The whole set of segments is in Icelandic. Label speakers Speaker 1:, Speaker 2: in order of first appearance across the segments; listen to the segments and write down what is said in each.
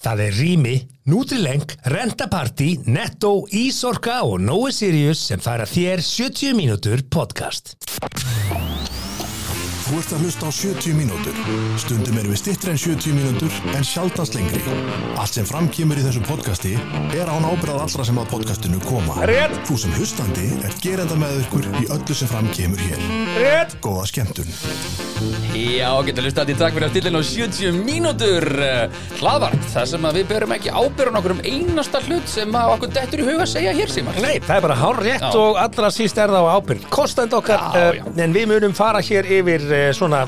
Speaker 1: Það er Rými, Nutrileng, Rentaparty, Netto, Ísorka og Nói Sirius sem færa þér 70 mínútur podcast.
Speaker 2: Þú ert að hlusta á 70 mínútur. Stundum erum við stittri en 70 mínútur en sjaldast lengri. Allt sem framkýmur í þessu podcasti er án ábyrðað allra sem að podcastinu koma.
Speaker 1: Rétt.
Speaker 2: Þú sem hlustandi er gerenda með ykkur í öllu sem framkýmur hér.
Speaker 1: Rétt.
Speaker 2: Góða skemmtun.
Speaker 3: Já, getur hlustað til takk fyrir að stillin á 70 mínútur eh, hlaðvarp, það sem að við berum ekki ábyrðan okkur um einasta hlut sem að okkur dettur í huga að segja hér símar
Speaker 1: Nei, það er bara hár rétt
Speaker 3: Já.
Speaker 1: og allra síst er það á ábyrgð. Kostandi okkar,
Speaker 3: Já,
Speaker 1: eh,
Speaker 3: já.
Speaker 1: en við munum fara hér yfir uh, svona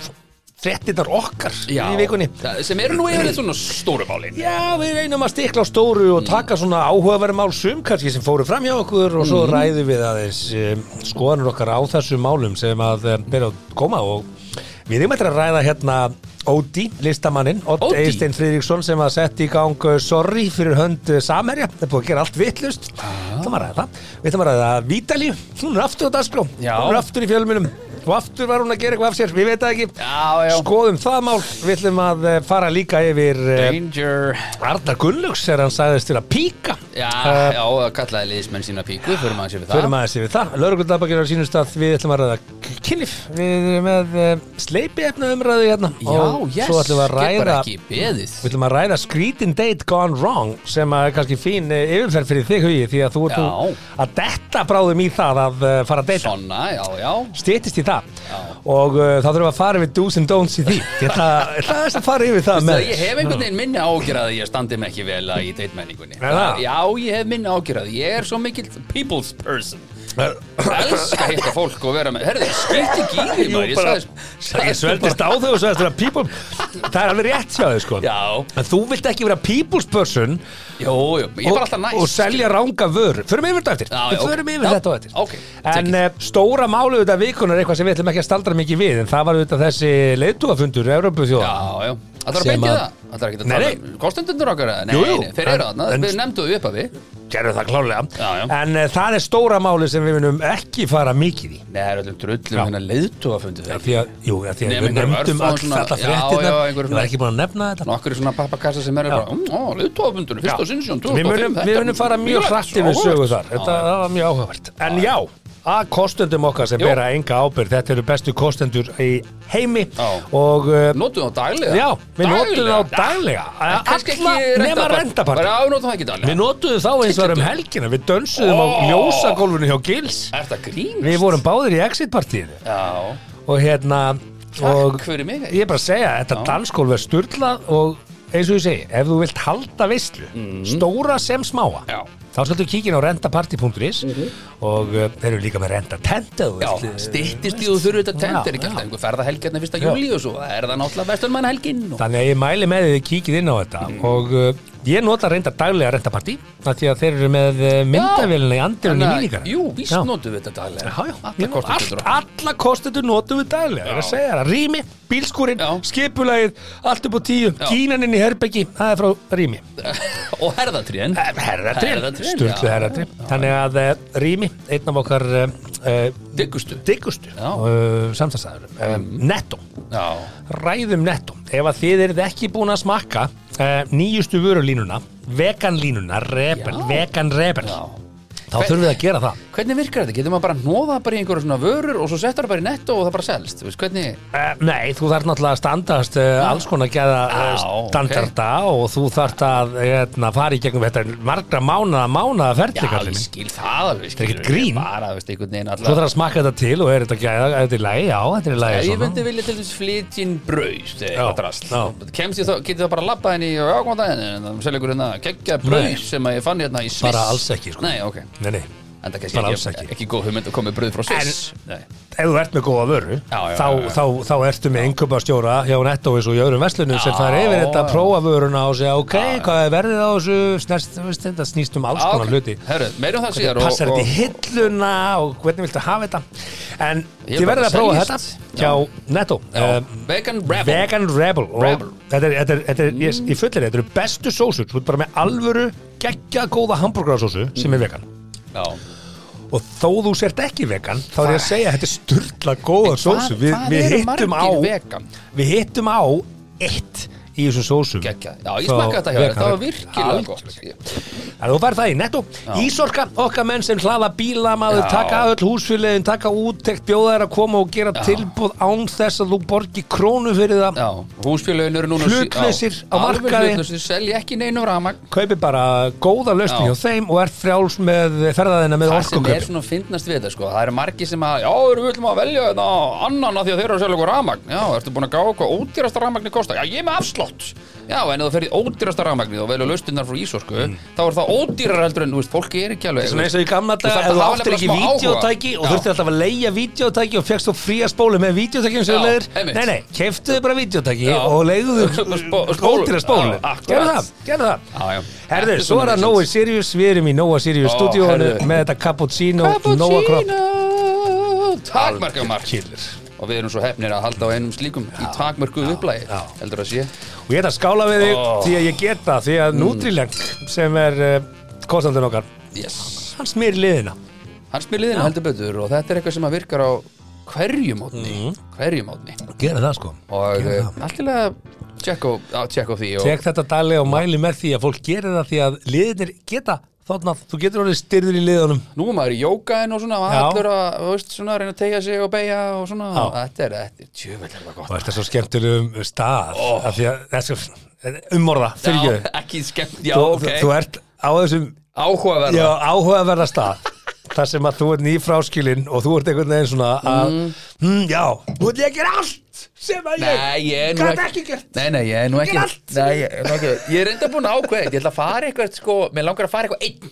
Speaker 1: frettinnar okkar
Speaker 3: Já,
Speaker 1: í vikunni.
Speaker 3: það- sem eru nú yfirleitt svona stóru málin
Speaker 1: Já, við reynum að stikla á stóru
Speaker 3: Mm.
Speaker 1: og taka svona áhugaverð mál sum kannski sem fóru fram hjá okkur og svo
Speaker 3: Mm.
Speaker 1: ræðum við aðeins um, skoðanur okkar á þessum málum sem að um, byrja að koma og við erum eitthvað að ræða hérna Ódi, listamannin, Ódi
Speaker 3: Óddi?
Speaker 1: Eistein Friðriksson sem að setja í gang uh, sorry fyrir hönd uh, Samherja, það er búið að gera allt vittlust
Speaker 3: Ah.
Speaker 1: það var að ræða það, við ætlum að ræða Vítali, hún er aftur á dagskrá
Speaker 3: Já.
Speaker 1: hún er aftur í fjölmunum og aftur var hún að gera eitthvað af sér, við veit það ekki
Speaker 3: Já, sko, já.
Speaker 1: skoðum það mál, við ætlum að uh, fara líka yfir uh,
Speaker 3: Danger
Speaker 1: Arnar Gunnlaugs er hann sagðist til að píka
Speaker 3: Já,
Speaker 1: Eh,
Speaker 3: já, kallaði liðismenn sína píku, fyrir maður sér við
Speaker 1: Förum
Speaker 3: það
Speaker 1: aðeins yfir það, lauruglutabakir á sínum stað við ætlum að ræða k- kynlíf við erum með uh, sleipi efna umræðu hérna og
Speaker 3: Já, yes,
Speaker 1: svo ætlum við að
Speaker 3: get
Speaker 1: ræða
Speaker 3: bara ekki beðið
Speaker 1: við ætlum að ræða Screetin Date Gone Wrong sem að er kannski fín eh, yfirferð fyrir þig hugi því að þú ert nú
Speaker 3: Já.
Speaker 1: að detta bráðum í það að eh, fara að deyta
Speaker 3: Svona, já, já
Speaker 1: stýttist í það og uh, þá þurfum við að fara yfir do's and don'ts í því ég ætla ég ætla aðeins að fara yfir það
Speaker 3: Það
Speaker 1: með
Speaker 3: ég hef einhvern veginn minni ágjörað að ég standi mig ekki vel að í deitmenningunni
Speaker 1: Er það?
Speaker 3: Já, ég hef minni ágjörað, ég er svo mikill people's person Elska að hitta fólk og vera með Herðu, skýtt ekki í því
Speaker 1: Jú,
Speaker 3: maður Ég
Speaker 1: bara-
Speaker 3: sagði,
Speaker 1: Ég sveldist á þau og svo eftir að people Það er alveg rétt hjá þau sko
Speaker 3: Já.
Speaker 1: En þú vilt ekki vera people's person
Speaker 3: Jú, jú, ég er bara alltaf næst
Speaker 1: og selja ránga vör Förum yfir þetta á eftir
Speaker 3: Já, já,
Speaker 1: Við
Speaker 3: ok.
Speaker 1: förum yfir
Speaker 3: Já,
Speaker 1: þetta á eftir
Speaker 3: ok,
Speaker 1: En uh, stóra málu þetta vikunar er eitthvað sem við ætlum ekki að staldra mikið við En það var auðvitað þessi leiðtúafundur Európu þjóða
Speaker 3: Já, já Það er að
Speaker 1: Sem
Speaker 3: bengja
Speaker 1: að-
Speaker 3: það Það er ekki
Speaker 1: Nei,
Speaker 3: að
Speaker 1: nei.
Speaker 3: tala um kostendundur okkar eða? Nei,
Speaker 1: Jú, jú.
Speaker 3: nei, þeir eru
Speaker 1: En-
Speaker 3: þarna
Speaker 1: en-
Speaker 3: Við nefndu upp að við
Speaker 1: Gerðu það klálega
Speaker 3: Já, já.
Speaker 1: En uh, það er stóra máli sem við munum ekki fara mikið í
Speaker 3: Nei, það er öllum drullum hérna leiðtúa fundu þeir
Speaker 1: Því að, jú, að því að
Speaker 3: Nema
Speaker 1: við
Speaker 3: einhver
Speaker 1: nefndum
Speaker 3: örfá
Speaker 1: öll
Speaker 3: svona-
Speaker 1: þetta
Speaker 3: já,
Speaker 1: fréttina
Speaker 3: já,
Speaker 1: Ég
Speaker 3: einhver
Speaker 1: var ekki búin að nefna þetta
Speaker 3: Nokkur svona pappakassa sem er bara "Mm, Ó, leiðtúa fundunum, fyrst
Speaker 1: Já.
Speaker 3: og sinnsjón
Speaker 1: Við munum, við munum fara mjög hratt yfir sögu þar Þetta það var mjög áhugavert En já, að kostendum okkar sem
Speaker 3: Jú.
Speaker 1: bera enga ábyrgð Þetta eru bestu kostendur í heimi
Speaker 3: Já.
Speaker 1: Og uh,
Speaker 3: Notum það daglega
Speaker 1: já, við notum þá daglega
Speaker 3: En kannski
Speaker 1: Alla
Speaker 3: ekki
Speaker 1: nema
Speaker 3: rentapartí.
Speaker 1: rentapartí
Speaker 3: Já, við notum það ekki daglega
Speaker 1: Við notum þá eins og um helgina Við dönsuðum á
Speaker 3: Ó.
Speaker 1: ljósagólfinu hjá Gils
Speaker 3: Er þetta grínast?
Speaker 1: Við vorum báðir í exit-partíinu
Speaker 3: Já,
Speaker 1: Og hérna og
Speaker 3: takk fyrir mig
Speaker 1: Ég er bara að segja, þetta dansgólf er sturlað og eins og ég segi, ef þú vilt halda veislu, stóra sem smáa
Speaker 3: Mhm. Já. Mhm.
Speaker 1: þá skaltu kíkin á rentaparty.is og uh, þeir eru líka með rentatent ef þú
Speaker 3: Já,
Speaker 1: vilt, uh,
Speaker 3: styttist í þú þurru þetta tent er ekki
Speaker 1: Já,
Speaker 3: alltaf
Speaker 1: já.
Speaker 3: einhver ferða helgjarni fyrsta
Speaker 1: Já.
Speaker 3: júli og svo er það náttúrulega vestunmann helgin og...
Speaker 1: Þannig að ég mæli með því að kíkið inn á þetta
Speaker 3: Mhm.
Speaker 1: og uh, ég nota reynda daglega rentaparty af því að þeir eru með uh, myndavélina í andurinn í
Speaker 3: Þannig að-
Speaker 1: mínigara
Speaker 3: Jú, víst notum við þetta daglega
Speaker 1: Já, já,
Speaker 3: Alla
Speaker 1: Ég-
Speaker 3: kostar
Speaker 1: allt,
Speaker 3: þetta
Speaker 1: alla kostendur notum við daglega Ég er að
Speaker 3: Já.
Speaker 1: segja það, rými, bílskúrin,
Speaker 3: Já.
Speaker 1: skipulagið, allt upp á tíu,
Speaker 3: Já.
Speaker 1: kínaninn í herbeggi, það er frá rými.
Speaker 3: Og herðatrén
Speaker 1: Eh, Herratrinn,
Speaker 3: Herðatrinn,
Speaker 1: sturglu
Speaker 3: já.
Speaker 1: herratrinn Þannig að uh, Rými, einn af okkar uh, uh,
Speaker 3: Diggustu
Speaker 1: diggustu
Speaker 3: Já. Mhm.
Speaker 1: uh, samstæðstæður um, Netto,
Speaker 3: Já,
Speaker 1: ræðum Netto Ef að þið eruð ekki búin að smakka uh, nýjustu vörulínuna veganlínuna, rebel,
Speaker 3: Já.
Speaker 1: vegan rebel
Speaker 3: já
Speaker 1: þá þurfum við að gera það
Speaker 3: Hvernig virkar þetta? Getur maður bara nóða bara í einhverja svona vörur og svo settar það bara í netto og það bara selst Þú veist hvernig
Speaker 1: Uh, nei, þú þarf náttúrulega að standast uh, alls konar gæða uh,
Speaker 3: Já, ok.
Speaker 1: standarda og þú þarf að hérna, fara í gegnum þetta margra mánaða mánaða
Speaker 3: Já,
Speaker 1: ferli kallinn
Speaker 3: ég
Speaker 1: minn.
Speaker 3: skil það alveg
Speaker 1: er
Speaker 3: skilur
Speaker 1: ekkert
Speaker 3: við,
Speaker 1: grín.
Speaker 3: Bara, þú veist, einhvern veginn
Speaker 1: Svo
Speaker 3: allar
Speaker 1: þarf að smakka þetta til og er þetta gæða, er þetta í lagi, já, þetta er í lagi
Speaker 3: Ef ég
Speaker 1: svona.
Speaker 3: myndi vilja til þess flytjinn brauð eða
Speaker 1: Já,
Speaker 3: eitthvað drasl,
Speaker 1: já.
Speaker 3: kemst ég þá, getið það bara labbað henni og ákvæmda henni en það selja ykkur hérna geggja brauð
Speaker 1: Nei.
Speaker 3: sem að ég fann hérna í Sviss
Speaker 1: Bara alls ekki, sko.
Speaker 3: Nei, ok,
Speaker 1: Nei, nei.
Speaker 3: en það kannski
Speaker 1: Bara alls
Speaker 3: ekki,
Speaker 1: ekki.
Speaker 3: ekki. góð hugmynd að koma með brauð frá Sviss Nei.
Speaker 1: Ef þú ert með góða vöru,
Speaker 3: Já, já,
Speaker 1: þá,
Speaker 3: já, já.
Speaker 1: Þá, þá ertu með yngöpastjóra hjá Nettovis og í öðrum verslunum sem fær yfir þetta
Speaker 3: já.
Speaker 1: prófa vöruna og segja, ok, hvað er verðið á þessu, snest, veist, þetta snýst um alls
Speaker 3: Ah,
Speaker 1: konar
Speaker 3: ok.
Speaker 1: hluti.
Speaker 3: Herru, meirum það síðar og,
Speaker 1: Passar þetta í
Speaker 3: og
Speaker 1: hilluna og hvernig viltu hafa þetta. En
Speaker 3: Ég
Speaker 1: þið
Speaker 3: bara
Speaker 1: verðið að prófa þetta
Speaker 3: seljist.
Speaker 1: hjá Netto.
Speaker 3: Já,
Speaker 1: Um,
Speaker 3: Vegan Rebel
Speaker 1: Vegan Rebel og
Speaker 3: Rebel.
Speaker 1: þetta er, þetta er, þetta er ég, ég fullir þetta eru bestu sósur, þú ert bara með alvöru geggja góða hambúrgarsósu sem er vegan
Speaker 3: Já.
Speaker 1: og þó þú sért ekki vegan þá er ég að segja að þetta er styrla góða
Speaker 3: Hvað-
Speaker 1: sósu við,
Speaker 3: hvað
Speaker 1: við
Speaker 3: eru
Speaker 1: hittum á
Speaker 3: margir vegan?
Speaker 1: við hittum á eitt í þessum sósum
Speaker 3: Gekka. Já, ég
Speaker 1: Frá
Speaker 3: smakka þetta hjá þér,
Speaker 1: vegan
Speaker 3: það var
Speaker 1: Rugg.
Speaker 3: virkilega
Speaker 1: Algjörlega.
Speaker 3: gott
Speaker 1: Þannig að þú færð það í netto Ísorka, okkar menn sem hlaða bíla maður
Speaker 3: Já.
Speaker 1: taka öll húsfyliðin, taka úttekt bjóða þær að koma og gera tilbúð án þess að þú borgi krónu fyrir það
Speaker 3: Já, húsfélögin eru núna
Speaker 1: Hlutlausir
Speaker 3: Já,
Speaker 1: á
Speaker 3: alveg
Speaker 1: markaði.
Speaker 3: hlutlausir, selja ekki neinu ramag
Speaker 1: kaupi bara góða lausni
Speaker 3: Já.
Speaker 1: hjá þeim og er frjáls með ferðaðina með
Speaker 3: Það sem er
Speaker 1: orkuköp
Speaker 3: svona fyndnast við þetta sko Það eru margir sem að, já, erum við viljum að velja þetta annan af því að þeir eru að selja okkur ramagn Já, ertu búin að gá hvað ódýrasta ramagni kostar Já, ég er með afslátt Já, en ef þú ferð í ódýrasta ramagni og velja laustinnar frá Ísorsku Þá er það ódýrar heldur en, þú veist, fólki er ekki alveg
Speaker 1: Svona Mm. eins og í gamla
Speaker 3: Þú
Speaker 1: dag, ef
Speaker 3: þarft að
Speaker 1: þú
Speaker 3: hafa
Speaker 1: áttir ekki
Speaker 3: nefnilega smá áhuga.
Speaker 1: videótæki og
Speaker 3: Já.
Speaker 1: þurfti alltaf að leia videótæki og fegst þú fría spólu með videótækjum sem
Speaker 3: Já,
Speaker 1: þú leiðir
Speaker 3: einmitt.
Speaker 1: Nei, nei, keftuðu bara videótæki
Speaker 3: Já.
Speaker 1: og leiðuðu
Speaker 3: Spó- spólu.
Speaker 1: ótýra spólu
Speaker 3: Já, akkurat.
Speaker 1: Gerðu það, gerðu það
Speaker 3: Já, já. Þetta
Speaker 1: Herðu,
Speaker 3: er
Speaker 1: svo
Speaker 3: svona
Speaker 1: er það
Speaker 3: make
Speaker 1: Nói
Speaker 3: sense.
Speaker 1: Sirius, við erum í Nói Sirius
Speaker 3: Ó,
Speaker 1: stúdíónu
Speaker 3: herðu.
Speaker 1: með þetta cappuccino, Nóa Kropp
Speaker 3: Cappuccino Takmarka mark
Speaker 1: Killer.
Speaker 3: Og við erum svo hefnir að halda á einum slíkum í takmörkuðu upplægi
Speaker 1: já.
Speaker 3: Heldur að sé
Speaker 1: Og ég ætla að skála við þig
Speaker 3: Ó. Mm.
Speaker 1: því að ég get það, því að Nutrileng sem er uh, kostandinn okkar,
Speaker 3: Yes
Speaker 1: hann smýr liðina
Speaker 3: Hann spyr liðinu heldur betur og þetta er eitthvað sem að virkar á hverjum átni
Speaker 1: Mm.
Speaker 3: Hverjum átni
Speaker 1: Gerðu það sko
Speaker 3: Og
Speaker 1: Gerðu
Speaker 3: eh,
Speaker 1: það.
Speaker 3: allt til að tjekka á- á- tjekka á því og
Speaker 1: Tek þetta daglega og mæli með því að fólk gerir það því að liðinir geta þóttnað, þú getur orðið styrður í liðunum
Speaker 3: Nú er maður í jókaðin og svona og
Speaker 1: Já.
Speaker 3: allur að, þú veist, svona, reyna að tegja sig og beigja og svona
Speaker 1: Já.
Speaker 3: Þetta er, þetta er, tjöfell er það
Speaker 1: og
Speaker 3: gott
Speaker 1: þetta er svo skemmtilegum stað oh. af því að, þessi, umorða fyrir
Speaker 3: Já,
Speaker 1: ég,
Speaker 3: ekki skemmt, já,
Speaker 1: þú,
Speaker 3: ok
Speaker 1: þú ert á þessum já,
Speaker 3: Áhugaverða
Speaker 1: áhugaverða stað þar sem að þú ert nýfráskilinn og þú ert einhvern veginn svona að, mm, já, nú ert ég að gera allt sem að ég,
Speaker 3: Nei, ég er nú
Speaker 1: gat ekki gert
Speaker 3: Nei, nei, ég er nú ekki
Speaker 1: Ég er allt.
Speaker 3: Nei, ég er nú ekki Ég er enda búin að ákveða Ég ætla að fara eitthvað, sko Mér langar að fara eitthvað einn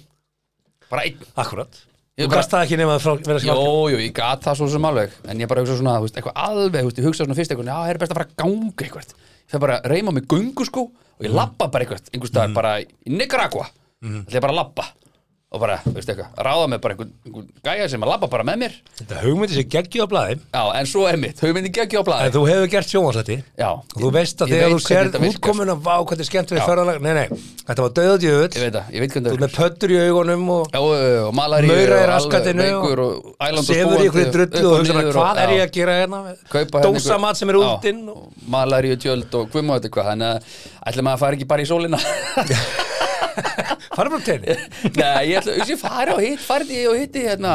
Speaker 3: Bara einn
Speaker 1: akkurat,
Speaker 3: Ég
Speaker 1: þú
Speaker 3: bara-
Speaker 1: gast það ekki nema að frá, vera
Speaker 3: Jó,
Speaker 1: skilinn
Speaker 3: jú, ég gat það svo sem alveg En ég bara hugsa svona, þú veist, eitthvað alveg þú veist, Ég hugsa svona fyrst eitthvað, já, það er best að fara að ganga eitthvað Ég fer bara að reyma mig göngu, sko
Speaker 1: Mhm.
Speaker 3: Og ég labba bara eitthvað, einhvers staðar bara í Nicaragua mm. Það er bara að labba Og bara, þú veist eitthvað, ráða mig bara einhvern, einhvern gæja sem að labba bara með mér
Speaker 1: þetta hugmyndi sem geggju á blaði
Speaker 3: Já, en svo er mitt, þau myndi geggja á
Speaker 1: en
Speaker 3: blaði
Speaker 1: þú hefur gert sjónvarsætti
Speaker 3: Já,
Speaker 1: og þú veist að
Speaker 3: Ég
Speaker 1: þegar
Speaker 3: veit
Speaker 1: þú
Speaker 3: hvernig
Speaker 1: sér
Speaker 3: þetta virkar. sko.
Speaker 1: útkomuna vá hvað þetta er skemmt við ferðalag nei, nei, þetta var döðat í öll
Speaker 3: Ég veit það, ég veit
Speaker 1: þú
Speaker 3: hvernig
Speaker 1: er með pöttur í augunum og
Speaker 3: Já, og malari
Speaker 1: maura í raskatinu
Speaker 3: og, og, og
Speaker 1: sefur í ykkur drullu og hugsa bara, hvað er ég að gera hérna dósamat sem er útinn og-
Speaker 3: malari og tjöld og hvum og þetta hvað þannig að ætlum að fara ekki bara í sólina
Speaker 1: fara bara til henni
Speaker 3: Nei, ég ætla þess að fara og hitt farði og hitti hérna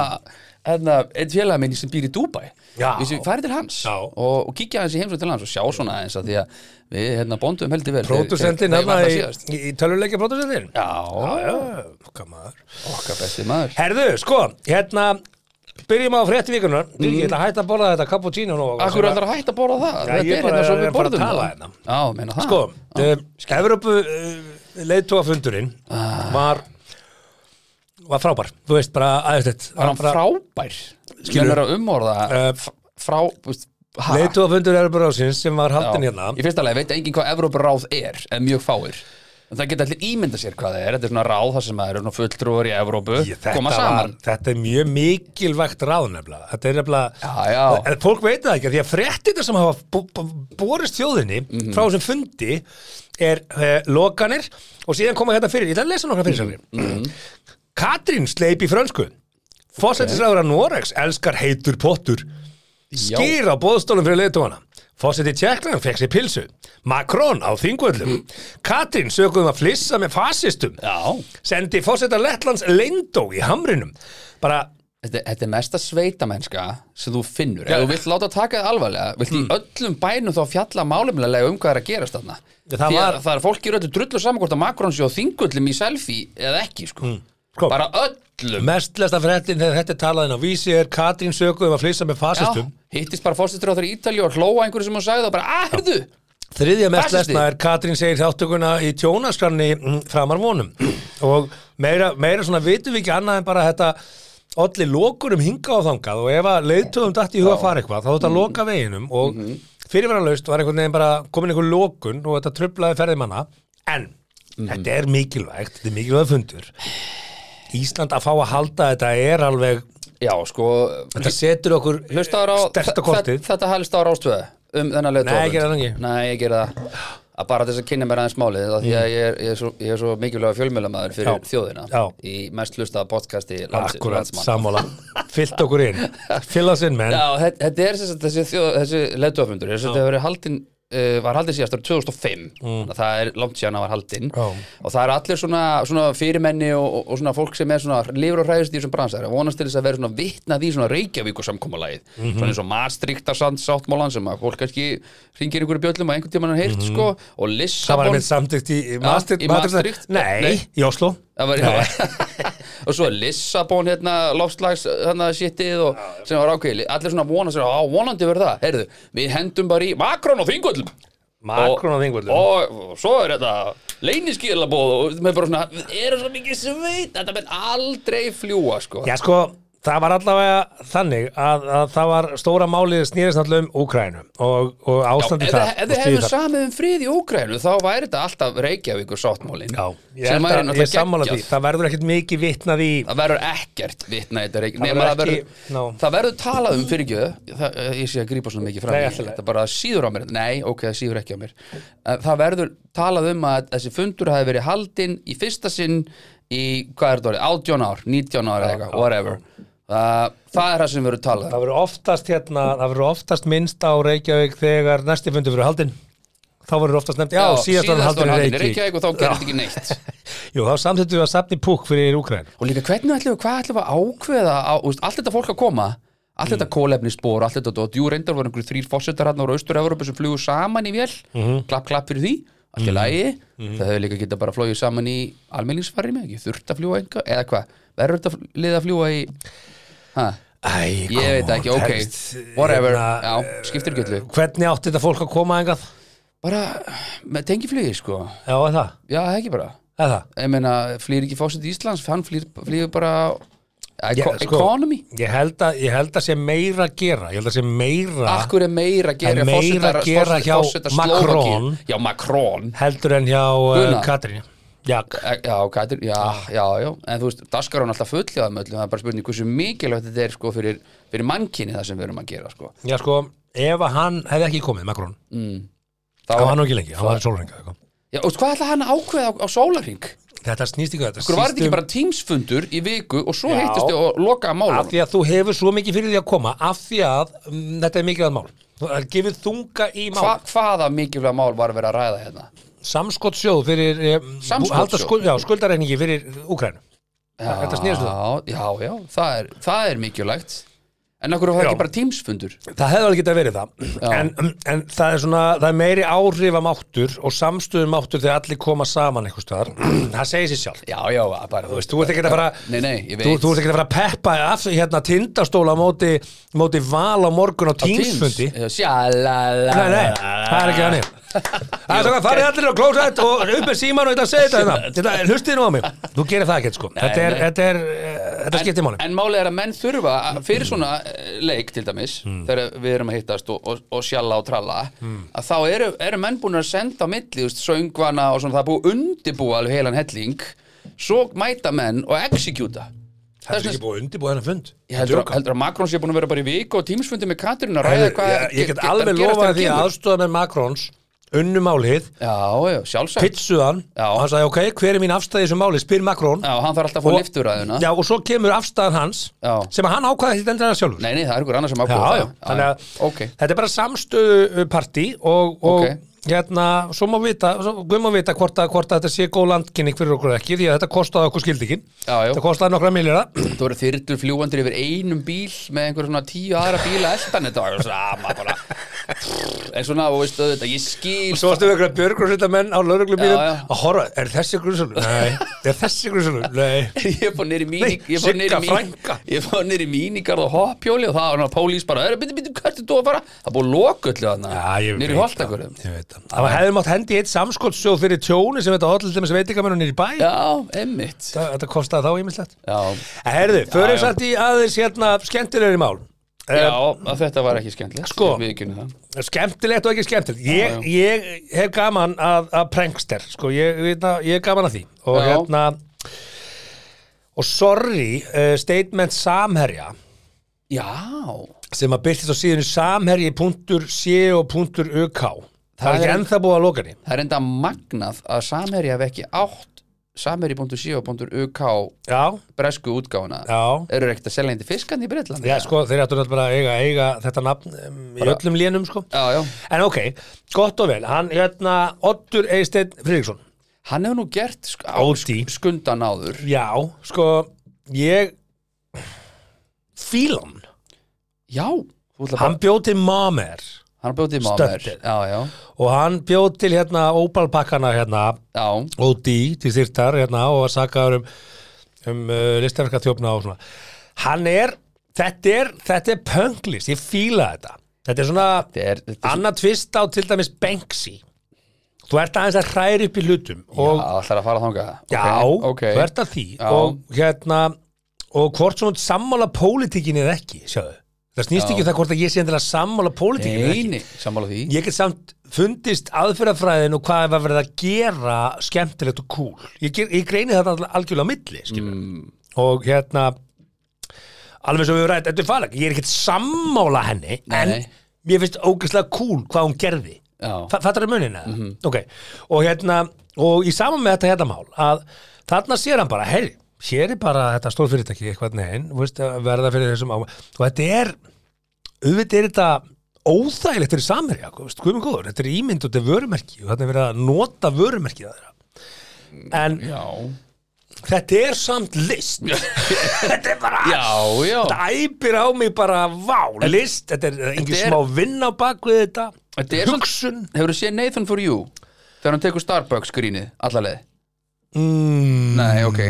Speaker 3: hérna, einn félag minni sem býr í Dubai
Speaker 1: Já.
Speaker 3: þess að fara til hans
Speaker 1: Já.
Speaker 3: og, og kíkja hans í heimsum til hans og sjá svona aðeins að því að við hérna bondum heldur vel
Speaker 1: pródusendin hérna
Speaker 3: Þegar- þegar ég var það síðast.
Speaker 1: í, í töluleikja pródusendin
Speaker 3: Já,
Speaker 1: okkar maður
Speaker 3: okkar besti maður
Speaker 1: herðu, sko, hérna byrjum á frétti vikunar ég ætla að hætta að borða þetta cappuccino nú
Speaker 3: Akkur ætlar að hætta að borða það?
Speaker 1: Já, ég
Speaker 3: Þetta er
Speaker 1: bara
Speaker 3: hérna svo
Speaker 1: er að
Speaker 3: við
Speaker 1: fara að
Speaker 3: borðum
Speaker 1: tala
Speaker 3: það.
Speaker 1: hérna.
Speaker 3: Já, meina það
Speaker 1: sko, um, Evrópu uh, leiðtóafundurinn
Speaker 3: Ah.
Speaker 1: var var frábær, þú veist bara aðeins
Speaker 3: var hann frábær
Speaker 1: Skilur.
Speaker 3: skilur að umorða
Speaker 1: Eh,
Speaker 3: uh, frá úst, ha?
Speaker 1: leiðtóafundur Evrópu rásins sem var
Speaker 3: Já.
Speaker 1: haldin hérna
Speaker 3: í fyrsta lagi veit engin hvað Evrópuráð er en mjög fáir en það geta allir ímynda sér hvað það er þetta er svona ráð þar sem það eru svona fulltrúar í Evrópu
Speaker 1: Ég, þetta,
Speaker 3: koma
Speaker 1: var,
Speaker 3: saman
Speaker 1: þetta er mjög mikilvægt ráð nefnilega þetta er nefnilega
Speaker 3: Já, já.
Speaker 1: En fólk veit það ekki, af því að fréttina sem hafa bo- bo- borist þjóðinni
Speaker 3: Mhm.
Speaker 1: frá þessum fundi er uh, lokanir og síðan koma hérna fyrir, ég ætla að lesa nokkra fyrir
Speaker 3: Mhm,
Speaker 1: Katrín sleip í frönsku Fósettisræður að Norex elskar heitur pottur
Speaker 3: Já.
Speaker 1: Skýr á bóðstólum fyrir leiðtúana Fósetti Tjekkland fekk sér pilsu Makrón á þingvöllum
Speaker 3: Mhm.
Speaker 1: Katrín sökuðum að flissa með fasistum
Speaker 3: já
Speaker 1: sendi fósetta Lettlands leindó í hamrinum bara,
Speaker 3: Þetta, þetta er mesta sveitamennska sem þú finnur.
Speaker 1: Já. Hmm.
Speaker 3: Ef þú vilt láta taka það alvarlega, vilt í öllum bænum þá fjalla málefnilega um hvað er að gerast þarna.
Speaker 1: Já, það
Speaker 3: Því að
Speaker 1: var-
Speaker 3: það er fólk í röldu drullu saman hvort að Makrón sé á þingullum í selfie eða ekki, sko.
Speaker 1: sko,
Speaker 3: Bara öllum.
Speaker 1: mest lesta fréttin þegar þetta er talaðin á vísi er Katrín sökuð um að flysa með fasistum
Speaker 3: Já, hittist bara fórsættur á þeirra Ítali og hlóa einhverju sem hún sagði og bara, "Ah, að, herðu
Speaker 1: þriðja mest
Speaker 3: Fasisti.
Speaker 1: lesna er Katrín segir þáttökuna í tjónaskranni mm, framar vonum og meira, meira svona vitum við ekki annað en bara þetta olli lokurum hinga á þangað og ef að leiðtöfum dætt í huga að fara eitthvað þá þetta að loka veginum og mm var einhvern veginn bara komin einhver lokun og þetta trublaði ferði manna en þetta er mikilvægt þetta er mikilvægt fundur Ísland að fá að halda þetta er alveg
Speaker 3: Já, sko,
Speaker 1: þetta setur okkur
Speaker 3: hlustaður á
Speaker 1: sterta kortið
Speaker 3: þe- Þetta helst á rástöðu um þennan leið
Speaker 1: Nei, ég gerði það ekki.
Speaker 3: Nei, ég gerði það að bara til þess að kynna mér aðeins málið af því að ég er, ég er, svo, ég er svo mikilvæg fjölmjölamæður fyrir
Speaker 1: Mm. Já.
Speaker 3: þjóðina
Speaker 1: Já.
Speaker 3: í mest hlustaða podcasti lands-
Speaker 1: Akkurat,
Speaker 3: landsmanna.
Speaker 1: sammála Fyllt okkur inn, fyll oss inn menn
Speaker 3: Já, þe- þetta er þess, þessi, þjó, þessi leituafundur þess að þetta hefur verið haldin uh, var haldin síðast árið 2005 mm. það er langt síðan að var haldin
Speaker 1: Já.
Speaker 3: og það er allir svona, svona fyrirmenni og, og, og svona fólk sem er svona lifur og hræðist í þessum bransar að vonast til þess að vera svona vitnað í svona Reykjavíkur samkommalagið svona eins og Maastrichtasand sáttmálan sem að fólk kannski ringir einhverju bjöllum og einhvern tímann hann heyrt sko og
Speaker 1: Það var
Speaker 3: Lissabon
Speaker 1: einmitt samtíkt í í Maastricht
Speaker 3: í Maastricht.
Speaker 1: Nei,
Speaker 3: Nei.
Speaker 1: í Oslo
Speaker 3: Það var,
Speaker 1: Nei.
Speaker 3: og svo Lissabon hérna, lofslags hérna sittið og sem var ákveðli allir svona vona sér á vonandi verður það heyrðu, við hendum bara í Makron og Þingvöllum
Speaker 1: Macron á Þingvöllum.
Speaker 3: og, og svo er þetta leyniskilabóð og með bara svona, við erum svo mikið sveit þetta menn aldrei fljúa sko
Speaker 1: Já sko, það var allavega þannig að, að það var stóra málið snýðist náttúrulega um Úkrænum og, og ástandi
Speaker 3: ef
Speaker 1: þar
Speaker 3: þið- ef
Speaker 1: og
Speaker 3: þið
Speaker 1: stríðið
Speaker 3: hefðu samið um frið í Úgrænu þá væri þetta alltaf Reykjavíkur sáttmálin
Speaker 1: Já, ég,
Speaker 3: sem
Speaker 1: held
Speaker 3: væri
Speaker 1: að, ég er sammála því
Speaker 3: náttúrulega geggjað
Speaker 1: Það verður ekkert mikið vitnað í
Speaker 3: það verður ekkert vitna í þetta reik
Speaker 1: Það
Speaker 3: nema það
Speaker 1: verður
Speaker 3: verður,
Speaker 1: ekki- ná.
Speaker 3: það verður talað um fyrirgjöðu það, eh, ég sé að grípa svona mikið fram
Speaker 1: Nei,
Speaker 3: í
Speaker 1: allt í lagi.
Speaker 3: þetta bara síður á mér, nei, ok, það síður ekki á mér Eh, það verður talað um að þessi fundur hafi verið haldinn í fyrsta sinn í, hvað er þetta orðið, 18 ár 19 ár eða eitthvað, whatever það, það er það sem verður talað um.
Speaker 1: Það verður oftast hérna, það verður oftast minnst á Reykjavík þegar næsti fundur verður haldinn Þá verður oftast nefnt, já, síðast var hann haldinn í Reykjavík,
Speaker 3: Reykjavík og þá gerist ekki neitt
Speaker 1: Jú, þá samþýttum við að safni púk fyrir Úkræn
Speaker 3: og líka hvernig ætlum við, hvað ætlum við að ákveða á, úst, allt þetta fólk að koma allt þetta kólefnisbor, allt þetta dót, jú reyndar voru einhverjir þrýr fórsetar hann ára austur-Európa sem flugu saman í vél klapp, klapp fyrir því, allt í lagi það hefur líka getað bara flogið saman í almenningsfari með, ekki þurft að fljúa einhver eða hvað, verður þetta fl- lið að fljúa í ha,
Speaker 1: Æ,
Speaker 3: ég veit það ekki, ok whatever, já, skiptir ekki öllu
Speaker 1: hérna, eh, Hvernig átti þetta fólk að koma engað?
Speaker 3: bara, með tengi flugi, sko
Speaker 1: Já, er það,
Speaker 3: já, það ekki bara,
Speaker 1: er það
Speaker 3: ég meina flýr ekki fórseti Íslands, hann flýr, flýr bara
Speaker 1: Já,
Speaker 3: eco-
Speaker 1: sko,
Speaker 3: economy
Speaker 1: Ég held, að, ég held að sé meira að gera Ég held að sé meira
Speaker 3: Akkur er meira að gera
Speaker 1: En meira
Speaker 3: forsetar-
Speaker 1: að gera
Speaker 3: forsetar-
Speaker 1: hjá
Speaker 3: forsetar
Speaker 1: Macron.
Speaker 3: Slóvakíu. Já, Macron
Speaker 1: heldur en hjá uh,
Speaker 3: Guðna.
Speaker 1: Katrín Já,
Speaker 3: Eh, Já, Katrin, já, já, já En þú veist, daskar hún alltaf fulli að möllum Það er bara spurning hversu mikilvægt þetta er sko, fyrir, fyrir mannkinni það sem við erum að gera sko.
Speaker 1: já sko, ef að hann hefði ekki komið, Makrón
Speaker 3: Þá,
Speaker 1: Það var nú ekki lengi, hann var í sólrenga
Speaker 3: já, og Hvað ætla hann að ákveða á, á sólarring?
Speaker 1: Þetta snýst ykkur þetta
Speaker 3: Hver var
Speaker 1: snýst
Speaker 3: þetta ekki
Speaker 1: um-
Speaker 3: bara tímsfundur í viku og svo
Speaker 1: Já.
Speaker 3: heitistu og
Speaker 1: um
Speaker 3: lokaða
Speaker 1: af
Speaker 3: málum
Speaker 1: því að þú hefur svo mikið fyrir því að koma af því að um, þetta er mikilvægt mál það er gefið þunga í mál
Speaker 3: Hva, Hvaða mikilvæga mál var að vera að ræða hérna?
Speaker 1: samskottsjóð fyrir um,
Speaker 3: Samskotssjóð?
Speaker 1: halda skuld, já, skuldareiningi fyrir Úkrænu Þetta snerist um
Speaker 3: það Já, já, það er, það er mikilvægt En okkur var það
Speaker 1: Já.
Speaker 3: ekki bara tímsfundur
Speaker 1: það hefði alveg getað verið það en, en það er svona, það er meiri áhrifamáttur og samstöðumáttur þegar allir koma saman einhvers staðar, það segir sér sjálf
Speaker 3: Já, já, bara
Speaker 1: Þú veist, þú ert ekki að fara
Speaker 3: Nei, nei, ég veit.
Speaker 1: þú, þú ert ekki að fara að peppa af hérna tindastóla á móti, móti val á morgun á tímsfundi
Speaker 3: Sjalala
Speaker 1: Nei, nei, það er ekki þannig Það er svona, farið allir á klósett og upp með síman og þetta segir þetta hérna Þetta, hlustið nú á mig Þú gerir það ekkert sko Þetta er,
Speaker 3: nei.
Speaker 1: þetta er, eh, þetta skiptir máli Mm.
Speaker 3: En málið er að menn þurfa að- fyrir svona eh, leik til dæmis þegar við erum að hittast og, og, og sjalla og tralla
Speaker 1: Mm.
Speaker 3: að þá eru, eru menn búin að senda á milli þú veist, söngvana og svona það er búið að undirbúa alveg heilan helling svo mæta menn og execúta
Speaker 1: Það er ekki búið að undirbúið hennar fund
Speaker 3: Ég heldur, að- heldur að Makrón sé búin að vera bara í viku og tímsfundi með Katrín að ræða
Speaker 1: Ég,
Speaker 3: hvað
Speaker 1: ég, ég
Speaker 3: ge-
Speaker 1: get
Speaker 3: ge-
Speaker 1: alveg
Speaker 3: gerast
Speaker 1: lofað
Speaker 3: þegar
Speaker 1: því að
Speaker 3: kemur.
Speaker 1: aðstöða með Makrons unnumálið,
Speaker 3: Já, já, sjálfsagt
Speaker 1: pitsuðan
Speaker 3: Já.
Speaker 1: og hann sagði ok, hver er mín afstæði í þessu máli, spyr Makrón
Speaker 3: Já, hann þarf alltaf að fá lifturæðuna
Speaker 1: Já, og svo kemur afstæðan hans
Speaker 3: Já.
Speaker 1: sem að hann ákvaði þetta endur sjálfur
Speaker 3: Nei, nei, það er ykkur annar sem ákveður
Speaker 1: Já, já,
Speaker 3: það.
Speaker 1: þannig að
Speaker 3: Ok,
Speaker 1: þetta er bara samstöðuparti og, og
Speaker 3: Ok.
Speaker 1: hérna, svo má vita, svo, við má vita hvort að, hvort að þetta sé góð landkynning fyrir okkur eða ekki því að þetta kostaði okkur skildikin,
Speaker 3: Já, já.
Speaker 1: þetta kostaði nokkra miljara,
Speaker 3: Þú verður þyrlur fljúandir yfir einum bíl með einhver svona tíu aðra bíla eldan þetta var sama "Ah, bara en svona, og veistu þetta, ég skil
Speaker 1: svo varstu við einhverja björgrósvitamenn á
Speaker 3: Já, já.
Speaker 1: lauruglubílum að horfa, er þessi grunnsölu? Nei, er þessi grunnsölu? Nei,
Speaker 3: ég fór nýri
Speaker 1: Nei,
Speaker 3: mínig ég fór niður
Speaker 1: Sigga
Speaker 3: í
Speaker 1: frænka.
Speaker 3: mínig- ég fór nýri mínigarð og hoppjóli og það var hann að pólís bara, er, byrju, byrju, hvert er þú að fara það búið loköllu þarna,
Speaker 1: Já, ég
Speaker 3: nýri
Speaker 1: veit
Speaker 3: holtakur já,
Speaker 1: ég veit það. Það var- hefði mátt hendi í eitt samskottsjóð fyrir tjóni sem þetta allir þeim sem veitingamennunir í bæ,
Speaker 3: emmitt
Speaker 1: Þetta- þetta kostaði þá ýmislegt.
Speaker 3: já,
Speaker 1: Herðu, förum
Speaker 3: já.
Speaker 1: satt í aðeins hérna skemmtilegri mál.
Speaker 3: já, að þetta var ekki skemmtilegt
Speaker 1: Eh, Sko.
Speaker 3: við ekki það
Speaker 1: skemmtilegt og ekki skemmtilegt ég, ég hef gaman að, að prankster sko, ég, hérna, ég hef gaman að því og
Speaker 3: Já.
Speaker 1: hérna og sorry uh, statement samherja
Speaker 3: já,
Speaker 1: sem að byrtist á síðinu samherji.co.uk það
Speaker 3: Það
Speaker 1: er ekki
Speaker 3: er-
Speaker 1: ennþá búið að loka henni
Speaker 3: það er enda magnað að samherja hef ekki átt sameri.co.uk
Speaker 1: Já,
Speaker 3: bresku útgáfuna
Speaker 1: já
Speaker 3: eru ekkert að selja hindi fiskan í Breitlandi
Speaker 1: Já, sko, þeir ættu náttúrulega bara að eiga, eiga þetta nafn um, í öllum lénum, sko
Speaker 3: já, já.
Speaker 1: En ok, gott og vel, hann hérna Oddur Eysteinn Friðriksson
Speaker 3: hann hefur nú gert sk
Speaker 1: Ódý.
Speaker 3: sk- skundan áður
Speaker 1: Já, sko, ég Fílan
Speaker 3: já, þú ætla bara-
Speaker 1: Hann bjóð til Mamer
Speaker 3: hann bjóð til maður
Speaker 1: Stunted.
Speaker 3: já, já,
Speaker 1: og hann bjóð til hérna Opal-pakkana hérna
Speaker 3: já,
Speaker 1: OD til styrtar hérna og var sakaður um, um uh, listaverka og svona Hann er, þetta er, þetta er pönglist, ég fíla þetta Þetta er svona
Speaker 3: þetta er, þetta er
Speaker 1: annað tvist á til dæmis Banksy Þú ert aðeins að hræri upp í hlutum og
Speaker 3: já, það er að fara þangað
Speaker 1: Já,
Speaker 3: ok,
Speaker 1: þú
Speaker 3: ok
Speaker 1: ert að því
Speaker 3: Já.
Speaker 1: og hérna og hvort svona sammála pólitíkinni eða ekki, sjáðu það snýst
Speaker 3: Já.
Speaker 1: ekki um það hvort að ég sé endilega sammála pólitíkinni eða ekki
Speaker 3: neini, sammála því
Speaker 1: ég get samt fundist aðferðafræðin og hvað var verið að gera skemmtilegt og cool ég, ger, ég greini þetta al- algjörlega á milli mm. og hérna alveg sem við rætt, þetta er farleg ég er ekkert sammála henni en
Speaker 3: nei.
Speaker 1: mér finnst ógeðslega cool hvað hún gerði
Speaker 3: Já.
Speaker 1: Fa- fattar það munina mm ok, og hérna og í saman með þetta hérna mál að þarna sér hann bara, heyri hér er bara þetta stór fyrirtæki eitthvað neginn veist, að verða fyrir þessum á og þetta er, auðvitað er þetta óþægilegt fyrir samherja veist, hvað með góður, þetta er ímynd og þetta er vörumerki og þetta er verið að nota vörumerkið að þeirra en
Speaker 3: já,
Speaker 1: þetta er samt list þetta er bara
Speaker 3: Já, já.
Speaker 1: þetta æpir á mig bara vá, list, þetta er engin
Speaker 3: er-
Speaker 1: smá vinn á bak við þetta,
Speaker 3: Þetta er
Speaker 1: hugsun
Speaker 3: Hefur þú séð Nathan for You þegar hann tekur Starbucks grínið allaveg
Speaker 1: mm,
Speaker 3: Nei, ok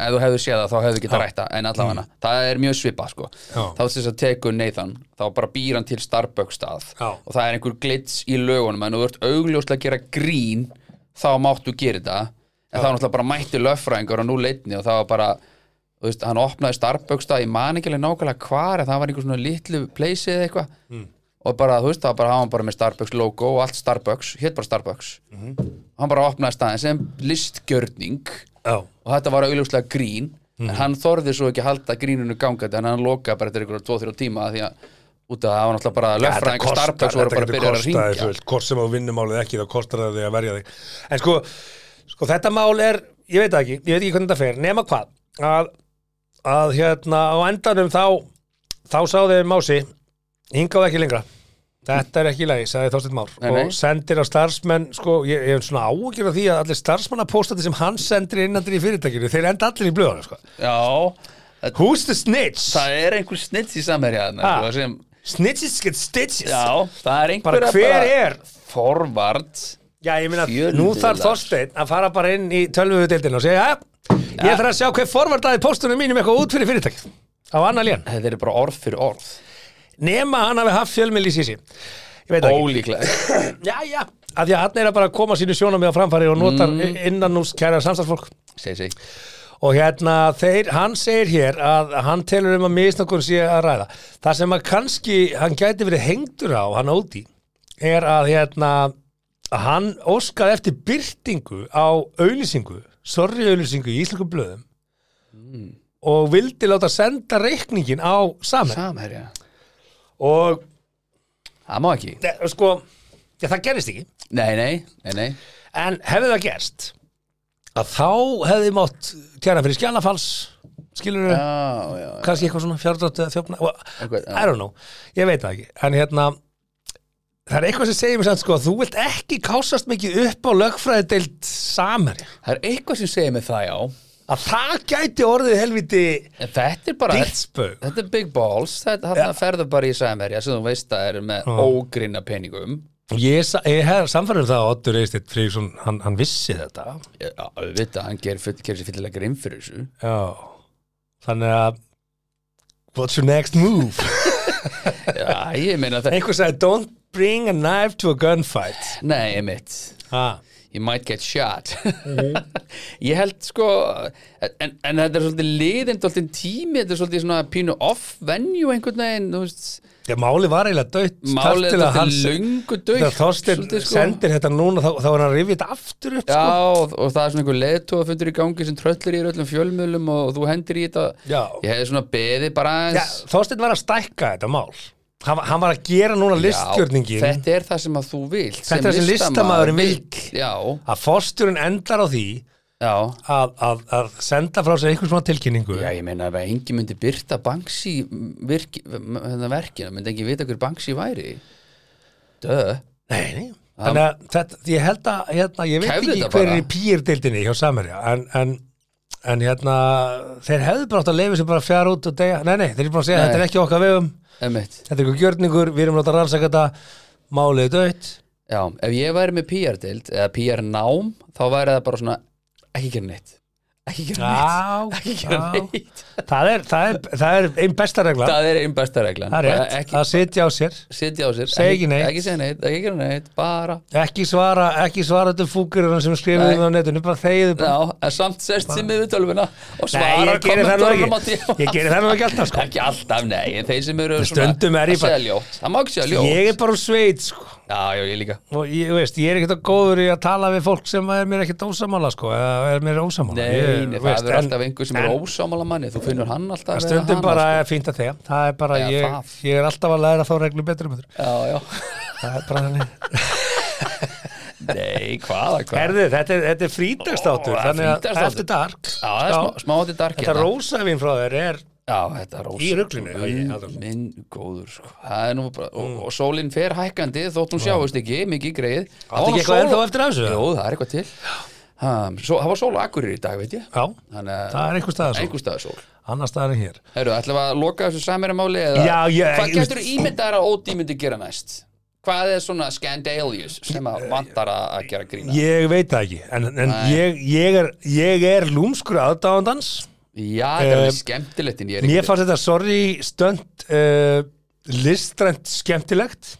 Speaker 3: Ef þú hefðu séð það, þá hefðu getað rætta En allavega það er mjög svipað sko
Speaker 1: Já.
Speaker 3: Þá þess að tekur Nathan, þá bara býr hann til Starbucks stað
Speaker 1: Já.
Speaker 3: Og það er einhver glits í lögunum En þú ert augljóslega að gera grín Þá máttu gera þetta En þá náttúrulega bara mætti löffræðingur og nú leitni Og það var bara, þú veist, hann opnaði Starbucks stað Ég man ekki alveg nákvæmlega hvar En það var einhver svona litlu place eða eitthvað
Speaker 1: Mm.
Speaker 3: Og bara, þú veist, það var bara, hann var bara með Starbucks logo og allt Starbucks, hétt bara Starbucks
Speaker 1: Mhm.
Speaker 3: Hann bara opnaði staðin sem listgjörning
Speaker 1: já,
Speaker 3: og þetta var augljóslega grín
Speaker 1: Mhm.
Speaker 3: en hann þorði svo ekki að halda gríninu gangandi en hann lokaði bara eftir einhverjum 2-3 tíma af því að út af það var náttúrulega bara löffræðingar starfdags voru bara að byrja að ringja
Speaker 1: hvort sem á vinnumálið ekki þá kostar það þig að verja þig en sko, sko þetta mál er ég veit það ekki, ég veit ekki hvernig þetta fer nema hvað að, að hérna á endanum þá þá sáðu Mási hingaðu ekki lengra Þetta er ekki í lagi, sagði Þorsteinn Már
Speaker 3: Nei, nei.
Speaker 1: og sendir á starfsmenn, sko, ég, ég er svona áhugjur af því að allir starfsmannapóstandi sem hann sendir innandir í fyrirtækinu, þeir enda allir í blöðunum, sko.
Speaker 3: Já,
Speaker 1: Who's the snitch?
Speaker 3: það er einhver snitt í samherja þarna,
Speaker 1: Ha.
Speaker 3: sko, sem,
Speaker 1: Snitches get stitches.
Speaker 3: Já, það er einhver
Speaker 1: Bara hver er?
Speaker 3: Forvard
Speaker 1: Já, ég meina,
Speaker 3: Fjölmiðlar.
Speaker 1: nú þarf Þorstein að fara bara inn í tölvudeildin og segja, ja, ég þarf að sjá hver forvardaði póstunum mínum eitthvað út fyrir fyrirtækið á annar lén,
Speaker 3: Þetta er bara orð fyrir orð
Speaker 1: nema hann hafi haft fjölmiðl í sísi. Ég veit það ekki.
Speaker 3: Ólíklega
Speaker 1: Já, já, Mm. af því að hann er að bara koma sínu sjónum á framfæri og notar innan úr kæra samstagsfólk.
Speaker 3: Segi, segi
Speaker 1: Og hérna, þeir, hann segir hér að hann telur um að misnokkur sé að ræða. Það sem að kannski hann gæti verið hengdur á, hann Ódi, er að hérna, að hann óskaði eftir byrtingu á auðlýsingu, sorry auðlýsingu í Íslingum blöðum og vildi láta senda reikningin á saman.
Speaker 3: Samherja
Speaker 1: Og
Speaker 3: Það má ekki
Speaker 1: ne, sko, já, það gerist ekki.
Speaker 3: Nei, nei, nei, nei
Speaker 1: En hefði það gerst, að þá hefði mátt tjara fyrir skjálafals, skilur við,
Speaker 3: Já, já
Speaker 1: kannski eitthvað svona fjárdráttu eða þjófna well,
Speaker 3: Eitthvað, já.
Speaker 1: I don't know, ég veit það ekki en hérna, það er eitthvað sem segir mér samt sko að þú vilt ekki kásast mikið upp á lögfræðideild samar
Speaker 3: Það er eitthvað sem segir mig það, já
Speaker 1: að það gæti orðið helviti
Speaker 3: En þetta er bara
Speaker 1: dýrtspög
Speaker 3: Þetta er big balls, þetta ja. ferðu bara í sæmerja sem þú veist að er með ógrinna peningum
Speaker 1: ég, sa- ég hef samfærum það að Oddur Eistit Fríksson, hann, hann vissi þetta
Speaker 3: Já, auðvitað, hann gerir full, ger sér fyllilega grinn fyrir þessu
Speaker 1: já þannig að what's your next move
Speaker 3: Já, ég meina það
Speaker 1: einhver sagði don't bring a knife to a gunfight
Speaker 3: Nei, ég mitt,
Speaker 1: ha.
Speaker 3: you might get shot Ég held sko en, en þetta er svolítið liðin dóltin tími, þetta er svolítið svona pínu off venue einhvern veginn, þú veist
Speaker 1: Já, máli var eiginlega dött
Speaker 3: Málið er dálítið löngu dautt,
Speaker 1: Þegar Þorstein
Speaker 3: svolítið, sko.
Speaker 1: sendir þetta núna þá, þá er hann að rifja þetta aftur upp
Speaker 3: Já,
Speaker 1: sko.
Speaker 3: og, og það er svona einhver leðtóðafundur í gangi sem tröllir í öllum fjölmiðlum og, og þú hendir í þetta
Speaker 1: Já.
Speaker 3: Ég hefði svona beðið bara
Speaker 1: Já,
Speaker 3: aðeins
Speaker 1: Þorstein var að stækka þetta mál Hann, var- hann var að gera núna listgjörningin
Speaker 3: Já, þetta er það sem að þú vilt
Speaker 1: Þetta er sem listamaðurinn vill.
Speaker 3: Já,
Speaker 1: að fórsturinn endar á því
Speaker 3: Já,
Speaker 1: að, að, að senda frá sér einhvers svona tilkynningu
Speaker 3: Já, ég meina ef að engin myndi byrta Banksy virki, hérna verkinu myndi engin vita hver Banksy væri Dö
Speaker 1: Nei, nei. Þannig að þetta, ég held að hérna, ég veit
Speaker 3: Kæfðu
Speaker 1: ekki
Speaker 3: þetta
Speaker 1: hver er
Speaker 3: bara.
Speaker 1: í pýrdeildinni hjá Samerja en, en, en hérna þeir hefðu bara átt að leifa sér bara að fjara út og degja, nei nei, þeir eru bara að segja
Speaker 3: Nei.
Speaker 1: þetta er ekki okkar vegum,
Speaker 3: Emmett
Speaker 1: þetta er eitthvað gjörningur við erum látt að rannsaka þetta, málið er dött
Speaker 3: Já, ef ég væri með PR-deild eða PR-nám þá væri það bara svona ekki gera neitt ekki gera neitt, ekki gera
Speaker 1: Já,
Speaker 3: neitt
Speaker 1: það er, það er, það er einn besta regla,
Speaker 3: Það er einn besta reglan
Speaker 1: það er
Speaker 3: Bara
Speaker 1: rétt
Speaker 3: ekki,
Speaker 1: að sitja á sér,
Speaker 3: Sitja á sér
Speaker 1: Segja ekki neitt.
Speaker 3: Ekki segja neitt, ekki gera neitt, bara
Speaker 1: ekki svara ekki svara til fúkurinn sem skrifum
Speaker 3: Nei.
Speaker 1: á netinu, bara þegiðu bara
Speaker 3: Já, en samt sest sem við tölvuna og
Speaker 1: Nei,
Speaker 3: svarar
Speaker 1: ég geri það nú
Speaker 3: kommentunum á
Speaker 1: ekki
Speaker 3: tíma
Speaker 1: Ég geri það nú ekki alltaf sko
Speaker 3: Ekki alltaf, nei, en þeir sem eru
Speaker 1: stundum er ég
Speaker 3: að segja
Speaker 1: bara-
Speaker 3: ljótt Það má ekki segja ljótt
Speaker 1: Ég er bara úr sveit sko
Speaker 3: Já, já, ég líka
Speaker 1: og ég, þú veist, ég er ekkert góður í að tala við fólk sem er mér ekkert ósamála sko, eða er mér ósamála
Speaker 3: Nei,
Speaker 1: ég,
Speaker 3: nei,
Speaker 1: þú
Speaker 3: það er
Speaker 1: en-
Speaker 3: alltaf einhver um sem er ósámála manni Þú finnur hann alltaf
Speaker 1: en
Speaker 3: vera
Speaker 1: stundum
Speaker 3: hana,
Speaker 1: bara er fínt að þegja það er bara,
Speaker 3: Eða
Speaker 1: ég,
Speaker 3: sko. það.
Speaker 1: ég er alltaf að læra þá reglum betur og betur
Speaker 3: sko. Já, já
Speaker 1: það er bara þannig
Speaker 3: Nei, hvaða, hvaða
Speaker 1: Herðu, þetta er, þetta er frítagstátur,
Speaker 3: Ó, það er
Speaker 1: þannig að
Speaker 3: frídagsþáttur.
Speaker 1: eftir dark
Speaker 3: Já, það er smá, smá átti darki
Speaker 1: þetta rósavín frá þér er
Speaker 3: Já, þetta rós
Speaker 1: Í ruglinu, já, ég held að- Mm.
Speaker 3: Minn góður, sko Það er nú bara Og, og sólinn fer hækkandi þótt hún sjáist ekki Mikið greið
Speaker 1: ekki
Speaker 3: Það var nú
Speaker 1: eitthvað
Speaker 3: sól-
Speaker 1: ennþá eftir af þessu?
Speaker 3: Jú, það er eitthvað til ha, svo, Það var sól á akkurir í dag, veit ég
Speaker 1: já,
Speaker 3: Þannig að
Speaker 1: það er einhver staðar svo,
Speaker 3: einhver staðar sól
Speaker 1: annars staðar en hér
Speaker 3: Herru, ætlum við að loka þessu samverjamáli eða
Speaker 1: Já, ég-
Speaker 3: Hvað getur ímyndaðar að Ódi myndi gera næst? Hvað er svona scandalous sem að vantar að að gera grína?
Speaker 1: ég veit það ekki, en, en ég, ég er ég er lúmskur aðdáðandans
Speaker 3: Já, þetta er
Speaker 1: Eh,
Speaker 3: alveg skemmtilegt en ég er
Speaker 1: Mér
Speaker 3: ekki
Speaker 1: fannst þetta sorry stönd uh, listrænt skemmtilegt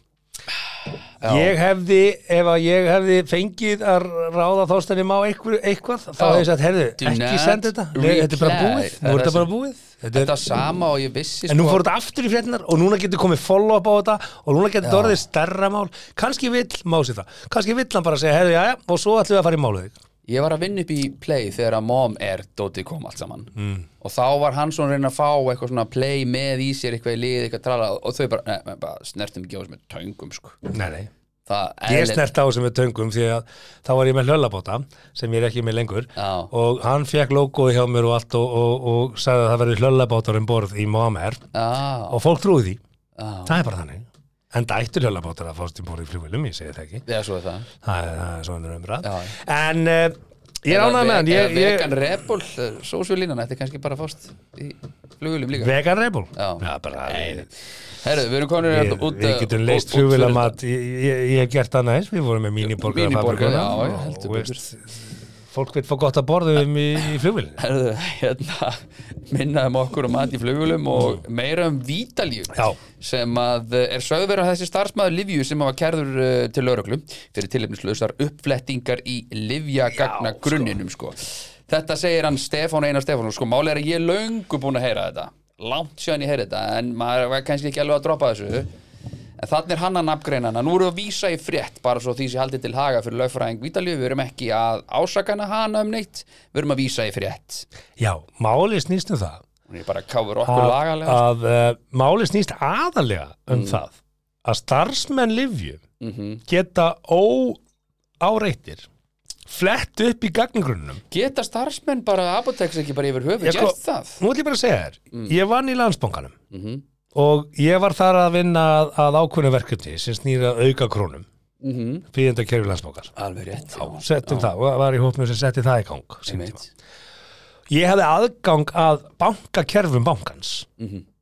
Speaker 1: Ég hefði ef að ég hefði fengið að ráða þástæðni má eitthvað, eitthvað þá
Speaker 3: Já.
Speaker 1: hefði ég sagt, herðu,
Speaker 3: Do
Speaker 1: ekki
Speaker 3: not
Speaker 1: senda þetta Nei, Þetta er bara
Speaker 3: reply.
Speaker 1: búið,
Speaker 3: Það
Speaker 1: nú er
Speaker 3: er
Speaker 1: þetta
Speaker 3: það
Speaker 1: bara
Speaker 3: sem-
Speaker 1: búið
Speaker 3: Þetta
Speaker 1: þetta er,
Speaker 3: sama og ég vissi
Speaker 1: En nú fór þetta aftur í fréttinar og núna getur komið follow-up á þetta og núna getur þetta orðið stærra mál kannski vill mási það, kannski vill hann bara segja herðu, já, og svo ætlum við að fara í málu þig
Speaker 3: Ég var að vinna upp í play þegar að mom er Dóti kom allt saman mm. og þá var hann svona að reyna að fá eitthvað svona play með í sér eitthvað í lið eitthvað trala og þau bara, ne, bara snertum ekki á þessum með töngum sko.
Speaker 1: Nei, nei
Speaker 3: Það,
Speaker 1: Ég
Speaker 3: eðlilegt-
Speaker 1: snert á þessum með töngum því að þá var ég með hlöllabóta sem ég er ekki með lengur
Speaker 3: Já.
Speaker 1: og hann fekk logoði hjá mér og allt og, og, og sagði að það verður hlöllabótar um borð í Mohamer
Speaker 3: Já,
Speaker 1: og fólk trúið því,
Speaker 3: já,
Speaker 1: það er bara þannig en það ættu hlöllabótar að fást um borð í flugvillum ég segi það ekki,
Speaker 3: já, svo er það
Speaker 1: það er, það er svona umræð
Speaker 3: Já.
Speaker 1: en uh, ég er ánægð með hann ég,
Speaker 3: Eða
Speaker 1: ég,
Speaker 3: vegan rebel, sósvílínan, þetta er kannski bara fást í flugulum líka
Speaker 1: vegan rebel
Speaker 3: Já.
Speaker 1: bara, við,
Speaker 3: Herru, við erum komin
Speaker 1: við,
Speaker 3: hérna út
Speaker 1: við
Speaker 3: uh,
Speaker 1: getum
Speaker 3: út-
Speaker 1: leist
Speaker 3: út fyrir
Speaker 1: flugvillamat ég, ég, ég hef gert það næst, við vorum með míniborgara
Speaker 3: Míniborgara, já, já,
Speaker 1: og, og,
Speaker 3: heldur betur.
Speaker 1: veist, fólk vil fá gott að borðum í, í flugvillinu
Speaker 3: þetta. Herru, hérna, minnaðum okkur um mat í flugulum og meira um Vítalíu
Speaker 1: Mm. Já.
Speaker 3: sem að uh, er sögverð að þessi starfsmæður Livju sem var kærður uh, til lauruglu fyrir tilefnislausar uppflettingar í Livja gagna grunninum sko. Þetta segir hann Stefán Einar Stefán og sko máli er að ég er löngu búin að heyra þetta langt sjöðan ég heyra þetta en maður var kannski ekki alveg að droppa þessu En þannig er hann að nafngreina hana. Nú erum við að vísa í frétt bara svo því sem haldið til haga fyrir lögfræðing Vítalíu. Við erum ekki að ásakana hana um neitt. Við erum að vísa í frétt.
Speaker 1: Já, máli snýst um það
Speaker 3: Hún er bara að káfur okkur
Speaker 1: að,
Speaker 3: lagalega. Mm.
Speaker 1: að uh, máli snýst aðalega um það að starfsmenn livju
Speaker 3: Mhm.
Speaker 1: geta óáreittir flett upp í gagnagrunnum
Speaker 3: Geta starfsmenn bara apotekst ekki bara yfir höfu?
Speaker 1: Ég
Speaker 3: Gert
Speaker 1: sko-
Speaker 3: það?
Speaker 1: Nú ætlum ég bara að segja þér,
Speaker 3: Mm.
Speaker 1: ég vann í landsbankanum og ég var þar að vinna að, að ákvönu verkefni sem snýra auka krónum
Speaker 3: Mm
Speaker 1: fríðendakerfi landsbankar
Speaker 3: Alveg rétt. Já,
Speaker 1: settum það, og var í hópnum sem setti það í gang sínum tíma.
Speaker 3: einmitt.
Speaker 1: ég hefði aðgang að bankakerfum bankans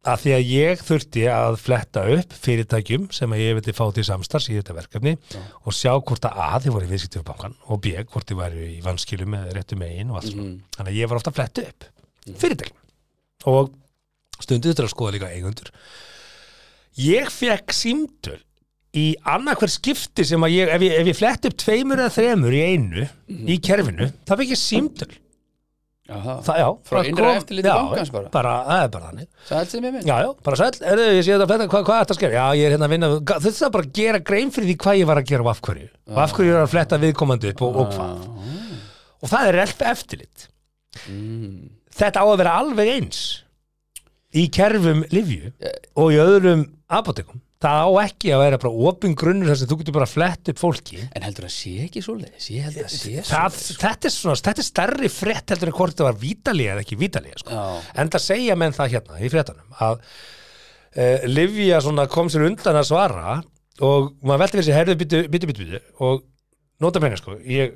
Speaker 1: að því að ég þurfti að fletta upp fyrirtækjum sem að ég vildi fá til samstars í þetta verkefni og sjá hvort að A þið voru í viðskiptum bankan og B hvort þið væru í vanskilum með réttu megin og allt svona. Þannig að ég var ofta að fletta upp fyrirtækjum og stundið þetta að skoða líka eigundur. Ég fekk símtöl í annarhver skipti sem að ég, ef ég, ef ég flett upp tveimur eða þremur í einu í kerfinu, það fekk ég símtöl
Speaker 3: Aha.
Speaker 1: Það, já,
Speaker 3: Frá
Speaker 1: bara
Speaker 3: innra
Speaker 1: kom-
Speaker 3: eftirliti
Speaker 1: já,
Speaker 3: bankans bara?
Speaker 1: það er bara þannig
Speaker 3: Sæltið mér minn.
Speaker 1: Já, já, bara sæll, er, ég sé þetta að fletta, hvað, hvað er þetta að skera? Já, ég er hérna að vinna, Ga- þetta er bara að gera grein fyrir því hvað ég var að gera og af hverju og af hverju ég var að fletta viðkomandi upp og, og
Speaker 3: Ah,
Speaker 1: hvað
Speaker 3: Mhm.
Speaker 1: og það er elf eftirlit Þetta á að vera alveg eins í kerfum livju
Speaker 3: Eh.
Speaker 1: og í öðrum apotekum það á ekki að vera bara opin grunnur þar sem þú getur bara flett upp fólki
Speaker 3: En heldur það sé ekki svoleiðis? Ég held að sé
Speaker 1: það, þetta, er svona, þetta er stærri frétt heldur en hvort það var vítalíja eða ekki vítalíja sko.
Speaker 3: Já.
Speaker 1: en það segja menn það hérna í fréttanum að uh, Livia svona kom sér undan að svara og maður velti fyrir sér herðu byttu, byttu, byttu, byttu og nota penna sko ég,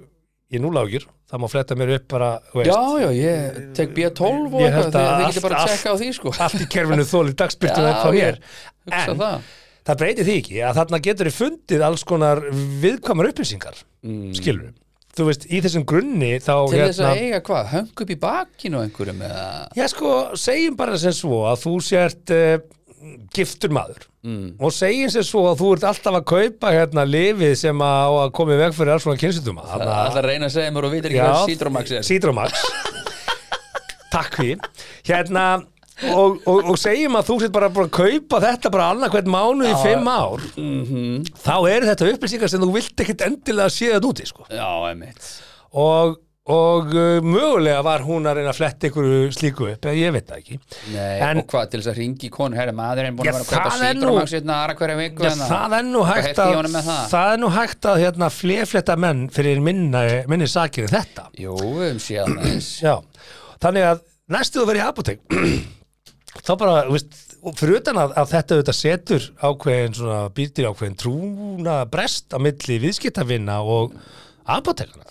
Speaker 1: ég núla ágjur, það má fletta mér upp bara þú veist,
Speaker 3: Já, já, ég tek B12 og
Speaker 1: Ég
Speaker 3: eitthvað,
Speaker 1: held að allt-
Speaker 3: þið getur bara að
Speaker 1: allt-
Speaker 3: tjekka á því, sko.
Speaker 1: allt í kerfinu þólið dagspyrtu
Speaker 3: Já,
Speaker 1: upp á mér
Speaker 3: ég Hugsa
Speaker 1: en
Speaker 3: það.
Speaker 1: það breytir því ekki að þarna getur þið fundið alls konar viðkvæmar upplýsingar mm. skilur þú veist, í þessum grunni þá hérna-
Speaker 3: Til þess að eiga hvað, höngu upp í bakinu á einhverjum eða...
Speaker 1: Já sko, segjum bara sem svo að þú sért uh, giftur maður
Speaker 3: Mm.
Speaker 1: og segjum sem svo að þú ert alltaf að kaupa hérna lifið sem að, á að komi veg fyrir alls svona kynsutuma
Speaker 3: Það er alltaf að reyna að segja mér og vitir ekki hvað Citromax er.
Speaker 1: Citromax Takk fyrir Hérna Og, og, og segjum að þú sett bara, bara að kaupa þetta bara annað hvern mánuð í fimm ár
Speaker 3: Mhm.
Speaker 1: þá eru þetta upplýsingar sem þú vilt ekkit endilega séð þetta úti sko.
Speaker 3: Já, emitt.
Speaker 1: og, og uh, mögulega var hún að reyna að fletta einhverju slíku upp eða ég veit það ekki
Speaker 3: Nei,
Speaker 1: En-
Speaker 3: og hvað, til þess að ringi í konu, herri, maðurinn búin
Speaker 1: Já,
Speaker 3: að vera að kaupa
Speaker 1: það er nú-
Speaker 3: Citromax hérna aðra hverja viku.
Speaker 1: Já,
Speaker 3: hérna.
Speaker 1: það er nú
Speaker 3: Hvað
Speaker 1: hægt
Speaker 3: hefti
Speaker 1: að
Speaker 3: ég honum með það?
Speaker 1: er nú hægt að hérna, flefletta menn fyrir minna, minni sakir en þetta
Speaker 3: Jú, við höfum séð það eins.
Speaker 1: Já, þannig að næstu þú verið í apotek þá bara, þú veist, og fyrir utan að, að þetta auðvitað setur ákveðin svona býtir ákveðin trúna brest á milli viðskiptavinna og apotekana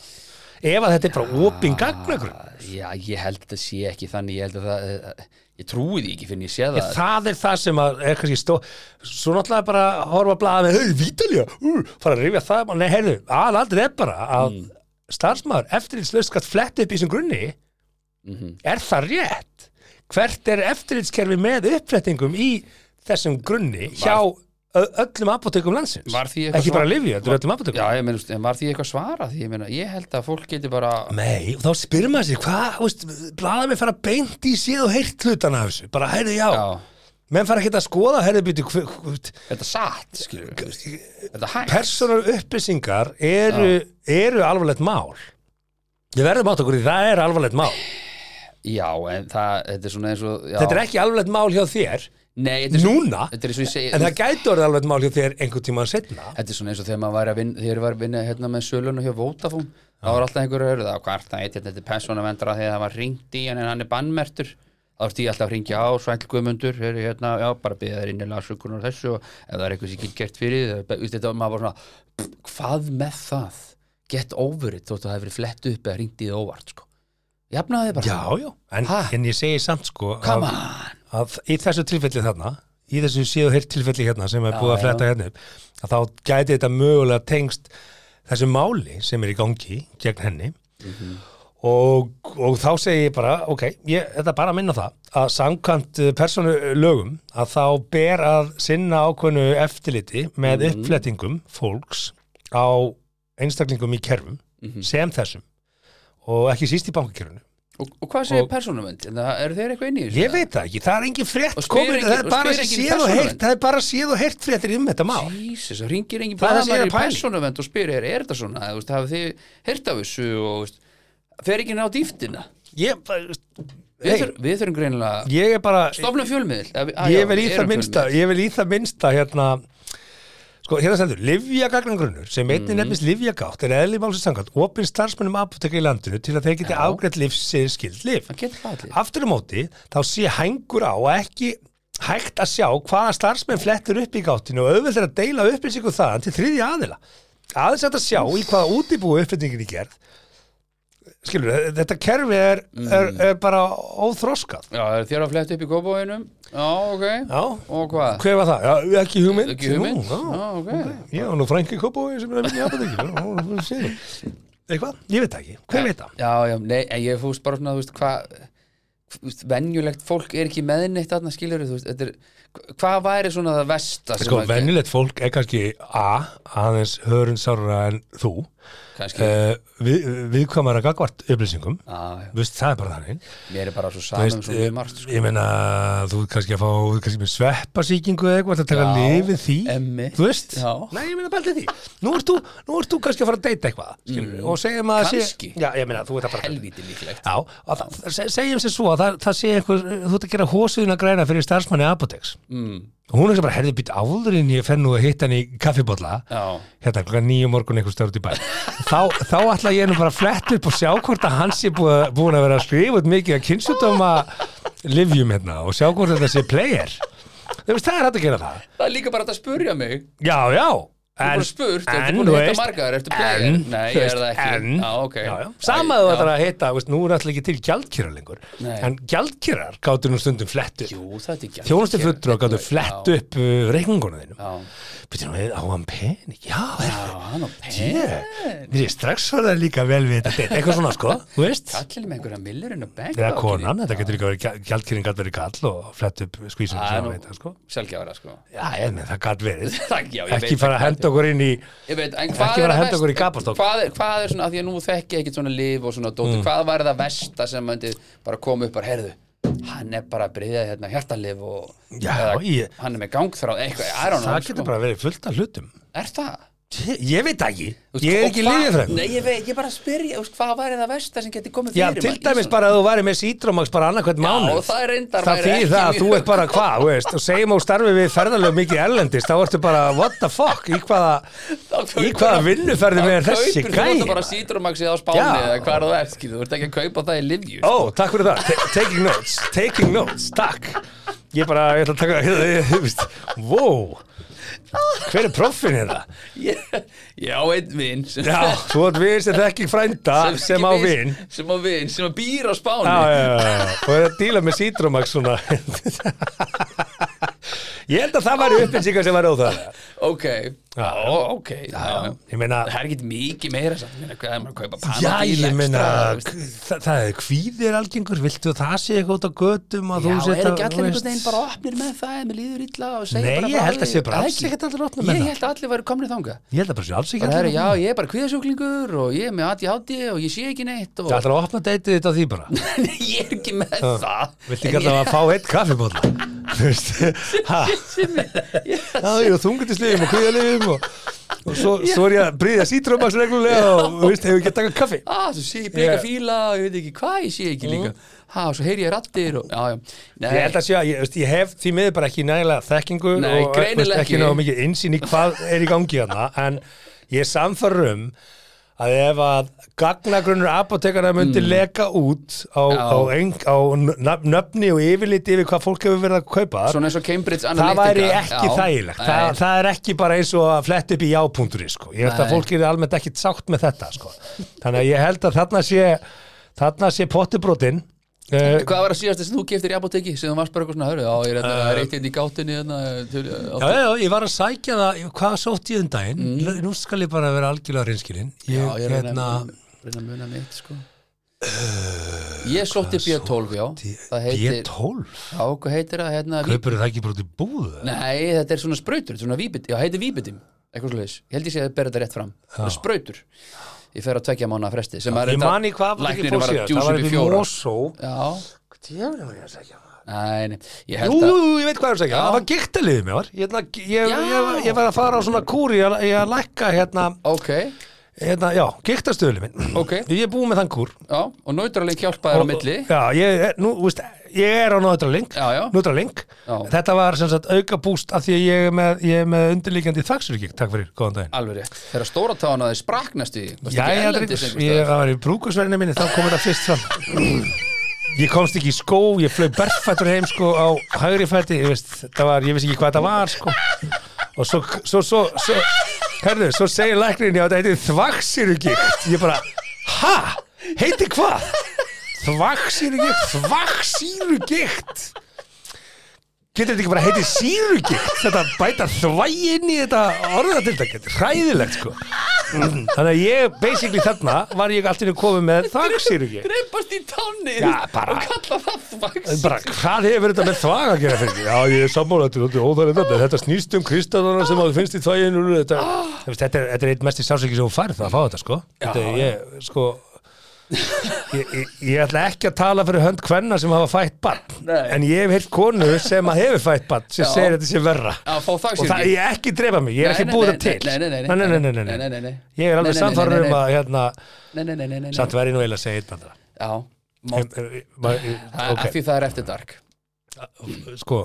Speaker 1: ef að þetta er bara opin gagnagrun
Speaker 3: Já, ég held að þetta sé ekki þannig, ég held að það, eh, ég trúi því ekki finn ég sé það.
Speaker 1: Það er það sem að er kannski stó svo náttúrulega bara horfa að blaða með hei, vítalja, uh, fara að rifja það upp. Nei, heyrðu, aðaldrið er bara að
Speaker 3: Mm.
Speaker 1: starfsmaður eftirlitslaust skatt flett upp í þessum grunni
Speaker 3: Mhm.
Speaker 1: er það rétt? Hvert er eftirlitskerfi með uppflettingum í þessum grunni hjá ö- öllum apotekum landsins?
Speaker 3: Var því eitthvað
Speaker 1: Ekki bara
Speaker 3: svona-
Speaker 1: lifið, þetta er öllum
Speaker 3: Já,
Speaker 1: apotekum
Speaker 3: ég meina, en var því eitthvað svara því, ég meina, ég held að fólk getur bara
Speaker 1: Nei, og þá spyrir maður sér, hvað, þú veist, blaða mig fara beint í séð og heyrt hlutana af þessu, bara heyrðu já,
Speaker 3: Já,
Speaker 1: menn fara ekki að skoða, heyrðu býtu, hver- hver-
Speaker 3: þetta er satt, skilur við, veist, Þetta er hægt
Speaker 1: persónar upplýsingar eru, eru alvarlegt mál við verðum átt okkur í því, það er alvarlegt mál
Speaker 3: Já, en það, þetta er svona eins og já.
Speaker 1: þetta er ekki alvarlegt mál hjá þér
Speaker 3: Nei, þetta er svona,
Speaker 1: núna,
Speaker 3: þetta er eins og ég segi
Speaker 1: en það gæti orðið alvarlegt mál hjá þér einhvern tímann setna
Speaker 3: Þetta er svona eins og þegar maður var að vinna, þegar ég var að vinna hérna með sölun og hjá Vótafón þá var alltaf einhverju að höra það, hvað er það, þetta þetta er persónavendara þegar það var ringt í hann en hann er bannmertur þá er því alltaf að ringja á svæl guðmundur er, hérna, já, bara byggja þær inn í lasökunar þessu og ef það er eitthvað sem ég get gert fyrir þig, það- þetta var maður bara svona pff, hvað með það, get over it þótt að það hefur flett upp eða ringt í það óvart sko. jafnaði þig bara
Speaker 1: já, já, en,
Speaker 3: Ha?
Speaker 1: en ég segi samt sko að,
Speaker 3: come on,
Speaker 1: að í þessu tilfelli þarna í þessu séu heyrt tilfelli hérna sem er búið að
Speaker 3: já.
Speaker 1: fletta hérna upp að þá gæti þetta mögulega tengst þessu máli sem er í gangi gegn henni
Speaker 3: Mhm.
Speaker 1: og, og þá segi ég bara ok, ég, þetta er bara að minna á það að samkvæmt eh, persónulögum að þá ber að sinna ákveðnu eftirliti með
Speaker 3: Mhm.
Speaker 1: uppflettingum fólks á einstaklingum í kerfum
Speaker 3: Mhm.
Speaker 1: sem þessum og ekki síst í bankakerfinu
Speaker 3: og, og hvað segir persónavend eru þeir eitthvað inn í þessu
Speaker 1: Ég veit það ekki, það er engin frétt
Speaker 3: Og spyr
Speaker 1: komin,
Speaker 3: engin-
Speaker 1: það er
Speaker 3: og
Speaker 1: bara
Speaker 3: spyr engin
Speaker 1: séð og heyrt
Speaker 3: persónuvernd.
Speaker 1: það er bara séð og heyrt fréttir um þetta mál
Speaker 3: Jesus, það ringir engin
Speaker 1: Það er það sem ég er
Speaker 3: blaðamæri
Speaker 1: að
Speaker 3: í
Speaker 1: pæla í.
Speaker 3: persónuvend og spyrir er, er þetta svona, eða, þú veist, hafið þið heyrt af þessu og þú veist, fer ekki ná dýftina
Speaker 1: Ég, bara-
Speaker 3: við,
Speaker 1: hey,
Speaker 3: þur, við þurfum greinilega
Speaker 1: ég er bara
Speaker 3: stofnum fjölmiðl að,
Speaker 1: ég vil í það minnsta ég vil í það minnsta hérna sko, hérna stendur, livja gagnangrunnur sem
Speaker 3: Mhm.
Speaker 1: einnig nefnist livja gátt er eðli málsins samkvæmt opin starfsmönnum apotekar í landinu til að þeir geti ágreitt lif sér skild lif
Speaker 3: það getur það allir
Speaker 1: aftur á móti, þá sé hængur á að ekki hægt að sjá hvaða starfsmenn flettur upp í gáttinu og auðvöld er að deila upplýsingu þaðan til þriðja aðila aðeins hægt að sjá í hvaða útibúi uppbyggingin er gerð skilur, þetta kerfi er, er,
Speaker 3: Mm.
Speaker 1: er bara óþroskað
Speaker 3: já, eru þér að fletta upp í kópáinum já, ok,
Speaker 1: Já.
Speaker 3: og hvað
Speaker 1: Hver var það? Já, ekki hugmynd.
Speaker 3: ekki
Speaker 1: Nú,
Speaker 3: hugmynd,
Speaker 1: já.
Speaker 3: já, ok
Speaker 1: Ég var nú frænka í Kópavói sem er að vinna í apotekinu. Eitthvað? Ég veit það ekki. Hver veit það?
Speaker 3: já, já, nei, en ég fúst bara svona, þú veist, hvað þú veist, venjulegt fólk er ekki meðnitt þarna skilur, þú veist, þetta er hvað væri svona það vesta sem
Speaker 1: Sko,
Speaker 3: að-
Speaker 1: venjulegt fólk er kannski A, aðeins hörun sárra en þú.
Speaker 3: kannski
Speaker 1: uh, við, viðkvæmara gagvart upplýsingum
Speaker 3: Já, já.
Speaker 1: Þú veist, það er bara þannig
Speaker 3: mér er bara svo
Speaker 1: Þú
Speaker 3: saman
Speaker 1: veist,
Speaker 3: svo
Speaker 1: eh,
Speaker 3: mjög margt sko.
Speaker 1: ég meina þú ert kannski að fá þú ert kannski með sveppasíkingu eða eitthvað það taka
Speaker 3: Já,
Speaker 1: lifið því,
Speaker 3: emmitt.
Speaker 1: þú veist
Speaker 3: Já.
Speaker 1: nei, ég meina bælti því, nú ert þú, nú ert þú kannski að fara að deyta eitthvað, skilur og segjum að það sé,
Speaker 3: Mm. Kannski.
Speaker 1: já, ég meina, þú ert að fara
Speaker 3: helviti líklegt
Speaker 1: já, og það, se- segjum sér svo að það, það sé einhver, þú ert að gera hósuðina græna fyrir starfsmanni Apotex
Speaker 3: mm.
Speaker 1: og hún er sem bara, herði býtt áðurinn ég fer nú að hitta hann í kaffibólla
Speaker 3: Já.
Speaker 1: hérna klokka nýju morgun einhvers staðar út í bæ þá, þá ætla ég nú bara að fletta upp og sjá hvort að hans er búið, búin að vera að skrifa út mikið að kynnsjúdóma livjum hérna og sjá hvort þetta sé player þú veist, það er hægt að gera það
Speaker 3: það er líka bara hægt að spurja mig
Speaker 1: já, já
Speaker 3: Þú
Speaker 1: en,
Speaker 3: bara spurt, ertu
Speaker 1: en,
Speaker 3: búin
Speaker 1: þú
Speaker 3: að hitta
Speaker 1: veist,
Speaker 3: margar, ertu player?
Speaker 1: en,
Speaker 3: Nei,
Speaker 1: þú
Speaker 3: ég er
Speaker 1: veist,
Speaker 3: það ekki.
Speaker 1: en,
Speaker 3: Já, ok.
Speaker 1: já, já. sama að
Speaker 3: Æ,
Speaker 1: þú ætlar
Speaker 3: já.
Speaker 1: að hitta, þú veist, nú er alltaf ekki til gjaldkýrar lengur,
Speaker 3: Nei.
Speaker 1: en gjaldkýrar gáttu nú stundum flett upp,
Speaker 3: jú, það er ekki
Speaker 1: þjónustu fulltrú gáttu flett upp reikningunum þínum
Speaker 3: já,
Speaker 1: Býtum við á hann pening, já,
Speaker 3: já,
Speaker 1: já
Speaker 3: hann og pen
Speaker 1: Yeah. Mér er strax svona líka vel við þetta date, eitthvað svona sko, þú veist
Speaker 3: allir með einhverja millurinn og bank
Speaker 1: eða konan, þetta getur líka verið gjaldkýrin gætt verið kall og flett upp skvísum
Speaker 3: Það er
Speaker 1: sem
Speaker 3: nú-
Speaker 1: þetta sko
Speaker 3: sjálfgjára sko
Speaker 1: Já, en það gætt verið
Speaker 3: Takk, já, ég
Speaker 1: ekki
Speaker 3: veit
Speaker 1: fara að
Speaker 3: það.
Speaker 1: henda okkur inn í
Speaker 3: Ég veit, en
Speaker 1: Ekki
Speaker 3: hvað
Speaker 1: vera
Speaker 3: er
Speaker 1: að
Speaker 3: það
Speaker 1: henda okkur í
Speaker 3: verst
Speaker 1: gapastokk.
Speaker 3: hvað, er- hvað er svona, af því að nú þekki ég ekkert svona lif og svona
Speaker 1: Mm.
Speaker 3: dóti, hvað var það versta sem myndi bara koma upp bara, heyrðu hann er bara að breyða hérna hjartalif og
Speaker 1: Já,
Speaker 3: eða
Speaker 1: ég-
Speaker 3: hann er með gangþráð eitthvað, I don't know sko."
Speaker 1: það getur bara verið fullt af hlutum
Speaker 3: er það?
Speaker 1: Ég veit það ekki,
Speaker 3: Þú veist,
Speaker 1: ég er
Speaker 3: og
Speaker 1: ekki
Speaker 3: hvað-
Speaker 1: liðið fræm
Speaker 3: Nei, ég veit, ég bara spyrja, þú veist, hvað væri það versta sem geti komið
Speaker 1: Já,
Speaker 3: fyrir
Speaker 1: til
Speaker 3: mann? Ég
Speaker 1: dæmis
Speaker 3: svona-
Speaker 1: bara að þú væri með sídrómaks bara annað hvern mánuð
Speaker 3: það er reyndar
Speaker 1: Það
Speaker 3: væri
Speaker 1: þýðir
Speaker 3: ekki
Speaker 1: það að þú
Speaker 3: mjög-
Speaker 1: ert bara hvað, þú veist, og segjum á starfi við ferðalög mikið erlendist, þá ertu bara what the fuck, í hvaða,
Speaker 3: Þá kaupir-
Speaker 1: í hvaða vinnuferði við er
Speaker 3: Þá
Speaker 1: þessi
Speaker 3: kaupir Þú
Speaker 1: gæði?
Speaker 3: ert bara sítramaxið á Spáni
Speaker 1: Já.
Speaker 3: eða hvað er það er, skilur, þú ert ekki að kaupa það í Livju
Speaker 1: Ó, takk fyrir það, Ta- taking notes, taking notes, takk Ég bara, ég ætla að taka, ég- ég- þú veist, wow Hver er proffin hérna?
Speaker 3: Ég ég á einn vinn sem,
Speaker 1: Já, þú átt vin sem þekki frænda sem á vin
Speaker 3: Sem á vinn, sem að býr á Spáni
Speaker 1: Já, já, já, já, og er að díla með sítramax svona Ég held að það væri upplýsingar sem væri óþæðlega
Speaker 3: Ok,
Speaker 1: Já.
Speaker 3: Ó, ok já, já.
Speaker 1: Ég meina,
Speaker 3: Það er ekki mikið meira samt, ég meina, hvað er maður að kaupa
Speaker 1: já,
Speaker 3: panadíl
Speaker 1: ég
Speaker 3: extra,
Speaker 1: meina,
Speaker 3: þú veist?
Speaker 1: það, það er kvíðir algengur, viltu að það sé eitthvað út á götum að
Speaker 3: Já,
Speaker 1: þú
Speaker 3: er
Speaker 1: setja,
Speaker 3: ekki
Speaker 1: þú
Speaker 3: allir einhvern
Speaker 1: veist-
Speaker 3: veginn bara opnir með það ef mér líður illa og segir
Speaker 1: Nei,
Speaker 3: bara
Speaker 1: ég
Speaker 3: frá
Speaker 1: held að
Speaker 3: því?
Speaker 1: sé bara
Speaker 3: Það
Speaker 1: alls
Speaker 3: ekki?
Speaker 1: ekkert allir opnir með
Speaker 3: Ég
Speaker 1: það.
Speaker 3: held að allir væri komnir þanga
Speaker 1: Ég held að bara sé alls ekki
Speaker 3: Bara,
Speaker 1: allir
Speaker 3: herri,
Speaker 1: opnir.
Speaker 3: já, ég er bara kviðasjúklingur og ég er með ADHD og ég sé ekki neitt og
Speaker 1: Það ætlar að opna deytið þetta á því bara
Speaker 3: Nei, ég er ekki með það
Speaker 1: Viltu
Speaker 3: En
Speaker 1: ekki alltaf að fá eitt kaffibólla Þú veist ha,
Speaker 3: ég- sem ég- ég-
Speaker 1: Já, ég er þungutislegum og kvíðalegum og, og svo, svo er ég að bryðja sítrumaks reglulega og þú veist, hefur ekki að taka kaffi
Speaker 3: Ah, svo sé ég blika
Speaker 1: Ég- Mm.
Speaker 3: fíla og ég veit ekki hvað ég sé ekki líka Ha, og svo heyri ég rattir og Já, já Nei,
Speaker 1: Ég held að sé að ég, veist, ég hef því miður bara ekki nægilega þekkingu
Speaker 3: Nei,
Speaker 1: og
Speaker 3: greinilega
Speaker 1: veist, ekki
Speaker 3: ekki.
Speaker 1: náðu mikið innsýn í hvað er í gangi hana en ég samfærum um að ef að gagnagrunnur apotekana myndi leka út á,
Speaker 3: Mm. Já.
Speaker 1: á, ein, á nöf- nöfni og yfirliti yfir hvað fólk hefur verið að kaupa
Speaker 3: Svona eins og Cambridge
Speaker 1: það
Speaker 3: Analytica
Speaker 1: væri ekki
Speaker 3: Já.
Speaker 1: þægilegt Þa,
Speaker 3: Nei.
Speaker 1: það er ekki bara eins og að fletta upp í jápúnduri sko. ég held að
Speaker 3: Nei.
Speaker 1: fólk er almennt ekki sátt með þetta sko. þannig að ég held að þarna sé þarna sé pottibrotin uh,
Speaker 3: Hvað var að síðast sem þú keftir í apoteki sem þú varst bara eitthvað svona hörðu, já, ég er hérna, það er eitt hérna í gátinni hérna, til,
Speaker 1: Uh. Já, já, já, ég var að sækja það, hvað sótt ég um daginn? Nú skal ég bara vera algjörlega reynskilinn. Ég,
Speaker 3: Mm. Já, ég er að
Speaker 1: hérna, Eh,
Speaker 3: reyna- reyna að muna mitt sko Ég sótti B12, já Það heitir,
Speaker 1: B12,
Speaker 3: já, hvað heitir það hérna ví-
Speaker 1: kaupur það ekki bara út í búðu?
Speaker 3: Nei, þetta er svona sprautur, þetta er svona víbit Já, heitir víbitim, eitthvað sliðis Ég held ég sé að bera þetta rétt fram, það er sprautur Ég fer að tvekja mánu fresti sem að
Speaker 1: Ég
Speaker 3: reynda-
Speaker 1: man í hvað var ekki
Speaker 3: Læknirinn
Speaker 1: fór
Speaker 3: var að
Speaker 1: síðast, það
Speaker 3: djúsa
Speaker 1: var
Speaker 3: upp í
Speaker 1: upp í
Speaker 3: fjóra
Speaker 1: Mosó.
Speaker 3: Já,
Speaker 1: Djöfnir var ég að sækja það.
Speaker 3: nei, nei,
Speaker 1: Jú,
Speaker 3: ég held að
Speaker 1: jú, ég veit hvað ég var að sækja, það var giktalið mér var. Ég, hérna, ég,
Speaker 3: Já.
Speaker 1: ég, ég var að fara á svona kúri, ég, ég að lækka hérna,
Speaker 3: Ok,
Speaker 1: hérna, já, giktastöðlið minn.
Speaker 3: ok,
Speaker 1: Ég er búið með þann kúr.
Speaker 3: já, og náttúrulega hjálpaður á milli
Speaker 1: Já, ég, er- nú, veist, ég er á Nóðralink
Speaker 3: Já, já.
Speaker 1: Nóðralink
Speaker 3: Já.
Speaker 1: Þetta var sem sagt auka búst af því að ég er með, ég er með undirlíkjandi þaksurgík Takk fyrir, góðan daginn
Speaker 3: Alveg rétt, þegar stóra tána þeir spraknast í
Speaker 1: Já, ég, ég, ég það var í brúkusverðinu minni þá kom þetta fyrst fram Ég komst ekki í skó, ég flög berfættur heim sko á hægri fætti ég, veist, þetta var, ég veist ekki hvað þetta var sko og svo, svo, svo, svo herðu, svo segir læknirinn já, þetta heitir þvaksýrugikt ég bara, ha, heiti hvað þvaksýrugikt þvaksýrugikt getur þetta ekki bara heiti sírugikt þetta bæta þvæginni þetta orðatildak, þetta er hræðilegt sko Þannig að ég, basically þarna var ég alltaf komið með þaksýru ekki
Speaker 3: Greipast í tánni
Speaker 1: Já, bara-
Speaker 3: og kalla það þvaks
Speaker 1: bara, hvað hefur þetta með þvag að gera fyrir? Já, ég er sammála, þetta er dálítið óþægilegt þarna, en þetta snýst um kristallana sem að þú finnst í þvæginu þetta, Þú veist, þetta, er, þetta er eitt mest í sásöki sem þú færð að fá þetta, sko þetta,
Speaker 3: Ah. Já,
Speaker 1: ég, sko ég, ég, ég ætla ekki að tala fyrir hönd hvenna sem hafa fætt barn
Speaker 3: Nei.
Speaker 1: en ég hef heilt konu sem að hefur fætt barn sem
Speaker 3: Já.
Speaker 1: segir þetta sem verra
Speaker 3: að fá
Speaker 1: og það,
Speaker 3: þvagsýrki
Speaker 1: ég er ekki drepa mig, ég er
Speaker 3: Nei,
Speaker 1: ekki
Speaker 3: nei,
Speaker 1: búið
Speaker 3: nei,
Speaker 1: það til
Speaker 3: nei, nei, nei,
Speaker 1: nei, nei, nei,
Speaker 3: nei,
Speaker 1: nei,
Speaker 3: nei, nei.
Speaker 1: ég er alveg
Speaker 3: Nei, nei, nei, nei,
Speaker 1: samfæður um
Speaker 3: nei.
Speaker 1: að hérna,
Speaker 3: Nei, nei, nei, nei, nei, nei.
Speaker 1: samt verið nú eiginlega að segja eitt bandra
Speaker 3: Já, má, það, okay. því það er eftir dark
Speaker 1: sko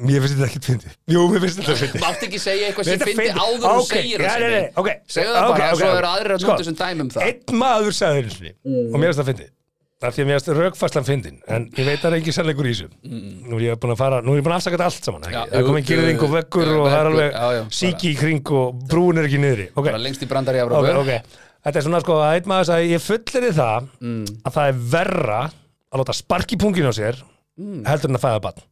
Speaker 1: Mér finnst þetta ekkert fyndið Jú, mér finnst þetta fyndið
Speaker 3: Mátt ekki segja eitthvað sem
Speaker 1: Þetta
Speaker 3: fyndi
Speaker 1: fyndið.
Speaker 3: áður en þú
Speaker 1: Ok,
Speaker 3: segir
Speaker 1: já,
Speaker 3: það
Speaker 1: nei, nei, ok.
Speaker 3: Segðu það
Speaker 1: Ok,
Speaker 3: bara,
Speaker 1: ok,
Speaker 3: svo
Speaker 1: ok.
Speaker 3: eru aðrir að
Speaker 1: Sko,
Speaker 3: núta sem dæmi um það Mm.
Speaker 1: Einn maður sagði einu sinni og mér finnst það fyndið Það því að mér finnst rökfæslan fyndin En ég veit að það er ekki sannleikur í þessu Nú er ég búin að fara, nú er ég búin að afsaka þetta allt saman ekki?
Speaker 3: Mm. Já,
Speaker 1: Það er komin
Speaker 3: jú,
Speaker 1: gyrðing og
Speaker 3: jú,
Speaker 1: veggur
Speaker 3: jú,
Speaker 1: og það er
Speaker 3: veggur, já, já,
Speaker 1: alveg síki í kring og brúin er ekki niðri Ok,
Speaker 3: Bara lengst í brandar í
Speaker 1: ok,
Speaker 3: Evrópu
Speaker 1: ok Þetta er svona sko að einn maður sagði Ég fullir í það
Speaker 3: Mm.
Speaker 1: að það er verra að láta sparki pungin á sér heldur en að fæða barn og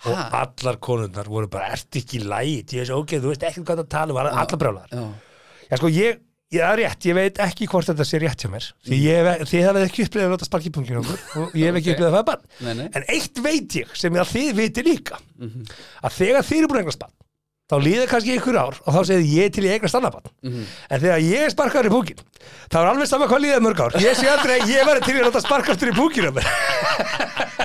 Speaker 3: Mm. Ha?
Speaker 1: allar konurnar voru bara ert ekki í lægi, ég veist ok, þú veist ekki hvað það tala um, var allar brjólaðar
Speaker 3: Já.
Speaker 1: já sko, ég, ég það er rétt, ég veit ekki hvort þetta sé rétt hjá mér, því ég hef- e, þið hafið ekki upplegað að láta sparki í punktinn á okkur og ég hef ekki
Speaker 3: Mm. Ok.
Speaker 1: upplegað að fæða
Speaker 3: Nei, nei.
Speaker 1: barn en eitt veit ég, sem ég að þið viti líka að þegar þið eru búin að eignast barn þá líða kannski ykkur ár og þá segir ég til ég eignast annað barn en þegar ég er sparkaður í púkin þá er alveg sama hvað líða mörg ár ég sé aldrei, ég verði til ég láta sparkastur í púkinu mér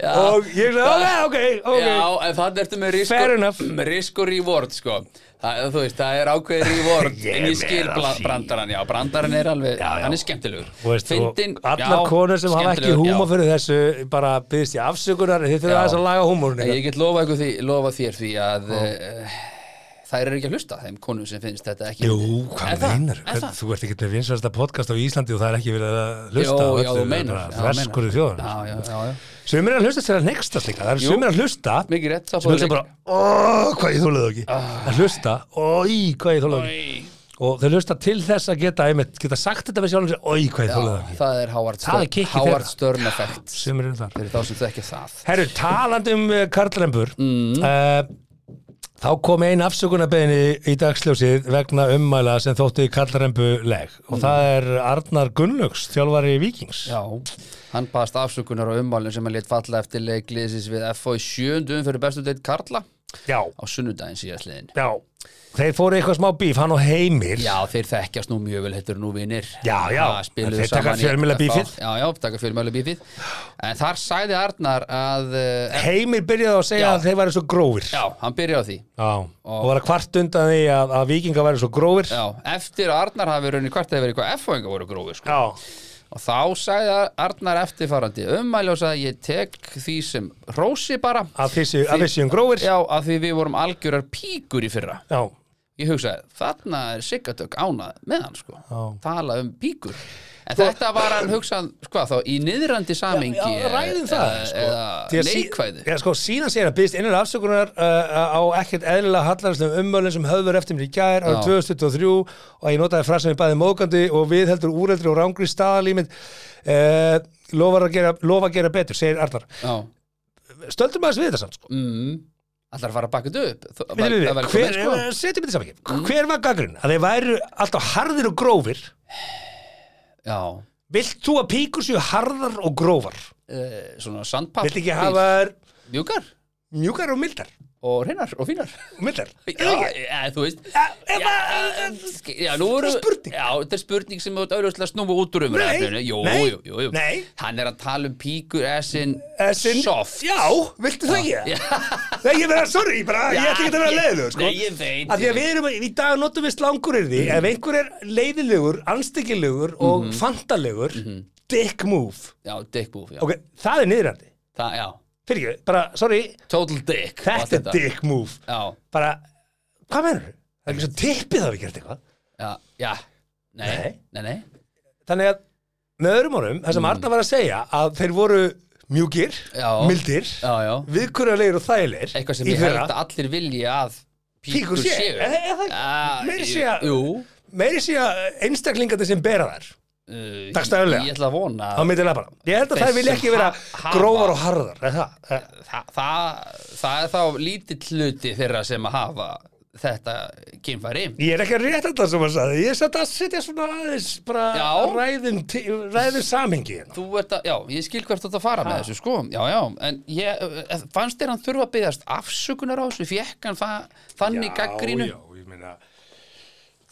Speaker 3: Já.
Speaker 1: og ég sagði, ok, ok, ok
Speaker 3: Já, en þannig ertu með risk,
Speaker 1: Fair
Speaker 3: og,
Speaker 1: enough.
Speaker 3: með risk og reward sko. það, þú veist, það er ákveðið reward
Speaker 1: Ég
Speaker 3: en ég
Speaker 1: meina
Speaker 3: skil bla-
Speaker 1: því.
Speaker 3: brandarann já, brandarann er alveg,
Speaker 1: Já, já.
Speaker 3: hann er skemmtilegur
Speaker 1: Þú veist,
Speaker 3: Fyndinn,
Speaker 1: og allar
Speaker 3: já,
Speaker 1: konur sem hafa ekki
Speaker 3: skemmtilegur, já.
Speaker 1: húma fyrir þessu bara byggðist ég afsökunar þið þurfa
Speaker 3: Já.
Speaker 1: aðeins að laga hérna. húmorinn
Speaker 3: Nei,
Speaker 1: ykkar.
Speaker 3: Ég get lofa, ykkur því, lofa þér því að uh, þær eru ekki að hlusta þeim konum sem finnst þetta ekki
Speaker 1: Jú,
Speaker 3: fyndið. Er
Speaker 1: hvað
Speaker 3: það?
Speaker 1: meinar?
Speaker 3: Er það?
Speaker 1: Þú ert ekki með vinsvæðasta podcast á Íslandi og það er ekki verið að
Speaker 3: Jó,
Speaker 1: hlusta á
Speaker 3: já,
Speaker 1: öllu,
Speaker 3: þú
Speaker 1: það er
Speaker 3: meinar
Speaker 1: bara
Speaker 3: já,
Speaker 1: Þverskurður
Speaker 3: meinar.
Speaker 1: þjóðan
Speaker 3: Já, já, já, já
Speaker 1: Sumir er að hlusta sér að nextast líka Það er
Speaker 3: Jú.
Speaker 1: sumir að hlusta
Speaker 3: Mikið Ah. rétt, sá
Speaker 1: sem hugsa bara, ó, hvað ég þólaði ekki að hlusta, ói, hvað ég þólaði ekki og þau hlusta til þess að geta einmitt, geta sagt þetta með sjálfum sér, ói, hvað ég þólaði ekki
Speaker 3: Það er Howard
Speaker 1: Það er
Speaker 3: Stern
Speaker 1: kikkið
Speaker 3: Howard
Speaker 1: þeirra.
Speaker 3: Stern effect
Speaker 1: Sumir eru þar
Speaker 3: fyrir þá sem þau ekki það
Speaker 1: Herru, talandi um eh, karlrembur mm. þá kom ein afsökunarbeginni í dagsljósið vegna ummæla sem þóttu í karlrembuleg og það er Arnar Gunnlaugs, þjálfari Víkings
Speaker 3: Mm. Já, hann baðast afsökunar á ummálinn sem hann létt falla eftir leik liðsins við FO í sjöndum fyrir bestu deitt Karla á
Speaker 1: Já,
Speaker 3: sunnudaginn síðastliðin
Speaker 1: já. Þeir fóru í eitthvað smá bíf, hann og Heimir
Speaker 3: Já, þeir þekkjast nú mjög vel, þetta eru nú vinir
Speaker 1: Já, já,
Speaker 3: Ha, spiluðu
Speaker 1: þeir taka
Speaker 3: saman í
Speaker 1: fjölmiðla
Speaker 3: FO.
Speaker 1: bífið.
Speaker 3: Já, já, taka fjölmjöla bífið En þar sagði Arnar að eh,
Speaker 1: Heimir byrjaði á að segja
Speaker 3: Já.
Speaker 1: að þeir væri svo grófir
Speaker 3: Já, hann byrjaði á því
Speaker 1: Já, og var að kvart undan því að, að vikingar væri svo grófir
Speaker 3: Já, eftir að Arnar hafi raunni hvart eða verið eitthvað F-fóingar voru grófið sko. og þá sagði Arnar eftirfarandi ummæli og sagði ég tek því sem rósi bara
Speaker 1: að þið séu- að við séum grófir
Speaker 3: já, að því við vorum algjörar píkur í fyrra
Speaker 1: Já.
Speaker 3: ég hugsaði, þarna er Siggatök ánað með hann sko,
Speaker 1: Já.
Speaker 3: tala um píkur en þetta var hann hugsað sko, þá í niðrandi samingi
Speaker 1: Sko- Já, ræðum það sko. Því
Speaker 3: eða
Speaker 1: að sí-
Speaker 3: neikvæði
Speaker 1: Já, sko, síðan segir að byggðist innan afsökunar uh, á ekkert eðlilega hallarastum ummölin sem höfður eftir mér í gær árið
Speaker 3: Já.
Speaker 1: 2023 og ég notaði frasa sem ég bæði mókandi og við heldur úreldri og rángri staðalímynd uh, lofar að gera, lofa að gera betur, segir Arnar
Speaker 3: já,
Speaker 1: Stöldum aðeins við þetta samt sko.
Speaker 3: mm, allar að fara að baka þetta upp Þó-
Speaker 1: Við, við,
Speaker 3: að
Speaker 1: við,
Speaker 3: velkomin,
Speaker 1: hver,
Speaker 3: sko. Mm.
Speaker 1: eh, setjum þetta saman ekki Hver var gaggrinn? Að þeir væru alltaf harðir og grófir
Speaker 3: já,
Speaker 1: Vilt þú að píkur séu harðar og grófar?
Speaker 3: eh, svona sandpapp
Speaker 1: Vilt ekki hafa þær
Speaker 3: mjúkar
Speaker 1: mjúkar og mildar?
Speaker 3: og hreinar og fínar
Speaker 1: Mildar?
Speaker 3: Já, ja, þú veist
Speaker 1: Ja, ef
Speaker 3: Já,
Speaker 1: að-
Speaker 3: já, nú eru
Speaker 1: Spurning.
Speaker 3: Já, þetta er spurning sem þú ert auðvitað að snúfa út úr umræðinu Jú,
Speaker 1: nei,
Speaker 3: jú, jú, jú
Speaker 1: nei.
Speaker 3: Hann er að tala um píkur essin
Speaker 1: Essin,
Speaker 3: Soft
Speaker 1: eh, Já, viltu það ekki?
Speaker 3: Já.
Speaker 1: Nei, ég verða, sorry, bara, ég
Speaker 3: Já,
Speaker 1: ætti ekki að vera
Speaker 3: ég-
Speaker 1: leiðilegur sko.
Speaker 3: Nei, ég veit,
Speaker 1: Af því
Speaker 3: ég
Speaker 1: að við erum, í dag notum við slangur yfir því Ef einhver er leiðilegur, anstekkilegur og
Speaker 3: Mhm.
Speaker 1: fantalegur Dick move
Speaker 3: Já, dick move, já,
Speaker 1: Ok, það er niðrandi
Speaker 3: það, já
Speaker 1: Fyrir bara, sorry,
Speaker 3: Total dick og allt
Speaker 1: þetta er dick move
Speaker 3: Já,
Speaker 1: Bara, hvað menur þau? Það er ekki svo tippið að við gert eitthvað
Speaker 3: já, já Nei,
Speaker 1: Nei.
Speaker 3: nei, nei
Speaker 1: Þannig að, með öðrum orðum, það sem Arna var að segja Að þeir voru mjúkir,
Speaker 3: Mhm. Já.
Speaker 1: mildir
Speaker 3: Já, já
Speaker 1: Viðkurjulegir og þægilegir
Speaker 3: Eitthvað sem
Speaker 1: í
Speaker 3: ég held
Speaker 1: fyrra.
Speaker 3: að allir vilja að
Speaker 1: Píkur
Speaker 3: píkur
Speaker 1: sé,
Speaker 3: séu
Speaker 1: eh, eh, það-
Speaker 3: Já,
Speaker 1: meira segja-
Speaker 3: Jú
Speaker 1: meiri sé að einstaklingandi sem bera þær
Speaker 3: uh,
Speaker 1: Dagsdaglega.
Speaker 3: Ég ætla að vona
Speaker 1: á myndi labana. Ég held að
Speaker 3: Þeir
Speaker 1: þær vilja
Speaker 3: sem
Speaker 1: ekki vera
Speaker 3: ha- hafa-
Speaker 1: grófar og harðar, er það? Eh,
Speaker 3: Þa, það, það er þá lítill hluti þeirra sem að hafa þetta kynfæri
Speaker 1: Ég er ekki að rétta þetta sem að sagði, ég er satt að setja svona aðeins bara
Speaker 3: Já.
Speaker 1: ræðum, til- ræðum samingi hérna.
Speaker 3: Þú ert að, já, ég skil hvert þú ert að fara með þessu, sko, já, já, en ég, eh, fannst þér hann þurfa að byggðast afsökunar á þessu, fekk hann það, þannig gaggrínu,
Speaker 1: Já, já, ég meina,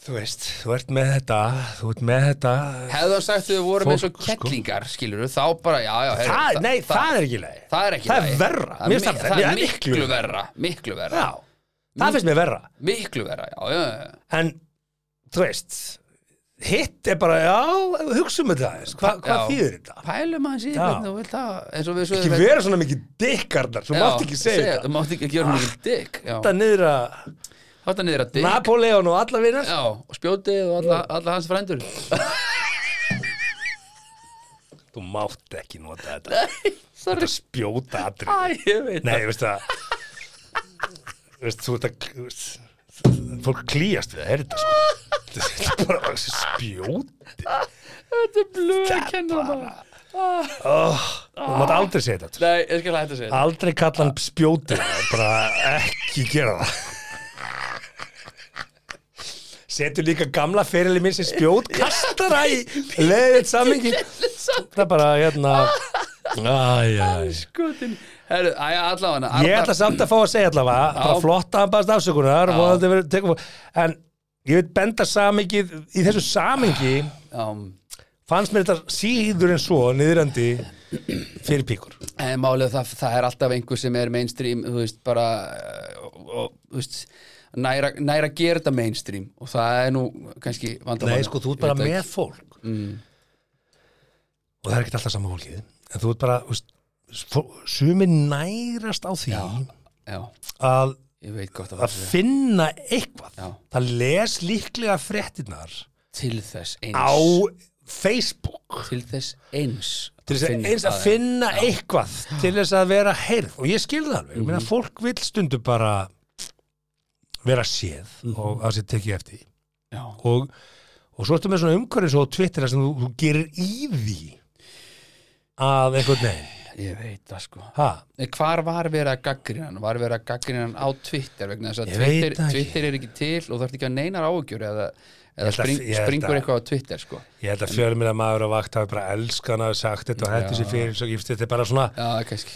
Speaker 1: þú veist, þú ert með þetta, þú ert með þetta.
Speaker 3: hefðu hann sagt þau voru með eins og
Speaker 1: Fólk, sko.
Speaker 3: kettlingar, skilur þá bara, já, já, heyrðu,
Speaker 1: Það, nei, það, er ekki leið.
Speaker 3: það er ekki
Speaker 1: Það
Speaker 3: lagi.
Speaker 1: er verra, mér
Speaker 3: það, er mi-
Speaker 1: finnst það,
Speaker 3: það
Speaker 1: það
Speaker 3: er miklu verra, miklu verra,
Speaker 1: Já, það finnst mér verra.
Speaker 3: miklu verra, já, já, já,
Speaker 1: En, þú veist, hitt er bara, já, hugsa um þetta aðeins, Hva,
Speaker 3: Já.
Speaker 1: hvað þýðir þetta?
Speaker 3: pælum hans í
Speaker 1: Já.
Speaker 3: hvernig þú vil það, eins og við svo
Speaker 1: Ekki vera svona mikið dikkarnar, þú
Speaker 3: Já,
Speaker 1: mátt ekki segja
Speaker 3: Þú
Speaker 1: þetta. Ah.
Speaker 3: mátt ekki gera hún ekki dikk, já,
Speaker 1: Þetta niður að
Speaker 3: hátta niður að dikk,
Speaker 1: Napoleon og alla vinnar.
Speaker 3: já, og spjótið og alla, alla hans frændur.
Speaker 1: Þú mátt ekki nota þetta.
Speaker 3: Sorry,
Speaker 1: Þetta spjóta atrið.
Speaker 3: Æ, ég veit
Speaker 1: Nei,
Speaker 3: það.
Speaker 1: ég veist það veist, þú ert að veist, fólk klíast við að herra þetta sko. þetta er bara þessi spjót
Speaker 3: Þetta er blöð að
Speaker 1: Þetta
Speaker 3: kenna það
Speaker 1: bara- oh, þú mátt aldrei segja þetta
Speaker 3: Nei, ég skal hætta að segja
Speaker 1: aldrei kalla hann spjóti bara ekki gera það setur líka gamla ferili minn sem spjótkastara í leðið samingi það er bara hérna Æ, æ, æ.
Speaker 3: Skotin Herru, æja, allavega
Speaker 1: Ég ætla samt að fá að segja allavega bara flott að hann baðast afsökunar
Speaker 3: Já.
Speaker 1: vonandi verður- tekur- en ég veit benda samingið í þessu samingi
Speaker 3: um,
Speaker 1: fannst mér þetta síður en svo niðrandi fyrir píkur
Speaker 3: En málið það, það er alltaf einhver sem er mainstream Þú veist, bara eh, og, og, þú veist, næra, næra að gera þetta mainstream Og það er nú kannski vandamáli
Speaker 1: Nei, sko, þú ert bara með fólk
Speaker 3: Mm.
Speaker 1: og það er ekkert alltaf sama fólkið en þú ert bara veist, fó- sumir nærast á því
Speaker 3: Já,
Speaker 1: að,
Speaker 3: ég veit gott að
Speaker 1: að finna eitthvað
Speaker 3: Já.
Speaker 1: það les líklega fréttinnar
Speaker 3: Til þess eins
Speaker 1: á Facebook
Speaker 3: Til þess eins
Speaker 1: til þess að
Speaker 3: Finna
Speaker 1: eins að
Speaker 3: það.
Speaker 1: finna eitthvað til þess að vera heyrð og ég skil það alveg, ég
Speaker 3: Mhm.
Speaker 1: meina fólk vil stundu bara vera séð
Speaker 3: Mhm.
Speaker 1: og að sér tekið eftir því.
Speaker 3: Já,
Speaker 1: og, og svo ertu með svona umhverfið svo Twitter sem þú, þú gerir í því að einhvern veginn
Speaker 3: ég veit það sko
Speaker 1: ha,
Speaker 3: Nei, Hvar var verið að gaggrina hann? Var verið að gaggrina hann á Twitter vegna þess að
Speaker 1: Ég veit
Speaker 3: Twitter,
Speaker 1: það ekki.
Speaker 3: Twitter er ekki til og það ert ekki að neinar áhugjur eða, eða
Speaker 1: held að-
Speaker 3: spring,
Speaker 1: ég held
Speaker 3: springur
Speaker 1: að-
Speaker 3: eitthvað á Twitter sko.
Speaker 1: ég held að fjölmina maður á vakt hafi bara elskan að hafa sagt þetta og hættu sér fyrir svo gift þetta er bara svona,
Speaker 3: Já, kannski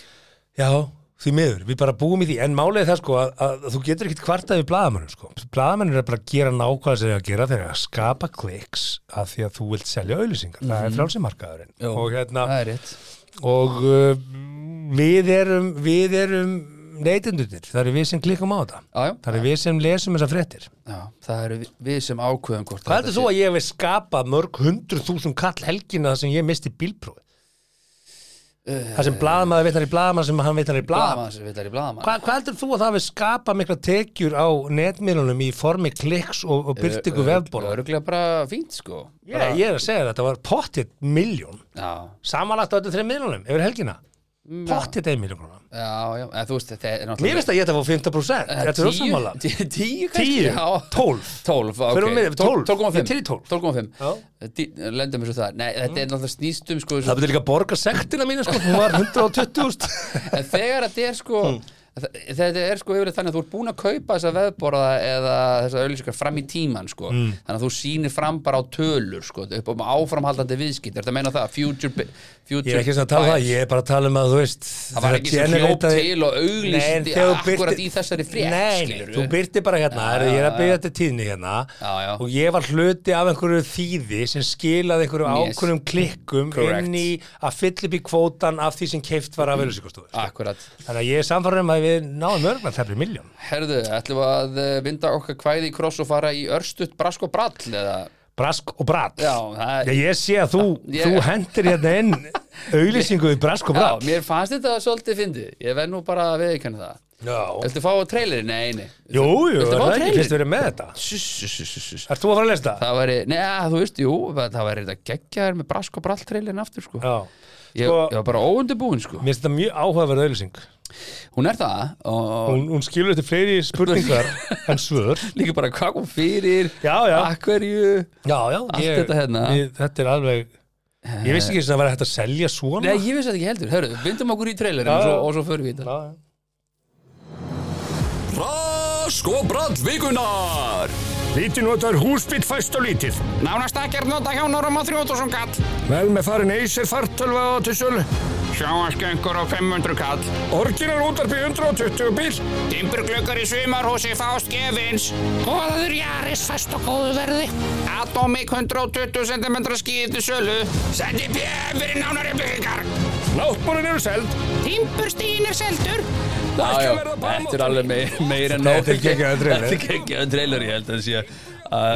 Speaker 1: já, því miður við bara búum í því, en málið er það sko að, að þú getur ekkit kvartað við blaðamönnum sko blaðamönnum er bara að gera nákvæða sem þeir eru að gera þeir eru að skapa kliks að því að þú vilt selja auðlýsingar, það er frálsimarkaðurinn
Speaker 3: Jú.
Speaker 1: og hérna,
Speaker 3: Mhm. Það er rétt
Speaker 1: og uh, við erum við erum neytendunir það er við sem klikum á þetta
Speaker 3: Já, já.
Speaker 1: það er við sem lesum þessar fréttir
Speaker 3: Já, það eru vi- við sem ákveðum
Speaker 1: hvað
Speaker 3: hvort þetta
Speaker 1: heldur þú
Speaker 3: sé-
Speaker 1: að ég hef skapað mörg hundruð þúsund kall helgina þar sem ég misti bílprófi það sem blaðamaður vitnar í blaðamaður sem hann vitnar í blaðamaður
Speaker 3: Blaðamann sem villar í blaðamann
Speaker 1: Hvað, hvað heldur þú að það við skapa mikla tekjur á netmiðlunum í formi kliks og, og byrtingu vefbóla?
Speaker 3: Örglega bara fínt sko bara,
Speaker 1: Ég, ég er að segja þetta var pottitt miljón
Speaker 3: Já,
Speaker 1: samanlagt á þetta þreim miðlunum yfir helgina pottitt ein miljón krónar.
Speaker 3: já, já en, Þú veist, þetta er
Speaker 1: Mm, Mér
Speaker 3: náttúrulega
Speaker 1: finnst að ég ætti að fá 50%
Speaker 3: Eh,
Speaker 1: Þetta er
Speaker 3: tíu-
Speaker 1: ósamála
Speaker 3: tí- Tíu kannski
Speaker 1: Tíu,
Speaker 3: já.
Speaker 1: tólf
Speaker 3: 12, ok
Speaker 1: Förum við- 12. Ég er til í 12.
Speaker 3: 12,5
Speaker 1: Já.
Speaker 3: Dí- Lendum við svo það Nei, þetta er náttúrulega snýst um sko,
Speaker 1: Það betur líka að borga sektina mína sko Hún var 120
Speaker 3: en þegar þetta er sko
Speaker 1: Hmm.
Speaker 3: þ- þetta er sko yfirleitt þannig að þú ert búin að kaupa þessa veðborða eða þessa auðlýsingar fram í tíman sko
Speaker 1: Hmm.
Speaker 3: þannig að þú sýnir fram bara á tölur sko upp um áframhaldandi viðskipt þetta meina það future, bi- future
Speaker 1: Ég er ekki sem að tala um það
Speaker 3: buyers.
Speaker 1: Ég er bara að tala um að þú veist
Speaker 3: það var ekki sem hljóp til og
Speaker 1: Nei,
Speaker 3: auglýsti
Speaker 1: þegar þú
Speaker 3: akkurat
Speaker 1: birtir-
Speaker 3: í þessari
Speaker 1: Nei,
Speaker 3: frétt
Speaker 1: nei,
Speaker 3: skilurðu.
Speaker 1: þú byrti bara hérna
Speaker 3: Já,
Speaker 1: Ég er
Speaker 3: já,
Speaker 1: að byrja þetta tíðni hérna
Speaker 3: Já, já.
Speaker 1: Og ég var hluti af einhverju þýði sem skilaði einhverju
Speaker 3: Yes.
Speaker 1: ákvörnum klikkum
Speaker 3: Correct. Mm-hmm.
Speaker 1: inn í að fylla upp í kvótan af því sem keift var af ölusíkostóður
Speaker 3: akkurat
Speaker 1: Þannig að ég er samfærum að við náðum örgna þefri miljón
Speaker 3: herðu, ætlum við að eh, vinda okkar kvæði í kross og fara í örstutt brask og brall eða
Speaker 1: Brask og brat
Speaker 3: já,
Speaker 1: Já,
Speaker 3: það
Speaker 1: ég sé að þú,
Speaker 3: Ég-
Speaker 1: þú hendir hérna inn auglýsingu í brask og
Speaker 3: já,
Speaker 1: bratt.
Speaker 3: mér fannst þetta svolítið fyndið ég verð nú bara að viðkjöna það
Speaker 1: Já.
Speaker 3: Viltu fá trailerinn? Nei, nei
Speaker 1: Jú, jú,
Speaker 3: Viltu
Speaker 1: það
Speaker 3: fá
Speaker 1: er ekki
Speaker 3: trailerinn?
Speaker 1: fyrst verið með þetta.
Speaker 3: Sss-sss-sss-sss.
Speaker 1: Ert þú að fara að lesa það?
Speaker 3: Það væri, neða, þú veist, jú Það væri þetta geggjaður með brask og brall trailerinn aftur sko.
Speaker 1: Já.
Speaker 3: ég,
Speaker 1: sko-
Speaker 3: ég var bara óundibúinn sko.
Speaker 1: Mér finnst þetta mjög áhugaverð auglýsing.
Speaker 3: Hún er það og
Speaker 1: Hún, hún skilur þetta fleiri spurningar en svör.
Speaker 3: líka bara hvað kom fyrir
Speaker 1: Já, já.
Speaker 3: Akverju
Speaker 1: Já, já.
Speaker 3: Allt þetta hérna.
Speaker 1: Ég, þetta er alveg... Ég vissi ekki sem það væri hægt að selja svona.
Speaker 3: Nei, ég vissi þetta ekki heldur, hörru, vindum okkur í trailerinn
Speaker 1: Já,
Speaker 3: og, svo,
Speaker 1: já.
Speaker 3: og svo förum við í þetta
Speaker 1: Já, já.
Speaker 2: Brask
Speaker 3: skóbrand vikunar
Speaker 4: Lítið notar húsbytt fæst og lítið.
Speaker 5: Nánast ekkert nota hjónarum á 3000 kall.
Speaker 4: Vel með farin Acer fartölva á til sölu.
Speaker 5: Sjóasköngur á 500 kall.
Speaker 4: Orginal útarpi 120 bíl.
Speaker 5: Timburglöggar í sumarhúsi fást gefins. Óður Jaris fast og góðu verði. Atomic 120 cm skíði til sölu. Sendi PM fyrir nánari byggingar.
Speaker 4: Náttbúrin eru seld.
Speaker 5: Timburstíðin er seldur.
Speaker 3: Já, já,
Speaker 4: Ekki verða bara
Speaker 3: þetta er alveg meir, meir en nóg
Speaker 1: Þetta er geggjaður trailer.
Speaker 3: Þetta er geggjaður trailer, ég held að sé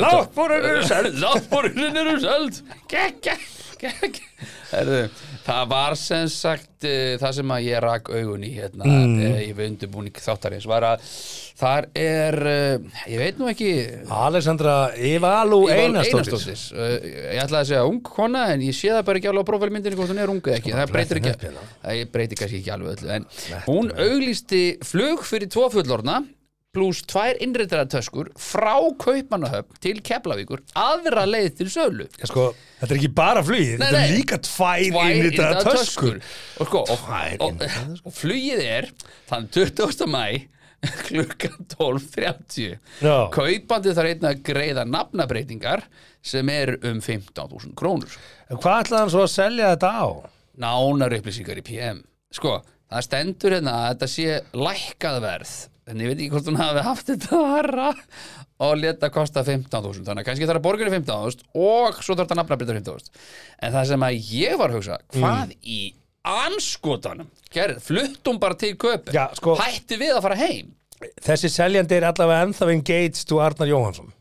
Speaker 4: Náttbúrin eru seld.
Speaker 3: Láttbúrinn eru seld Geggja, geggja Herðu, það var sem sagt eh, það sem að ég rak augun í hérna, mm. ég við undirbúning þáttarins var að þar er eh, ég veit nú ekki
Speaker 1: Alexandra Ivalu Einarstóttir
Speaker 3: Einarsdóttir Eh, Ég ætlaði að segja ung kona en ég sé það bara ekki alveg á prófælmyndinni hvort hún er ung eða ekki, það Sko, breytir ekki hérna. það breytir kannski ekki alveg öllu en hún auglýsti flug fyrir tvo fullorna pluss tvær innreitara töskur frá Kaupmannahöfn til Keflavíkur aðra leið til sölu
Speaker 1: Já, sko, þetta er ekki bara flugið, þetta er
Speaker 3: nei.
Speaker 1: líka tvær
Speaker 3: Tvær
Speaker 1: innritaða
Speaker 3: innritaðar
Speaker 1: töskur
Speaker 3: og sko, og,
Speaker 1: Tvær
Speaker 3: og,
Speaker 1: innritaðar
Speaker 3: og flugið er þann 20. mæ klukkan 12.30
Speaker 1: Já.
Speaker 3: kaupandi þarf einnig að greiða nafnabreitingar sem er um 15.000 krónur
Speaker 1: En Hvað ætlaði hann svo að selja þetta á?
Speaker 3: nánar upplýsingar í PM sko, það stendur hérna að þetta sé lækkað verð en ég veit ekki hvort hún hafi haft þetta aðra og leta kosta 15.000 þannig að kannski þarf að borga henni 15.000 og svo þarf þetta nafna að byrja 15.000 en það sem að ég var að hugsa
Speaker 1: Mm.
Speaker 3: hvað í anskotanum gerð, fluttum bara til köpi
Speaker 1: Já, sko-
Speaker 3: hætti við að fara heim
Speaker 1: Þessi seljandi er allavega ennþá engaged to Arnar Jóhansson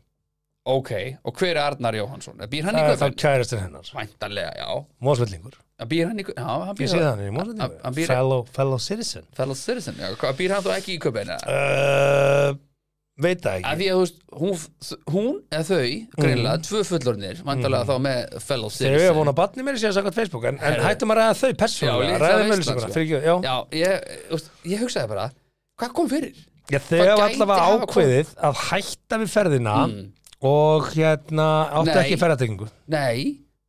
Speaker 3: ok, og hver er Arnar Jóhansson? býr hann í
Speaker 1: Það er þá
Speaker 3: köpi?
Speaker 1: kæristinn hennar,
Speaker 3: væntanlega, já
Speaker 1: mósvellingur
Speaker 3: býr hann í köpi? já, hann
Speaker 1: Ég
Speaker 3: býr
Speaker 1: sé það
Speaker 3: hann
Speaker 1: hann er í
Speaker 3: hann- hann
Speaker 1: mósvellingur
Speaker 3: býr-
Speaker 1: fellow, fellow citizen
Speaker 3: fellow citizen, já, hvað- býr hann þá ekki í köpi?
Speaker 1: uh, Veit það
Speaker 3: að
Speaker 1: ekki
Speaker 3: því að þú veist, hún, hún eða þau greinlega, tvö fullornir vandalega þá með fellow
Speaker 1: Þegar við erum
Speaker 3: citizen
Speaker 1: vona barni meira sér samkvæmt Facebook en, en
Speaker 3: Herðu.
Speaker 1: hættum að ræða þau
Speaker 3: Já,
Speaker 1: persónulega,
Speaker 3: líklega
Speaker 1: ræðum
Speaker 3: veistlan,
Speaker 1: öllisuguna
Speaker 3: sko.
Speaker 1: fyrir ekki, já.
Speaker 3: já, ég, þú veist, ég hugsaði bara hvað kom fyrir?
Speaker 1: Já, þau hafa
Speaker 3: gæti
Speaker 1: allavega
Speaker 3: hafa Mm.
Speaker 1: ákveðið að hætta við ferðina og hérna áttu
Speaker 3: Nei.
Speaker 1: ekki ferðatengingu
Speaker 3: Nei,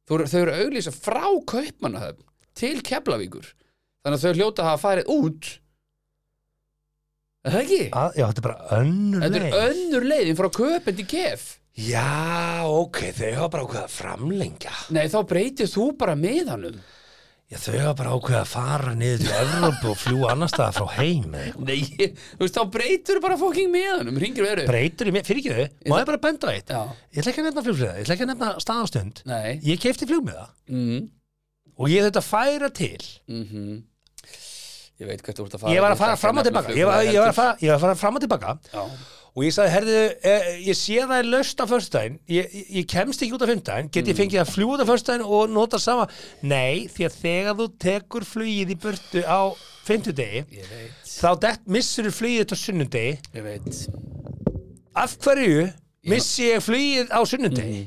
Speaker 3: þau, eru- þau eru auglýsa frá Kaupmannahöfn til Keflavíkur þannig að þau hljóta að hafa farið út er það ekki?
Speaker 1: að, Ah, Já, þetta er bara önnur
Speaker 3: Þetta
Speaker 1: leið
Speaker 3: er önnur leiðin frá Kaupin til Kef
Speaker 1: Já, ok, þau hafa bara ákveðið að framlengja
Speaker 3: Nei, þá breytir þú bara miðanum
Speaker 1: Já, þau hafa bara ákveðið að fara niður til Evrópu og fljúa annar staða frá heim eða eitthvað.
Speaker 3: Nei, ég- þú veist, þá breytir bara fóking miðanum Ringir veru
Speaker 1: Breytur í mér, fyrir ekki þau, má ég bara benda á eitt
Speaker 3: Já.
Speaker 1: Ég ætla ekki að nefna flugflöða, ég ætla ekki að nefna staðanstund
Speaker 3: Nei,
Speaker 1: Ég kefti flugmiða
Speaker 3: mm,
Speaker 1: og ég þetta færa til
Speaker 3: mm Ég veit hvert þú ert að fara
Speaker 1: Ég var að fara fram og tilbaka Ég var, ég var, að, fara, ég var að fara fram og tilbaka
Speaker 3: Já,
Speaker 1: og ég sagði, herðu, eh, ég sé það er löst á förstæðin, ég, ég- ég kemst ekki út á fymtæðin, get ég fengið að fljúa út á förstæðin og nota sama, nei, því að þegar þú tekur flugið í burtu á fymtudegi,
Speaker 3: ég veit,
Speaker 1: þá dett missur flugið þetta á sunnudegi
Speaker 3: ég veit
Speaker 1: af hverju missi ég flugið á sunnudegi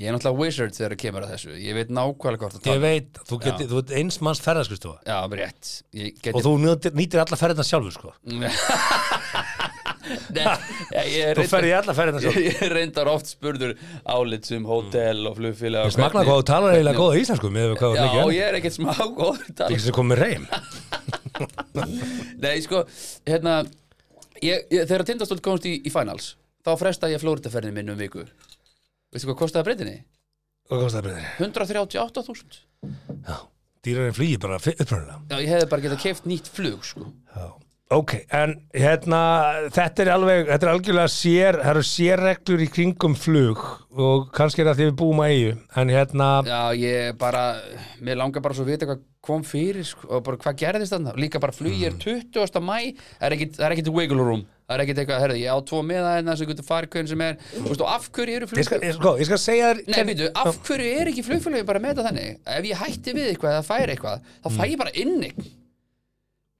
Speaker 3: Ég er náttúrulega wizard þegar það kemur að þessu Ég veit nákvæmlega hvort að
Speaker 1: ég
Speaker 3: tala
Speaker 1: veit, þú, geti, þú ert eins manns ferðarskristofa
Speaker 3: Já, rétt Ég geti
Speaker 1: og þú nýtir, nýtir alla ferðina sjálfur sko.
Speaker 3: Nei, ég, ég, er
Speaker 1: þú ferði
Speaker 3: reyndar,
Speaker 1: í alla ferðina
Speaker 3: ég,
Speaker 1: sjálfur
Speaker 3: ég er reyndar oft spurður álits um hótel og flugfélag og
Speaker 1: smakna
Speaker 3: hvernig-
Speaker 1: hvað þú talar eiginlega góða íslensku með hvað þú
Speaker 3: Já,
Speaker 1: ert mikið
Speaker 3: ég er ekkert smá góður í tali.
Speaker 1: ekki sem komið reym
Speaker 3: Nei, sko, hérna ég, ég, Þegar tindastótt komst í, í finals Þá fresta ég flóriðaferðin minn um viku Veistu hvað kostaði breytinni?
Speaker 1: hvað komst það breyðir?
Speaker 3: 138.000
Speaker 1: dýrar en flýi bara uppröðulega
Speaker 3: Já, ég hefði bara getað keft nýtt flug, sko
Speaker 1: ok, en hérna þetta er alveg, þetta er algjörlega sér það eru sérreglur í kringum flug og kannski er það því við búum að eigu en hérna,
Speaker 3: Já, ég bara, mér langar bara svo að vita hvað kom fyrir sko, og bara hvað gerðist þarna líka bara flugið
Speaker 1: Mm.
Speaker 3: er 20. mæ það er ekkit- það er ekkit wiggle room það er ekkit eitthvað, herðu, ég á tvo meða hérna sem getur farið hvernig sem er, þú veist, og af hverju
Speaker 1: ég
Speaker 3: eru
Speaker 1: skal,
Speaker 3: flugfélög
Speaker 1: ég, sko, ég skal segja þér
Speaker 3: Nei, býtu, af hverju er ekki flugfélög bara með þetta þannig, ef ég hætti við eitthvað eða færi eitthvað, þá fæ
Speaker 1: Mm.
Speaker 3: ég bara inn eitthvað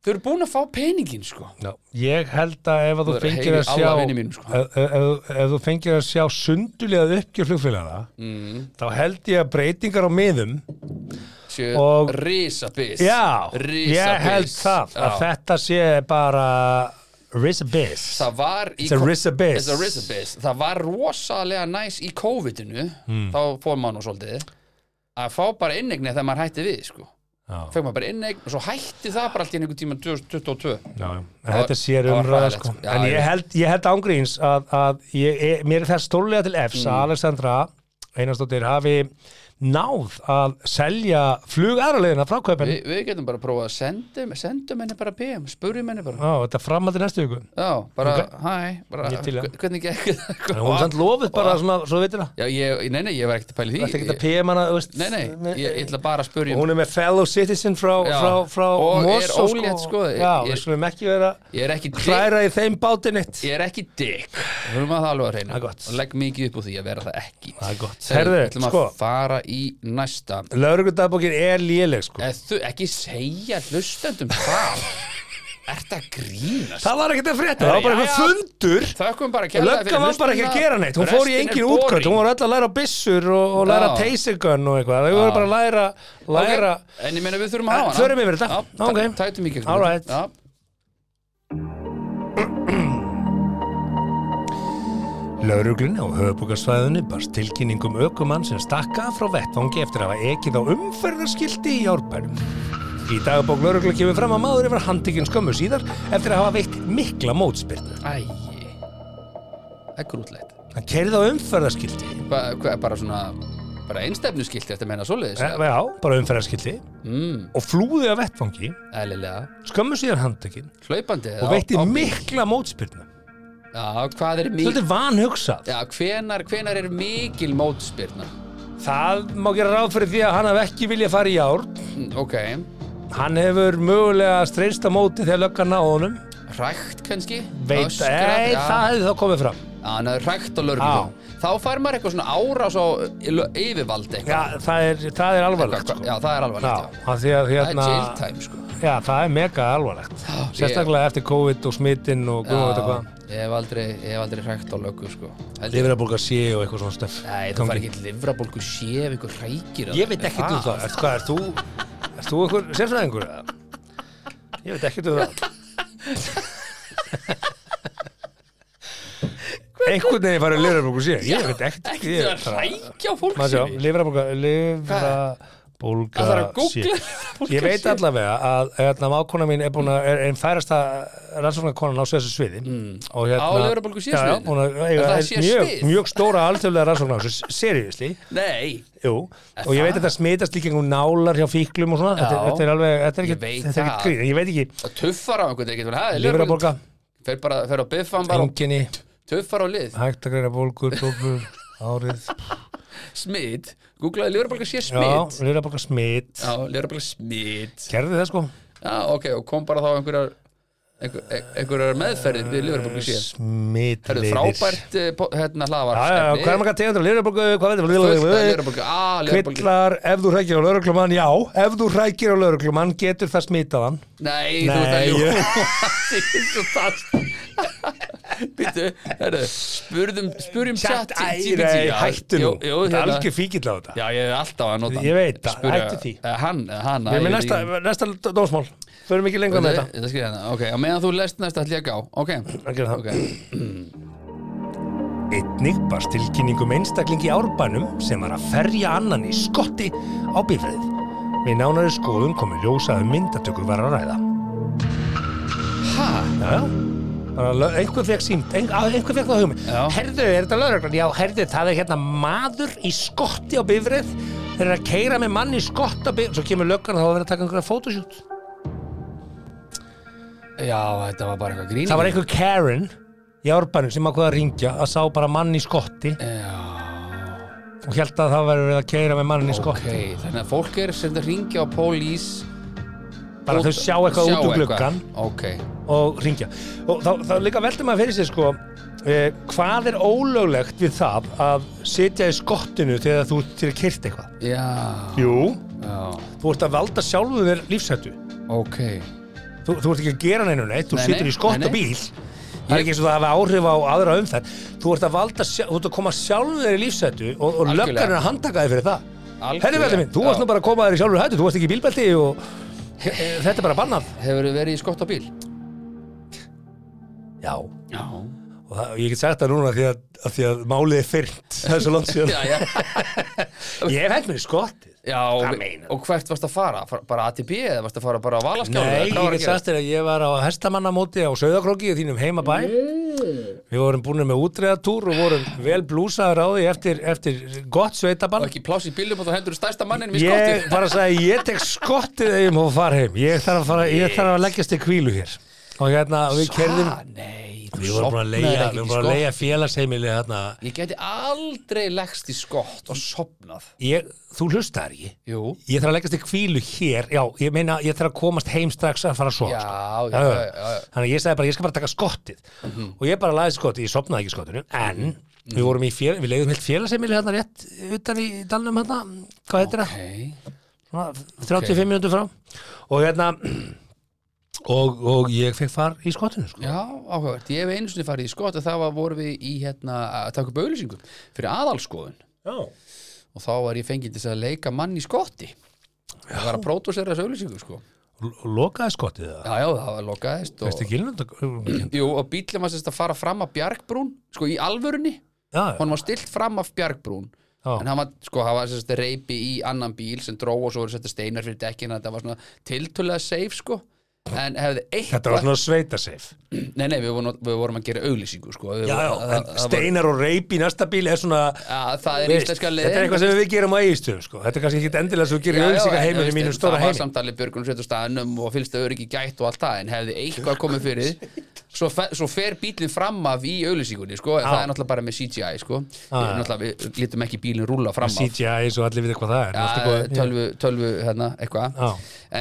Speaker 3: þau eru búin að fá peningin sko,
Speaker 1: Já, ég held að ef að þú
Speaker 3: Þú er
Speaker 1: fengir að
Speaker 3: heilir
Speaker 1: sjá
Speaker 3: alla
Speaker 1: ef,
Speaker 3: vinir mínum, sko.
Speaker 1: ef, ef, ef þú fengir að sjá sundulegað uppgjör flugfélaga
Speaker 3: Mm.
Speaker 1: þá held ég að breytingar á miðum
Speaker 3: sjö,
Speaker 1: Og-
Speaker 3: risabis
Speaker 1: Já,
Speaker 3: risabis
Speaker 1: ég held það að
Speaker 3: Já.
Speaker 1: þetta sé bara risabiss
Speaker 3: það var í
Speaker 1: It's a
Speaker 3: ko-
Speaker 1: risk of biz.
Speaker 3: It's a risk of biz. það var rosalega næs í
Speaker 1: Hmm.
Speaker 3: COVID-inu þá fór maður nú svolítið að fá bara innegni þegar maður hætti við sko. fekk maður bara inneign og svo hætti það bara allt í einu einhvern tíma 2022
Speaker 1: Já, já. En
Speaker 3: Það-
Speaker 1: þetta sér
Speaker 3: það var
Speaker 1: umræða
Speaker 3: hræðilegt,
Speaker 1: sko.
Speaker 3: sko. Já,
Speaker 1: en
Speaker 3: ég
Speaker 1: ég
Speaker 3: veit.
Speaker 1: held, ég held ángríns að, að ég, ég, mér er það stórlega til efs
Speaker 3: Mm.
Speaker 1: að Alexandra Einarsdóttir hafi náð að selja flug aðralegina frá kaupin
Speaker 3: Vi, við getum bara að prófa að sendum, sendum henni bara PM, spurjum henni bara
Speaker 1: Á, þetta er framhaldi næstu ykkur
Speaker 3: Já, bara, hæ, bara,
Speaker 1: Ég til í það.
Speaker 3: hvernig gekk
Speaker 1: En hún samt lofið bara svona, svo þú veitir það
Speaker 3: Já, ég, nei, nei, ég var ekkert að pæli
Speaker 1: Það er
Speaker 3: því
Speaker 1: ekki að PM hana, þú veist
Speaker 3: Nei, nei, ég, ég ætla bara að um- spurja
Speaker 1: Hún er með fellow citizen frá,
Speaker 3: Já.
Speaker 1: frá, frá
Speaker 3: Og er
Speaker 1: Mosó,
Speaker 3: ólétt, sko.
Speaker 1: Já,
Speaker 3: Ég-
Speaker 1: við skulum ekki vera
Speaker 3: Ég er ekki dick,
Speaker 1: hræra í þeim báti neitt
Speaker 3: ég er ekki dick Höfum að það alveg að
Speaker 1: Það er
Speaker 3: reyna
Speaker 1: gott.
Speaker 3: Og legg mikið upp úr því að vera það ekki
Speaker 1: Það er gott.
Speaker 3: Herðu,
Speaker 1: Herðu,
Speaker 3: við ætlum að
Speaker 1: sko.
Speaker 3: fara í næsta
Speaker 1: Laurugudagbókin er léleg sko
Speaker 3: Eða Þú, ekki segja hlustendum það Ert að grínast
Speaker 1: Það var ekkert að frétta, það var bara
Speaker 3: Já,
Speaker 1: eitthvað
Speaker 3: já.
Speaker 1: fundur
Speaker 3: Þökkum bara kærlega
Speaker 1: Löggan var bara ekki að
Speaker 3: hlustunina.
Speaker 1: gera neitt, hún fór í
Speaker 3: Restin er
Speaker 1: engin
Speaker 3: boring.
Speaker 1: útköll, hún var öll að læra á byssur og, og læra
Speaker 3: Já.
Speaker 1: taser gun og eitthvað, þau voru bara að læra, læra
Speaker 3: Ok, En ég meina við þurfum að
Speaker 1: Eh,
Speaker 3: hafa hana
Speaker 1: förum yfir þetta.
Speaker 3: Já,
Speaker 1: Ok.
Speaker 3: tæ- Tætum í gegnum
Speaker 1: All right.
Speaker 3: þetta. Já.
Speaker 1: Lauruglun á höfubúkarsvæðinu barst tilkynningum ökumann sem stakka frá vettvangi eftir að hafa ekið á umferðarskilti í árbærum. Í dagabók lauruglu kemur fram að maður yfir handikinn skömmu síðar eftir að hafa veitt mikla mótspyrnu.
Speaker 3: Æi Það er grútlegt
Speaker 1: Hann kerði á umferðarskilti,
Speaker 3: Hva- Hvað er bara svona bara einstefnuskilti eftir að menna svoleiðis
Speaker 1: e, já, bara umferðarskilti,
Speaker 3: mm,
Speaker 1: og flúði á vettvangi,
Speaker 3: Ælilega
Speaker 1: skömmu síðar handikinn
Speaker 3: Hlaupandi
Speaker 1: og veitti mikla mótspyrnu.
Speaker 3: Já, hvað er mikil
Speaker 1: Þetta er vanhugsað.
Speaker 3: Já, hvenar, hvenar er mikil mótspyrna
Speaker 1: Það má gera ráð fyrir því að hann hafði ekki vilja fara í ár.
Speaker 3: Mm, Ok,
Speaker 1: Hann hefur mögulega streynst á móti þegar löggan náði honum.
Speaker 3: hrækt kannski
Speaker 1: Veit, ei, það hefði þá komið fram.
Speaker 3: Hann er hrækt á lörgum Þá fær maður eitthvað svona árás á yfirvaldi eitthvað.
Speaker 1: Já, það er, það er alvarlegt,
Speaker 3: Eitthvað-
Speaker 1: sko.
Speaker 3: Já, það er alveg
Speaker 1: Já, af því að
Speaker 3: Það er
Speaker 1: hérna,
Speaker 3: jail time, sko
Speaker 1: já, það er mega alvarlegt.
Speaker 3: ég-
Speaker 1: Sérstaklega eftir COVID og smittin og guðum þetta
Speaker 3: Já,
Speaker 1: hvað.
Speaker 3: ég hef aldrei, ég hef aldrei hrækt á löggu, sko Held ég-
Speaker 1: Lifrarbólga sé og eitthvað svona stöf.
Speaker 3: Nei, þú
Speaker 1: Gangi.
Speaker 3: fær ekki livrabolgu sé ef ykkur hrækir að
Speaker 1: Ég veit ekkert um það. Ert, hvað, er þú, er þú einhver sérfræðingur? eða? Ég veit ekkert um það. Einhvern veginn farið lifrarbólgu sé. Ég veit ekkert.
Speaker 3: Ekki
Speaker 1: ég-
Speaker 3: að hrækja á fólk
Speaker 1: Má sjá,
Speaker 3: sinni.
Speaker 1: lifrarbólga,
Speaker 3: Það þarf
Speaker 1: lifrarbólga
Speaker 3: að googla fólk
Speaker 1: Ég veit
Speaker 3: sé.
Speaker 1: allavega að hérna, mákona mín er búin að er einn færasta rannsóknarkonan á þessu sviði mm. og hérna,
Speaker 3: Á lifrarbólgu sé
Speaker 1: Já, já,
Speaker 3: sviðinu?
Speaker 1: hún er-
Speaker 3: Er
Speaker 1: eiga-
Speaker 3: það
Speaker 1: er
Speaker 3: sé
Speaker 1: mjög,
Speaker 3: svið?
Speaker 1: mjög stóra alþjóðlega rannsóknar á þessu, seriðisli
Speaker 3: Nei,
Speaker 1: Jú, og ég veit að það smitast líka einhver nálar hjá fíklum og svona þetta,
Speaker 3: Já.
Speaker 1: þetta er alveg, þetta er
Speaker 3: Ég
Speaker 1: ekkert
Speaker 3: veit
Speaker 1: þetta er ekkert
Speaker 3: það.
Speaker 1: grín, ég veit ekki,
Speaker 3: að tuffar á einhvern ekkert vel hæði
Speaker 1: lifrarbólga
Speaker 3: Fer bara, fer á biffan bara og
Speaker 1: enginni,
Speaker 3: tuffar á lið
Speaker 1: hægt að greina bólgur bólgur, árið
Speaker 3: Smit, googlaði lifrarbólgu sé
Speaker 1: Já,
Speaker 3: smit
Speaker 1: lifrarbólga smit
Speaker 3: Já, lifrarbólgu smit
Speaker 1: Gerði það sko
Speaker 3: Já, ok, og kom bara þá einhverjar einhver- einhverjar meðferðir við lifrarbólgu sé Herðu,
Speaker 1: Smitliðir
Speaker 3: frábært eh, po- hérna hlavar
Speaker 1: Já, já, já, hvað er maður að tegja lifrarbólgu, hvað veit
Speaker 3: Fullt Ah, að
Speaker 1: lifrarbólgu
Speaker 3: lifrarbólgu, að lifrarbólgu
Speaker 1: Kvillar, ef þú hrækir á lauruglumann, já Ef þú hrækir á lauruglumann, getur það smitað hann
Speaker 3: Nei, þú ert að
Speaker 1: Nei, ég-
Speaker 3: ljúa Býttu, herðu Spurðum, spurðum chat
Speaker 1: Æ, hættu nú, þetta er algjör fíkill á þetta
Speaker 3: hérna. Já, ég er alltaf að nota hann.
Speaker 1: Ég veit það,
Speaker 3: Spurja-
Speaker 1: hættu því.
Speaker 3: Eh, Hann, eh, hann
Speaker 1: Við erum í
Speaker 3: ég veit
Speaker 1: næsta,
Speaker 3: ekki.
Speaker 1: næsta dómsmál Förum ekki lengra með
Speaker 3: Þetta
Speaker 1: þetta
Speaker 3: þetta skrifa hérna, ok, á meðan þú lest næsta ætla ég að gá, ok
Speaker 1: Að gera það.
Speaker 3: Ok,
Speaker 1: Einnig barst tilkynningum einstakling í árbænum sem var að ferja annan í skotti á bifræðið. Við nánari skoðun komi ljósaðu um myndatökur var að ræða.
Speaker 3: ha,
Speaker 1: Já, já. Bara lö- Einhver fekk símt, ein, á, einhver fekk það hugmynd.
Speaker 3: Já.
Speaker 1: Herðu, er þetta lögreglan? Já, herðu, það er hérna maður í skotti á bifræð. Þeir eru að keira með mann í skott á bifræð. Svo kemur löggan og þá var verið að taka einhverja fótosjút.
Speaker 3: já, þetta var bara eitthvað grín
Speaker 1: Það var einhver Karen í árbænum sem ákveða að ringja að sá bara mann í skotti
Speaker 3: Já,
Speaker 1: og held að það verið að keira með mann í
Speaker 3: ok,
Speaker 1: skotti.
Speaker 3: þannig að fólk er sem þetta ringja á pólís
Speaker 1: Bara þau sjá eitthvað út um úr gluggan.
Speaker 3: Ok,
Speaker 1: og ringja og þá, þá líka veldur maður fyrir sér sko eh, hvað er ólöglegt við það að sitja í skottinu þegar þú ert til að kyrta eitthvað
Speaker 3: já,
Speaker 1: Jú,
Speaker 3: já
Speaker 1: þú ert að valda sjálfuð þér lífshættu
Speaker 3: Ok,
Speaker 1: þú, þú ert ekki að gera neinu neitt, þú
Speaker 3: Nei,
Speaker 1: situr í
Speaker 3: nei,
Speaker 1: skott
Speaker 3: nei, nei.
Speaker 1: og bíl það er ekki eins og það hafa áhrif á aðra umferð þú ert að valda, sjá- þú ert að koma sjálfuð þér í lífshættu og, og
Speaker 3: Algjörlega.
Speaker 1: löggan er að handtaka þér fyrir það
Speaker 3: Algjörlega,
Speaker 1: Herri veldur minn, þú varst
Speaker 3: já.
Speaker 1: nú bara að koma þér í sjálfur hættu, þú varst ekki í bílbelti og eh, eh, þetta er bara bannað.
Speaker 3: hefur þið verið í skott á bíl?
Speaker 1: Já,
Speaker 3: Já
Speaker 1: og það, ég get sagt það núna því að, að því að málið er fyrnt, það er svo langt síðan.
Speaker 3: Já, já,
Speaker 1: Ég hef held mér í skottið
Speaker 3: Já, og,
Speaker 5: Hvað meinar?
Speaker 3: og hvert varst að fara? Far- Bara ATB eða varst að fara bara á Valaskjálu?
Speaker 1: Nei,
Speaker 3: Eða
Speaker 1: ég
Speaker 3: hvað var að
Speaker 1: get
Speaker 3: gera?
Speaker 1: sagt þér að ég var á hestamannamóti á Sauðakróki og þínum heimabæ Við vorum búin með útreðatúr og vorum vel blúsaður á því eftir, eftir gott sveitabann
Speaker 3: Og ekki pláss í bílum og þá hendur stærsta mannin við
Speaker 1: Ég
Speaker 3: skottið
Speaker 1: bara sagði, ég tek skottið ef ég má fara heim Ég þarf að, fara, ég þarf að leggjast til kvílu hér Og hérna, og við kerðum
Speaker 3: Ah, nei, þú
Speaker 1: Við vorum búin að
Speaker 3: sofnaðir
Speaker 1: leigja,
Speaker 3: ekki
Speaker 1: við
Speaker 3: í
Speaker 1: vorum búin að
Speaker 3: skott.
Speaker 1: leigja félagsheimili hérna
Speaker 3: Ég geti aldrei leggst í skott og sopnað
Speaker 1: ég, Þú hlustar ekki
Speaker 3: Jú,
Speaker 1: Ég þarf að leggjast til kvílu hér Já, ég meina, ég þarf að komast heim strax að fara svo
Speaker 3: já, já,
Speaker 1: Já,
Speaker 3: já,
Speaker 1: já.
Speaker 3: já, Mhm. já.
Speaker 1: Þannig að ég sagði bara, ég skal bara taka skottið og ég bara laði skottið, ég sopnaði ekki skottinu en
Speaker 3: Mhm.
Speaker 1: við vorum í fél, við leiðum heilt félagsemili hérna rétt utan í dalnum hérna, hvað heitir það?
Speaker 3: Nei,
Speaker 1: Svona 35 okay. mínútur frá og hérna og, og ég fekk far í skottinu sko.
Speaker 3: já, áhugavert Ég hef einu sinni farið í skott og það var voru við í hérna að taka upp auðlýsingum fyrir aðalskoðun
Speaker 1: Já,
Speaker 3: og þá var ég fengið til þess að leika mann í skotti Það var að pródúsera þessu auðlýsingum sko
Speaker 1: og lokaði skottið það
Speaker 3: Já, já, það var lokaðist og,
Speaker 1: Veistu gilnund?
Speaker 3: Jú, og bíllum var sérst að fara fram af Bjargbrún sko í alvörunni,
Speaker 1: Já, já.
Speaker 3: hann var stilt fram af Bjargbrún
Speaker 1: Já.
Speaker 3: en hann var, sko, hann var sérst reypi í annan bíl sem dró og svo voru sérst steinar fyrir dekkina þetta var svona tiltölulega safe sko en hefði eitthvað
Speaker 1: Þetta var svona sveitaseif
Speaker 3: Nei, nei, við vorum, við vorum að gera auglýsingu sko. við,
Speaker 1: Já, já,
Speaker 3: það-
Speaker 1: en
Speaker 3: það- það var-
Speaker 1: steinar og reip í næsta bíl er svona
Speaker 3: Já, það er
Speaker 1: veist,
Speaker 3: íslenska leið
Speaker 1: Þetta er eitthvað sem við gerum á eigistöðum sko. Þetta er kannski ekki endilega sem við gerum auðvitað heimur í mínum stóra
Speaker 3: Það var
Speaker 1: heimi
Speaker 3: samtalið björgunum sveitur staðanum og fylgst öryggi gætt og allt það en hefði eitthvað komið fyrir svo, fe, svo fer bílinn fram af í auglýsingunni sko, en
Speaker 1: Já.
Speaker 3: það er náttúrulega bara með CGI sko.
Speaker 1: já.
Speaker 3: náttúrulega við lítum ekki bílinn rúla fram af
Speaker 1: CGI eins og allir við hvað það er Allt í
Speaker 3: ja,
Speaker 1: góðu.
Speaker 3: tölvu, tölvu hérna, eitthvað
Speaker 1: Já.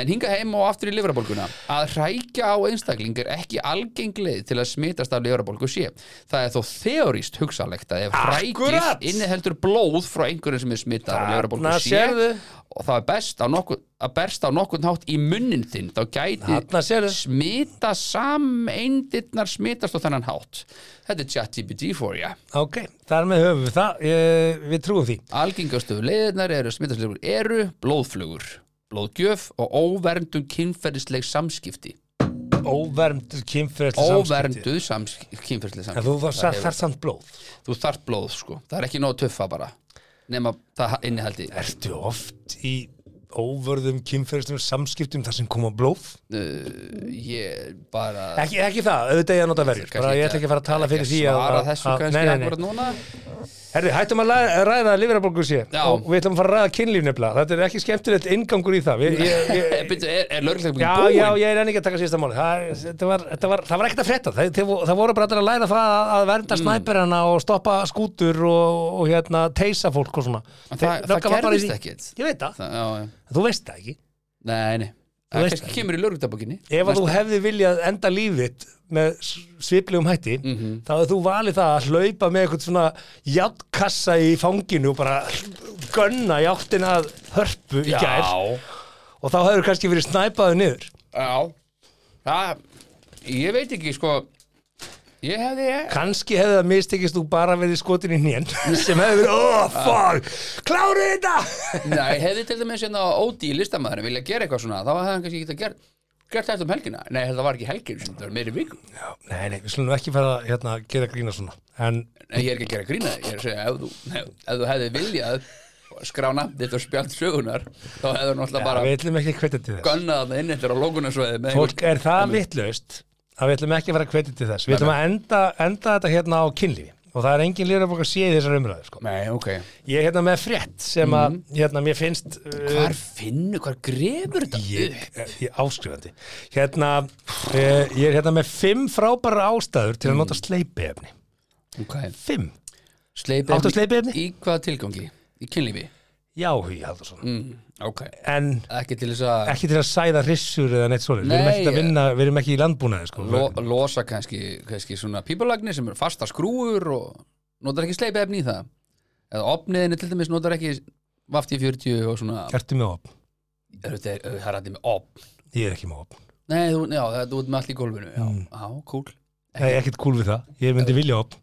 Speaker 3: en hinga heim og aftur í livrabólguna að hrækja á einstakling er ekki algeng leið til að smitast af livrabólgu sé það er þó þeoríst hugsalegt að ef
Speaker 1: Akkurat!
Speaker 3: hrækið inniheldur blóð frá einhverjum sem er smitað af
Speaker 1: Þarna
Speaker 3: livrabólgu sé
Speaker 1: sérðu.
Speaker 3: og það er best á nokkuð að berst á nokkurn hátt í munnin þinn þá
Speaker 1: Þarna
Speaker 3: gæti
Speaker 1: sérðu.
Speaker 3: smita sameindirnar smitast á þennan hátt þetta er chat GPT for you
Speaker 1: Ok, þar með höfum við það, ég, við trúum því
Speaker 3: Algengastu leiðirnar eru smittaslegur eru blóðflugur, blóðgjöf og óverndum kynferðisleg samskipti.
Speaker 1: Óvermdur kynferðslu
Speaker 3: Óvernduð samsk kynferðisleg
Speaker 1: En
Speaker 3: samskipti.
Speaker 1: þú var satt þar samt blóð
Speaker 3: Þú þarft blóð, sko. Það er ekki nóg að tuffa bara. Nefn að það innihaldi uh,
Speaker 1: Ertu oft í óvörðum kynferðslu samskiptum þar sem koma blóð?
Speaker 3: ég bara...
Speaker 1: Ekki, ekki það, auðvitað ég að nota verjur Bara ég ætla ekki að fara að tala fyrir því
Speaker 3: að...
Speaker 1: að-
Speaker 3: Svara
Speaker 1: að-
Speaker 3: þessu
Speaker 1: að-
Speaker 3: kannski
Speaker 1: nei, nei, nei.
Speaker 3: akkurat núna.
Speaker 1: Herri, hættum að la- ræða livrabólgu sé
Speaker 3: Já.
Speaker 1: og við ætlum að fara að ræða kynlíf nefnilega Þetta er ekki skemmtilegt inngangur í það við, ég, ég,
Speaker 3: Er, byrju, er, er lögreglega búin
Speaker 1: Já,
Speaker 3: búin?
Speaker 1: já, ég er enn ekki að taka síðasta máli það, það, var, þetta var, það var ekkert að frétta það, það, það voru bara allir að læra það að, að vernda
Speaker 3: Mm.
Speaker 1: snæperana og stoppa skútur og, og hérna, teisa fólk og svona
Speaker 3: En
Speaker 1: Þeir-
Speaker 3: það-
Speaker 1: löggan
Speaker 3: það
Speaker 1: var bara í
Speaker 3: gerðist
Speaker 1: því-
Speaker 3: ekkert.
Speaker 1: Ég veit það,
Speaker 3: Það, já, já.
Speaker 1: þú veist það ekki
Speaker 3: Nei, nei.
Speaker 1: Þú
Speaker 3: Það
Speaker 1: veist
Speaker 3: kannski
Speaker 1: ekki.
Speaker 3: kemur í lögreglubokinni.
Speaker 1: Ef að þú hefði viljað enda lífið með sviplegum hætti
Speaker 3: Mhm.
Speaker 1: þá hefði þú valið það að hlaupa með eitthvað svona játtkassa í fanginu og bara gönna í áttina að hörpu í gær og þá hefur kannski verið snæpaðu niður
Speaker 3: Já Það, ég veit ekki sko Ég hefði
Speaker 1: kannski hefði það mistekist þú bara verið skotin í nén sem hefði verið, oh fuck kláru þetta
Speaker 3: Nei, hefði til dæmis hérna Ódi í listamæðurinn vilja gera eitthvað svona þá hefði hann kannski getað gert Gert þetta um helgina? Nei, þetta var ekki helgin sem þetta var meiri viku Nei,
Speaker 1: Já, nei, nei, við slunum ekki fara að hérna, gera grína svona en
Speaker 3: ég er ekki að gera grína Ég er að segja, ef þú, ef, ef þú hefði viljað skrá nafn þitt og spjald sögunar þá hefði hann alltaf bara
Speaker 1: við ætlum ekki að hvetja til þess
Speaker 3: gönnað þarna inn eftir á lókunarsvæði með
Speaker 1: fólk er það vitlaust að við ætlum ekki að fara að hvetja til þess við ætlum að enda, enda þetta hérna á kynlífi og það er engin lýra bók að sé í þessar umræður sko.
Speaker 3: Nei, ok
Speaker 1: ég er hérna með frétt sem að hérna, mér finnst uh,
Speaker 3: Mhm. Hvar finnu, hvar grefur þetta
Speaker 1: ég,
Speaker 3: upp?
Speaker 1: ég áskrifandi hérna, uh, ég er hérna með fimm frábæra ástæður
Speaker 3: Mm.
Speaker 1: til að nota sleipiefni
Speaker 3: Ok,
Speaker 1: fimm
Speaker 3: sleipi
Speaker 1: Áttu sleipiefni?
Speaker 3: Í hvað tilgangi? Í kynlífi?
Speaker 1: Já, Hugi Haldursson
Speaker 3: Mm, ok
Speaker 1: En
Speaker 3: ekki til þess að
Speaker 1: ekki til að sæða hrissur eða neitt svoleið Við erum
Speaker 3: Nei,
Speaker 1: ekki að vinna, við erum ekki í landbúnaði sko.
Speaker 3: lo, losa kannski, kannski svona pípulagnir sem eru fasta skrúur og notar ekki sleipið efni í það eða opniðinni til dæmis notar ekki vafti 40 og svona er,
Speaker 1: Ertu með opn?
Speaker 3: er, er, það er allir með opn
Speaker 1: Ég er ekki með opn Mm.
Speaker 3: nei, þú, já, það- þú ert með allt í gólfinu já, já, cool
Speaker 1: Nei, ekkert kúl við það Ég myndi vilja opn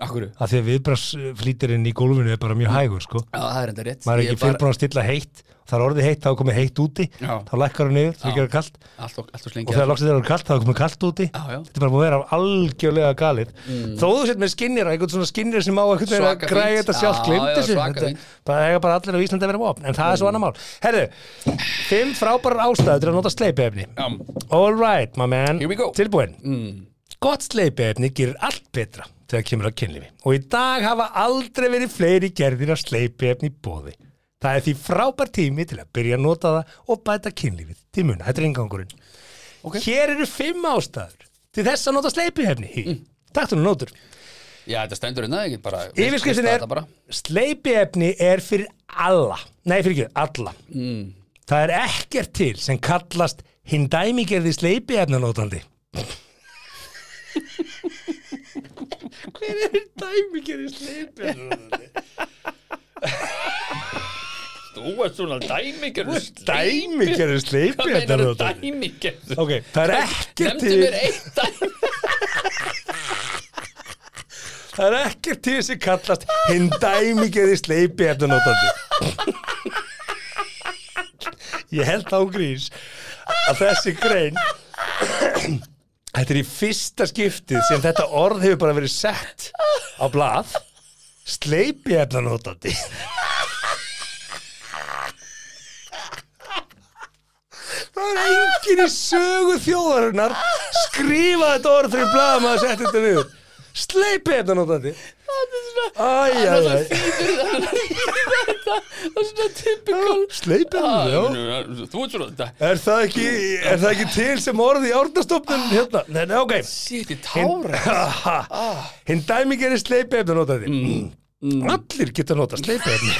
Speaker 3: Akkur Já,
Speaker 1: að því að viðbrásflýtirinn í gólfinu er bara mjög hægur sko
Speaker 3: það er enda rétt
Speaker 1: maður er
Speaker 3: Mm. Ég
Speaker 1: ekki fyrirbúin að stilla heitt það er orðið heitt, þá er komið heitt úti
Speaker 3: Já.
Speaker 1: þá lækkar hún niður, það gerir kalt
Speaker 3: Allt og, allt og
Speaker 1: og
Speaker 3: slengi
Speaker 1: þegar loksins þegar er kalt, þá er komið kalt úti
Speaker 3: Já, já.
Speaker 1: þetta er bara búin að vera algjörlega galið þó þú sett með skinnir, einhvern svona skinnir sem á einhvern veginn að
Speaker 3: Svaka
Speaker 1: græja
Speaker 3: fínt.
Speaker 1: þetta sjálf
Speaker 3: Já, já,
Speaker 1: glimti
Speaker 3: svaka
Speaker 1: sér
Speaker 3: fínt. Mm.
Speaker 1: það eiga bara allir á Íslandi að vera vopn en það er svo annar mál herru, fimm frábærar ástæður til að nota sleipefni all right, my man,
Speaker 3: Here we go. Mm.
Speaker 1: tilbúin Gott sleipiefni gerir allt betra þegar kemur á kynlífi og í dag hafa aldrei verið fleiri gerðir af sleipiefni í bóði. Það er því frábær tími til að byrja að nota það og bæta kynlífið til muna. Þetta er ingangurinn. Hér eru fimm ástæður til þess að nota sleipiefni. Mm. Takk þú nú nótur.
Speaker 3: Já, þetta stendur hérna, ekki bara
Speaker 1: Yfirskriftin
Speaker 3: Lista
Speaker 1: er
Speaker 3: þetta bara.
Speaker 1: Sleipiefni er fyrir alla Nei, fyrir ekki, alla
Speaker 3: Mm.
Speaker 1: Það er ekkert til sem kallast hinn dæmigerði sleipiefnanótandi Hver er hinn dæmigerði sleipiefnanótandi?
Speaker 6: Þú ert svona dæmigerð
Speaker 1: Dæmigerði sleipiefnanótandi
Speaker 6: Dæmigerð
Speaker 1: Ok, það er ekkert
Speaker 3: Nefndu
Speaker 1: til
Speaker 3: mér eitt dæmi
Speaker 1: Það er ekkert til sem kallast hinn dæmigerði sleipi efnanótandi. Ég held á grís að þessi grein Þetta er í fyrsta skiptið sem þetta orð hefur bara verið sett á blað sleipi efnanótandi. Það er enginn í sögu þjóðarinnar skrifað þetta orð fyrir blað að maður setti þetta niður. Sleipi efnanótandi. Það er svona... Æj, æj, æj.
Speaker 3: Það er svona typical
Speaker 1: Sleipi efnanótandi, já.
Speaker 3: Þú ert svona dæmi
Speaker 1: Er það ekki, er það ekki til sem orði í árnastofnun hérna? Nei, nei, ok.
Speaker 3: Sitt í tára
Speaker 1: Hinn dæmi gerir sleipiefni að nota því. Allir geta nota sleipiefni.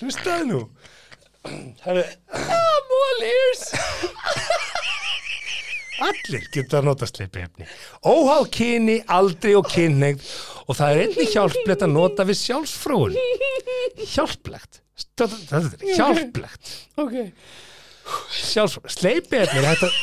Speaker 1: Hlustaði nú. Herri,
Speaker 3: All ears
Speaker 1: allir geta nota sleipiefni. Óháð kyni, aldri og kynneigð og það er einnig hjálplegt að nota við sjálfsfrúin. Hjálplegt. Þetta þetta er hjálplegt.
Speaker 3: Ok
Speaker 1: sjálfsvara sleipiefni er hægt að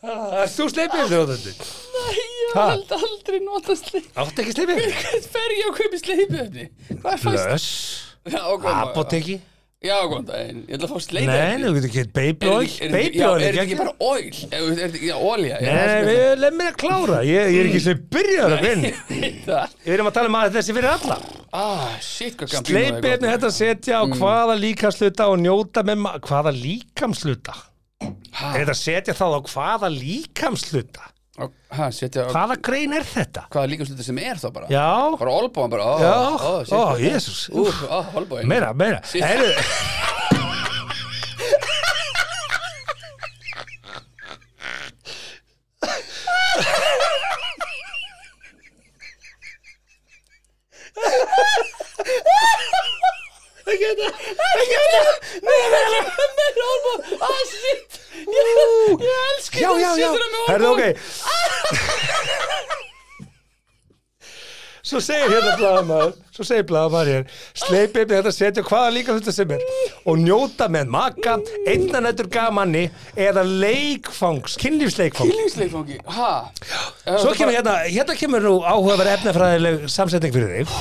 Speaker 1: Ah, Ert þú sleipiefni á þetta?
Speaker 3: Ég
Speaker 1: Ha?
Speaker 3: held aldrei nota sleip
Speaker 1: Áttu ekki sleipiefni?
Speaker 3: Hvert fer ég að kaupi sleipefni? Hvað er fæst?
Speaker 1: Blöss,
Speaker 3: Já, góðan dag.
Speaker 1: apoteki
Speaker 3: Já, góðan daginn Ég ætla að fá sleipefni
Speaker 1: Nei, þú getur ekki baby
Speaker 3: Er
Speaker 1: oil
Speaker 3: ekki- er ekki-
Speaker 1: Baby
Speaker 3: já,
Speaker 1: oil
Speaker 3: Er þetta ekki
Speaker 1: ekki
Speaker 3: bara oil? Er er þetta ekki olja? Er það
Speaker 1: Nei,
Speaker 3: sem
Speaker 1: við lef mér að klára Ég, ég er ekki sem byrjaður að vinna
Speaker 3: er það?
Speaker 1: Við erum að tala um að þessi fyrir alla
Speaker 3: Ah, shit, hvað gammal
Speaker 1: Sleipiefni er hægt að hérna setja á hvaða líkamsluta og njóta með ma- hvaða líkamsluta Er þetta að setja þá á hvaða líkamsluta?
Speaker 3: Hæ, setja á
Speaker 1: Hvaða grein er þetta?
Speaker 3: hvaða líka sluta sem er þá bara
Speaker 1: Já,
Speaker 3: Bara olbóin bara
Speaker 1: já,
Speaker 3: ó,
Speaker 1: ó, jésús
Speaker 3: Úf, ó, olbóin
Speaker 1: Meira, meira
Speaker 3: Shit.
Speaker 1: Heru,
Speaker 3: Meira olbóin, ah, shit Ég ég elska
Speaker 1: Já,
Speaker 3: það,
Speaker 1: já, já
Speaker 3: setur það með
Speaker 1: Herðu,
Speaker 3: olbóin
Speaker 1: ok Svo segir hérna blaðamaður Svo segir blaðamaður hér Sleipið með þetta setja á hvaða líka hluta sem er Og njóta með maka Einnanættur gamanni Eða leikfangs, kynlífsleikfangs
Speaker 3: Kýlingsleikfangi, hæ
Speaker 1: Svo kemur hérna, hérna kemur nú áhugaverð efnafræðileg samsetning fyrir þig.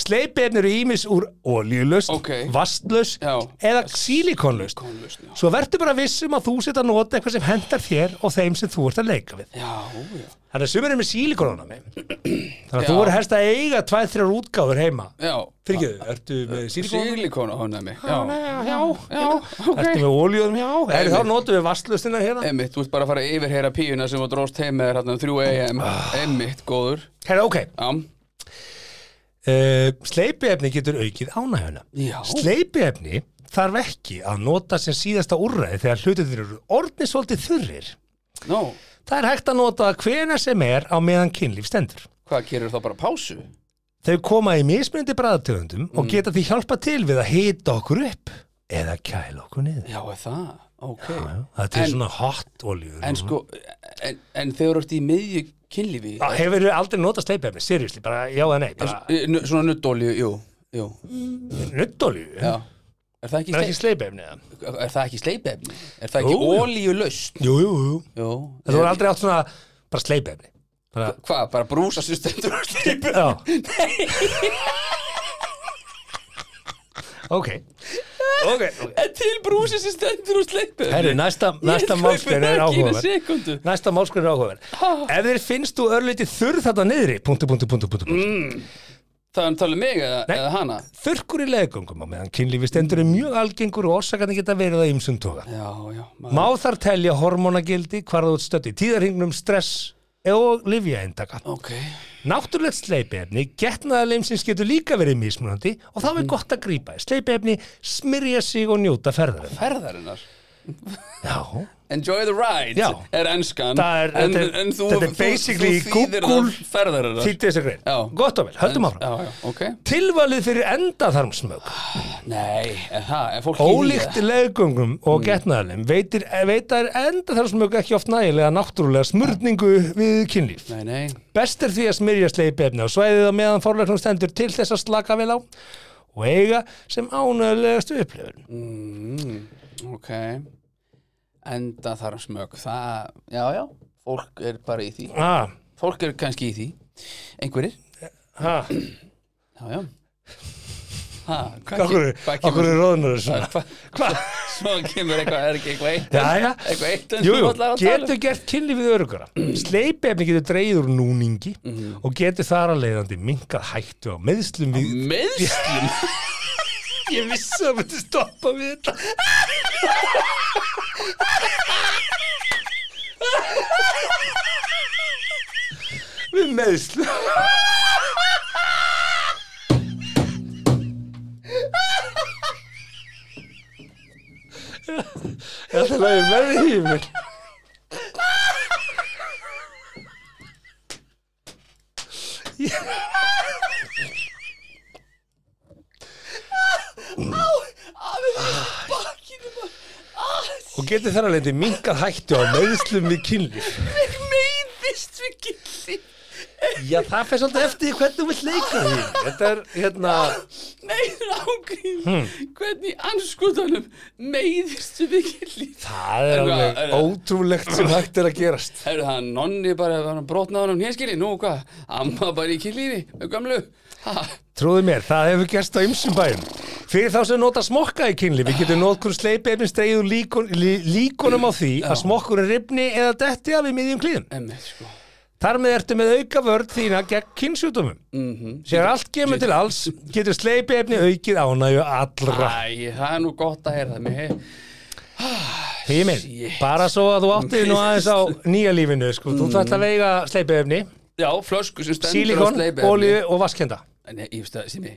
Speaker 1: Sleipiefni eru ímis úr oljulust,
Speaker 3: Ókei.
Speaker 1: vastlaust
Speaker 3: Já.
Speaker 1: eða sílikonlust.
Speaker 3: Sílíkonlaust, já.
Speaker 1: Svo verður bara vissum að þú setja að nota eitthvað sem hendar þér og þeim sem þú ert að leika við.
Speaker 3: Já, já
Speaker 1: Þannig að sumir er með sílikonónami. Þannig að
Speaker 3: Já.
Speaker 1: þú verður helst að eiga tvær, þrjár útgáfur heima.
Speaker 3: Já,
Speaker 1: Fyrir ekki, ertu með sílikonónami?
Speaker 3: sílikon á honami
Speaker 1: Ah. Já,
Speaker 3: Já,
Speaker 1: já,
Speaker 3: já, ok
Speaker 1: Ertu með oljuðum, já. Er,
Speaker 3: Einmitt.
Speaker 1: þá notum við vastlustina hérna.
Speaker 3: Emmitt, þú ert bara að fara að yfirheyra píuna sem var dróst heim með þér hérna um 3 AM
Speaker 1: Ah.
Speaker 3: Emmitt, góður
Speaker 1: Hérna, ok.
Speaker 3: Já,
Speaker 1: Uh, sleipiefni getur aukið ánægjuna.
Speaker 3: já
Speaker 1: Sleipiefni þarf ekki að nota sem síðasta úrræði þegar hlutinir eru orðni svolítið þurrir.
Speaker 3: Nó,
Speaker 1: Það er hægt að nota hvena sem er á meðan kynlíf stendur.
Speaker 3: hvað gerir þá bara pásu?
Speaker 1: Þau koma í mismunandi bræðatöfundum og geta því hjálpa til við að hita okkur upp eða kæla okkur niður.
Speaker 3: Já, er það, ok
Speaker 1: Það er til
Speaker 3: En-
Speaker 1: svona hot oljur.
Speaker 3: En sko, en, en þegar þú ert í miðju kynlífi
Speaker 1: Ah. Hefur þau aldrei notað sleipiefni, seriðsli, bara já eða nei. Bara,
Speaker 3: eh, nu- Svona nuttolju, jú Jú,
Speaker 1: Nuttolíu?
Speaker 3: já Er það ekki,
Speaker 1: Mm. Er
Speaker 3: ekki,
Speaker 1: ekki sleipefni það?
Speaker 3: er það ekki sleipefni? Er það ekki
Speaker 1: Jú, jú.
Speaker 3: ólíulaust?
Speaker 1: Jú, jú, jú.
Speaker 3: Jú
Speaker 1: En þú er aldrei átt svona bara sleipefni? Bara,
Speaker 3: Hvað, bara brúsa sem stendur á sleipefni?
Speaker 1: já. ok. Ok, ok.
Speaker 3: Er til brúsi sem stendur á sleipefni?
Speaker 1: Herri, næsta, næsta málsgrein er áhugaverð. Næsta málskur er áhugaverð Ef þér finnst þú örlítið þurr þarna niðri punktu, punktu, punktu, punktu,
Speaker 3: Mm.
Speaker 1: punktu.
Speaker 3: Það er talað um mig eða,
Speaker 1: Nei.
Speaker 3: eða hana
Speaker 1: Þurrkur í leðgöngum á meðan kynlífi stendur er mjög algengur og orsakandi geta verið að ymsum toga
Speaker 3: Já, já maður-
Speaker 1: Má þar telja hormónagildi hvar þú ert stödd í tíðarhingnum stress og livjaeintaka
Speaker 3: Ok
Speaker 1: Náttúrulegt sleipefni, getnaðarleimsins getur líka verið mismunandi og þá
Speaker 3: Mhm.
Speaker 1: er gott að grípa í sleipefni, smyrja sig og njóta ferðarinn.
Speaker 3: Ferðarinnar
Speaker 1: Já,
Speaker 3: Enjoy the ride
Speaker 1: Já.
Speaker 3: Er enskan
Speaker 1: Það er-
Speaker 3: En,
Speaker 1: þetta er-
Speaker 3: en þú,
Speaker 1: þetta er
Speaker 3: þú,
Speaker 1: basically
Speaker 3: þú þýðir
Speaker 1: Google-
Speaker 3: það Ferðarinnar
Speaker 1: þýtti þessi grein.
Speaker 3: Já.
Speaker 1: Gott og vel, höldum áfram.
Speaker 3: Já, Ah, já, ok
Speaker 1: Tilvalið fyrir endaþarmsmög,
Speaker 3: Nei, er það Er fólk í því
Speaker 1: ólíkt leggöngum og
Speaker 3: Mm.
Speaker 1: getnaðarleim, veitir, veitar endaþarmsmög ekki oft nægilega náttúrulega smurningu við kynlíf.
Speaker 3: Nei, nei
Speaker 1: Best er því að smyrja sleipefni á svæðið á meðan forlöknum stendur til þess að slaka vel á og eiga sem ánægilegastu upplifun.
Speaker 3: Mm, ok Enda þar smög Það, já, já Fólk er bara í því
Speaker 1: Ah,
Speaker 3: Fólk er kannski í því Einhverjir
Speaker 1: ha,
Speaker 3: Já, já Ha, hvað
Speaker 1: okkur,
Speaker 3: kem- hvað
Speaker 1: okkur er róðnur svona.
Speaker 3: Hva-
Speaker 1: Hvað?
Speaker 3: Svo kemur eitthvað, er ekki eitthvað eitt
Speaker 1: Jæja,
Speaker 3: Eitthvað eitt en
Speaker 1: jú,
Speaker 3: þú
Speaker 1: jú,
Speaker 3: allar að tala
Speaker 1: getur
Speaker 3: um. Mm.
Speaker 1: gert kynlífið örugara Sleipefni getur dreigð úr núningi og getur þar að leiðandi minkað hættu á meðslum við
Speaker 3: Meiðslum
Speaker 1: Ég vissi að það myndi stoppa við þetta Við meðslum Ég ætla að leiði með því mér og getur þar að leiðandi minkað hættu á meðslum við kynlíf
Speaker 3: Meiðist við gildi
Speaker 1: Já, það fyrir svolítið eftir því hvernig þú vilt leika því Þetta er, hérna
Speaker 3: Nei, ágrín
Speaker 1: Hmm.
Speaker 3: Hvernig í anskotanum meiðist við gildi
Speaker 1: Það er alveg
Speaker 3: Eitthvað, eitthvað.
Speaker 1: ótrúlegt sem hægt er að gerast
Speaker 3: Er það nonni bara að hann brotnaði hann um hérskinni? Nú hvað, amma bara í kynlífi með gömlu ha,
Speaker 1: Trúðu mér, það hefur gerst á ymsum bæjum Fyrir þá sem nota smokka í kynli Við getum notkur sleipefni streið úr líkon, lí, líkonum á því að smokkurinn ripni eða detti af í miðjum klíðum
Speaker 3: emmi, sko
Speaker 1: Þar með ertu með auka vörð þína gegn kynnsjúdómum
Speaker 3: Mhm.
Speaker 1: Sér allt kemur til alls getur sleipefni aukið ánægju allra
Speaker 3: Æ, það er nú gott að heyra það mér
Speaker 1: Hýmin,
Speaker 3: shit.
Speaker 1: bara svo að þú áttið nú aðeins á nýja lífinu sko. Þú þarft að veiga sleipefni,
Speaker 3: Já, flösku sem stendur
Speaker 1: sílikon,
Speaker 3: sleipi
Speaker 1: olíu og vaskenda
Speaker 3: Nei, ég veist það, Simi,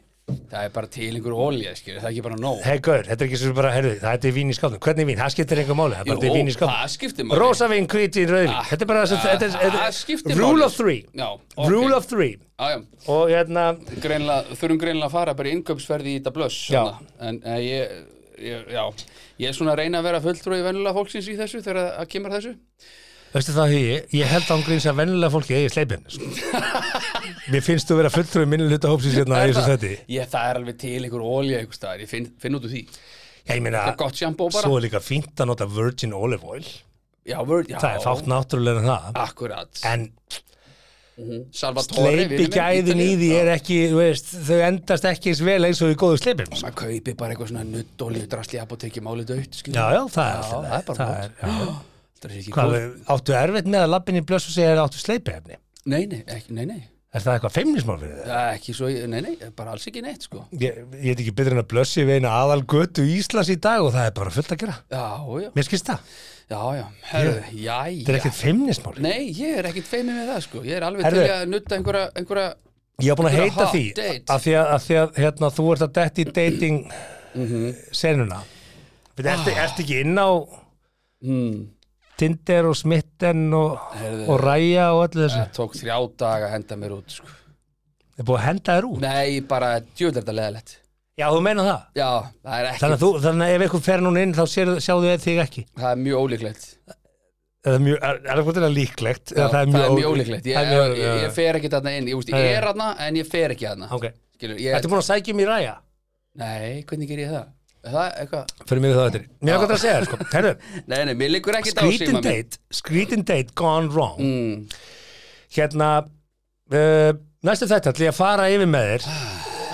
Speaker 3: það er bara til einhver olja, skilur, það er ekki bara nóg
Speaker 1: Hei gaur, þetta er ekki svo bara, herðu, það er vín í skálnum Hvernig vín? Það skiptir einhver máli, það er bara þetta er vín í skálnum
Speaker 3: það skiptir máli
Speaker 1: Rosa vín, hviti, rauðvín
Speaker 3: Ah,
Speaker 1: Þetta er bara þessu,
Speaker 3: ah,
Speaker 1: þetta er, þetta
Speaker 3: það skiptir
Speaker 1: er Rule
Speaker 3: máli.
Speaker 1: of three
Speaker 3: Já, ok.
Speaker 1: Rule of three
Speaker 3: Já, já,
Speaker 1: Og hérna,
Speaker 3: greinlega, þurfum greinlega að fara bara í innkaupsferði í þetta blöss
Speaker 1: Já.
Speaker 3: svona. en eh, ég, ég, já, ég er svona að reyna að vera fulltrúi venjulega fólksins í þessu þegar að- að kemur að þessu
Speaker 1: veistu það hugi Ég held án gríns að vennilega fólki eigi sleipin sko. Mér finnst þú vera fulltrúi minni hluta hópsins hérna í þessu þetta
Speaker 3: Ég, það er alveg til einhver olja einhver staðar, ég finn, finn út úr því
Speaker 1: Já, ég meina,
Speaker 3: Það er gott sjampó bara
Speaker 1: svo er líka fínt að nota virgin olive oil
Speaker 3: já, vörd, já, Ah,
Speaker 1: Það er fátt náttúrulega en það
Speaker 3: Akkurat,
Speaker 1: En
Speaker 3: Salvatore
Speaker 1: sleipi gæðin í því er ekki, þú veist, þau endast ekki eins vel eins og í góðu sleipum sko.
Speaker 3: Maður kaupi bara eitthvað svona nuttolju drasli apotekki málið dögt
Speaker 1: Já, já, það er,
Speaker 3: Já, það er bara
Speaker 1: það er, já.
Speaker 3: Það er ekki
Speaker 1: Hvað,
Speaker 3: góð
Speaker 1: áttu erfitt með að lappin í blöss og segja að áttu sleipefni?
Speaker 3: Nei, nei, ekki, nei, nei
Speaker 1: Er það eitthvað feimnismál fyrir það?
Speaker 3: Það er Ekki svo, nei, nei, bara alls ekki neitt sko
Speaker 1: Ég, ég heit ekki betur en að blössi við eina aðal götu Íslands í dag og það er bara fullt að gera.
Speaker 3: Já, já,
Speaker 1: Mér skilst það.
Speaker 3: já, já, herðu, jæja
Speaker 1: Þetta er ekkert feimnismál.
Speaker 3: Nei, ég er ekkert feimið með það sko Ég er alveg
Speaker 1: Herðu.
Speaker 3: til í að nutta einhverja, einhverja
Speaker 1: Ég hef búin að
Speaker 3: Þetta er
Speaker 1: heita
Speaker 3: hot
Speaker 1: því
Speaker 3: date.
Speaker 1: að því að, að, því að hérna, þú ert að detti í dating Mhm. senuna. Þetta ertu, ertu ekki inn á
Speaker 3: mm,
Speaker 1: Hmm. Tinder og Smitten og,
Speaker 3: Heyrðu.
Speaker 1: og Ræja og öllu þessu.
Speaker 3: Það tók þrjá daga að henda mér út sko
Speaker 1: Það er búin að henda þér út.
Speaker 3: Nei, bara djöðlega þetta leðalegt
Speaker 1: Já, þú meina það.
Speaker 3: Já, það er ekki,
Speaker 1: Þannig að, þú, þannig að ef einhver fer núna inn þá sér, sjáðu þig ekki.
Speaker 3: það er mjög ólíklegt
Speaker 1: Er það mjög, er, er það hvort er það líklegt?
Speaker 3: Já,
Speaker 1: Eða
Speaker 3: það er mjög
Speaker 1: ólí-
Speaker 3: ólíklegt Ég,
Speaker 1: það er mjög-
Speaker 3: ég, ég fer ekki þarna inn, ég, úst,
Speaker 1: Nei,
Speaker 3: ég
Speaker 1: nei.
Speaker 3: er þarna en ég fer ekki þarna
Speaker 1: Ok.
Speaker 3: skilur, ég,
Speaker 1: Þetta er búin að sækja mér í ræja
Speaker 3: nei, hvernig ger ég það? Er það eitthvað?
Speaker 1: Fyrir mig það eftir Mér er hvað að segja, þér, sko, herru
Speaker 3: Nei, nei, mér liggur ekkert á
Speaker 1: Skrítin
Speaker 3: síma mér
Speaker 1: date, skrítin date gone wrong
Speaker 3: mm,
Speaker 1: Hérna uh, Næstu þetta ætla ég að fara yfir með þér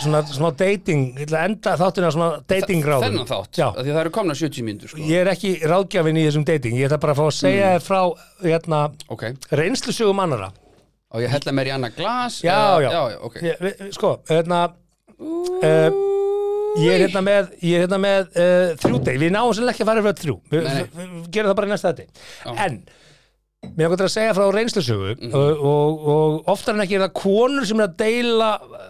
Speaker 1: Svona, svona dating, ég ætla að enda þáttina svona dating ráðum
Speaker 3: Þennan þátt,
Speaker 1: Já,
Speaker 3: af því að það eru komna 70 mínútur sko.
Speaker 1: ég er ekki ráðgjafin í þessum dating Ég ætla bara að fá að segja þér frá hérna,
Speaker 3: Ok,
Speaker 1: reynslusugum annara
Speaker 3: og ég hella mér í annað glas
Speaker 1: Já,
Speaker 3: eða-
Speaker 1: já,
Speaker 3: já, já ok
Speaker 1: Ég- við- við- Sko, hérna uh, Ég er hérna með, ég er hérna með uh, þrjú deg, við náum sérlega ekki að fara yfir öll þrjú við,
Speaker 3: Nei, nei.
Speaker 1: við, við gerum það bara í næsta þetta En, mér er gott að segja frá reynslusögu og, og, og oftar en ekki er það konur sem er að deila uh,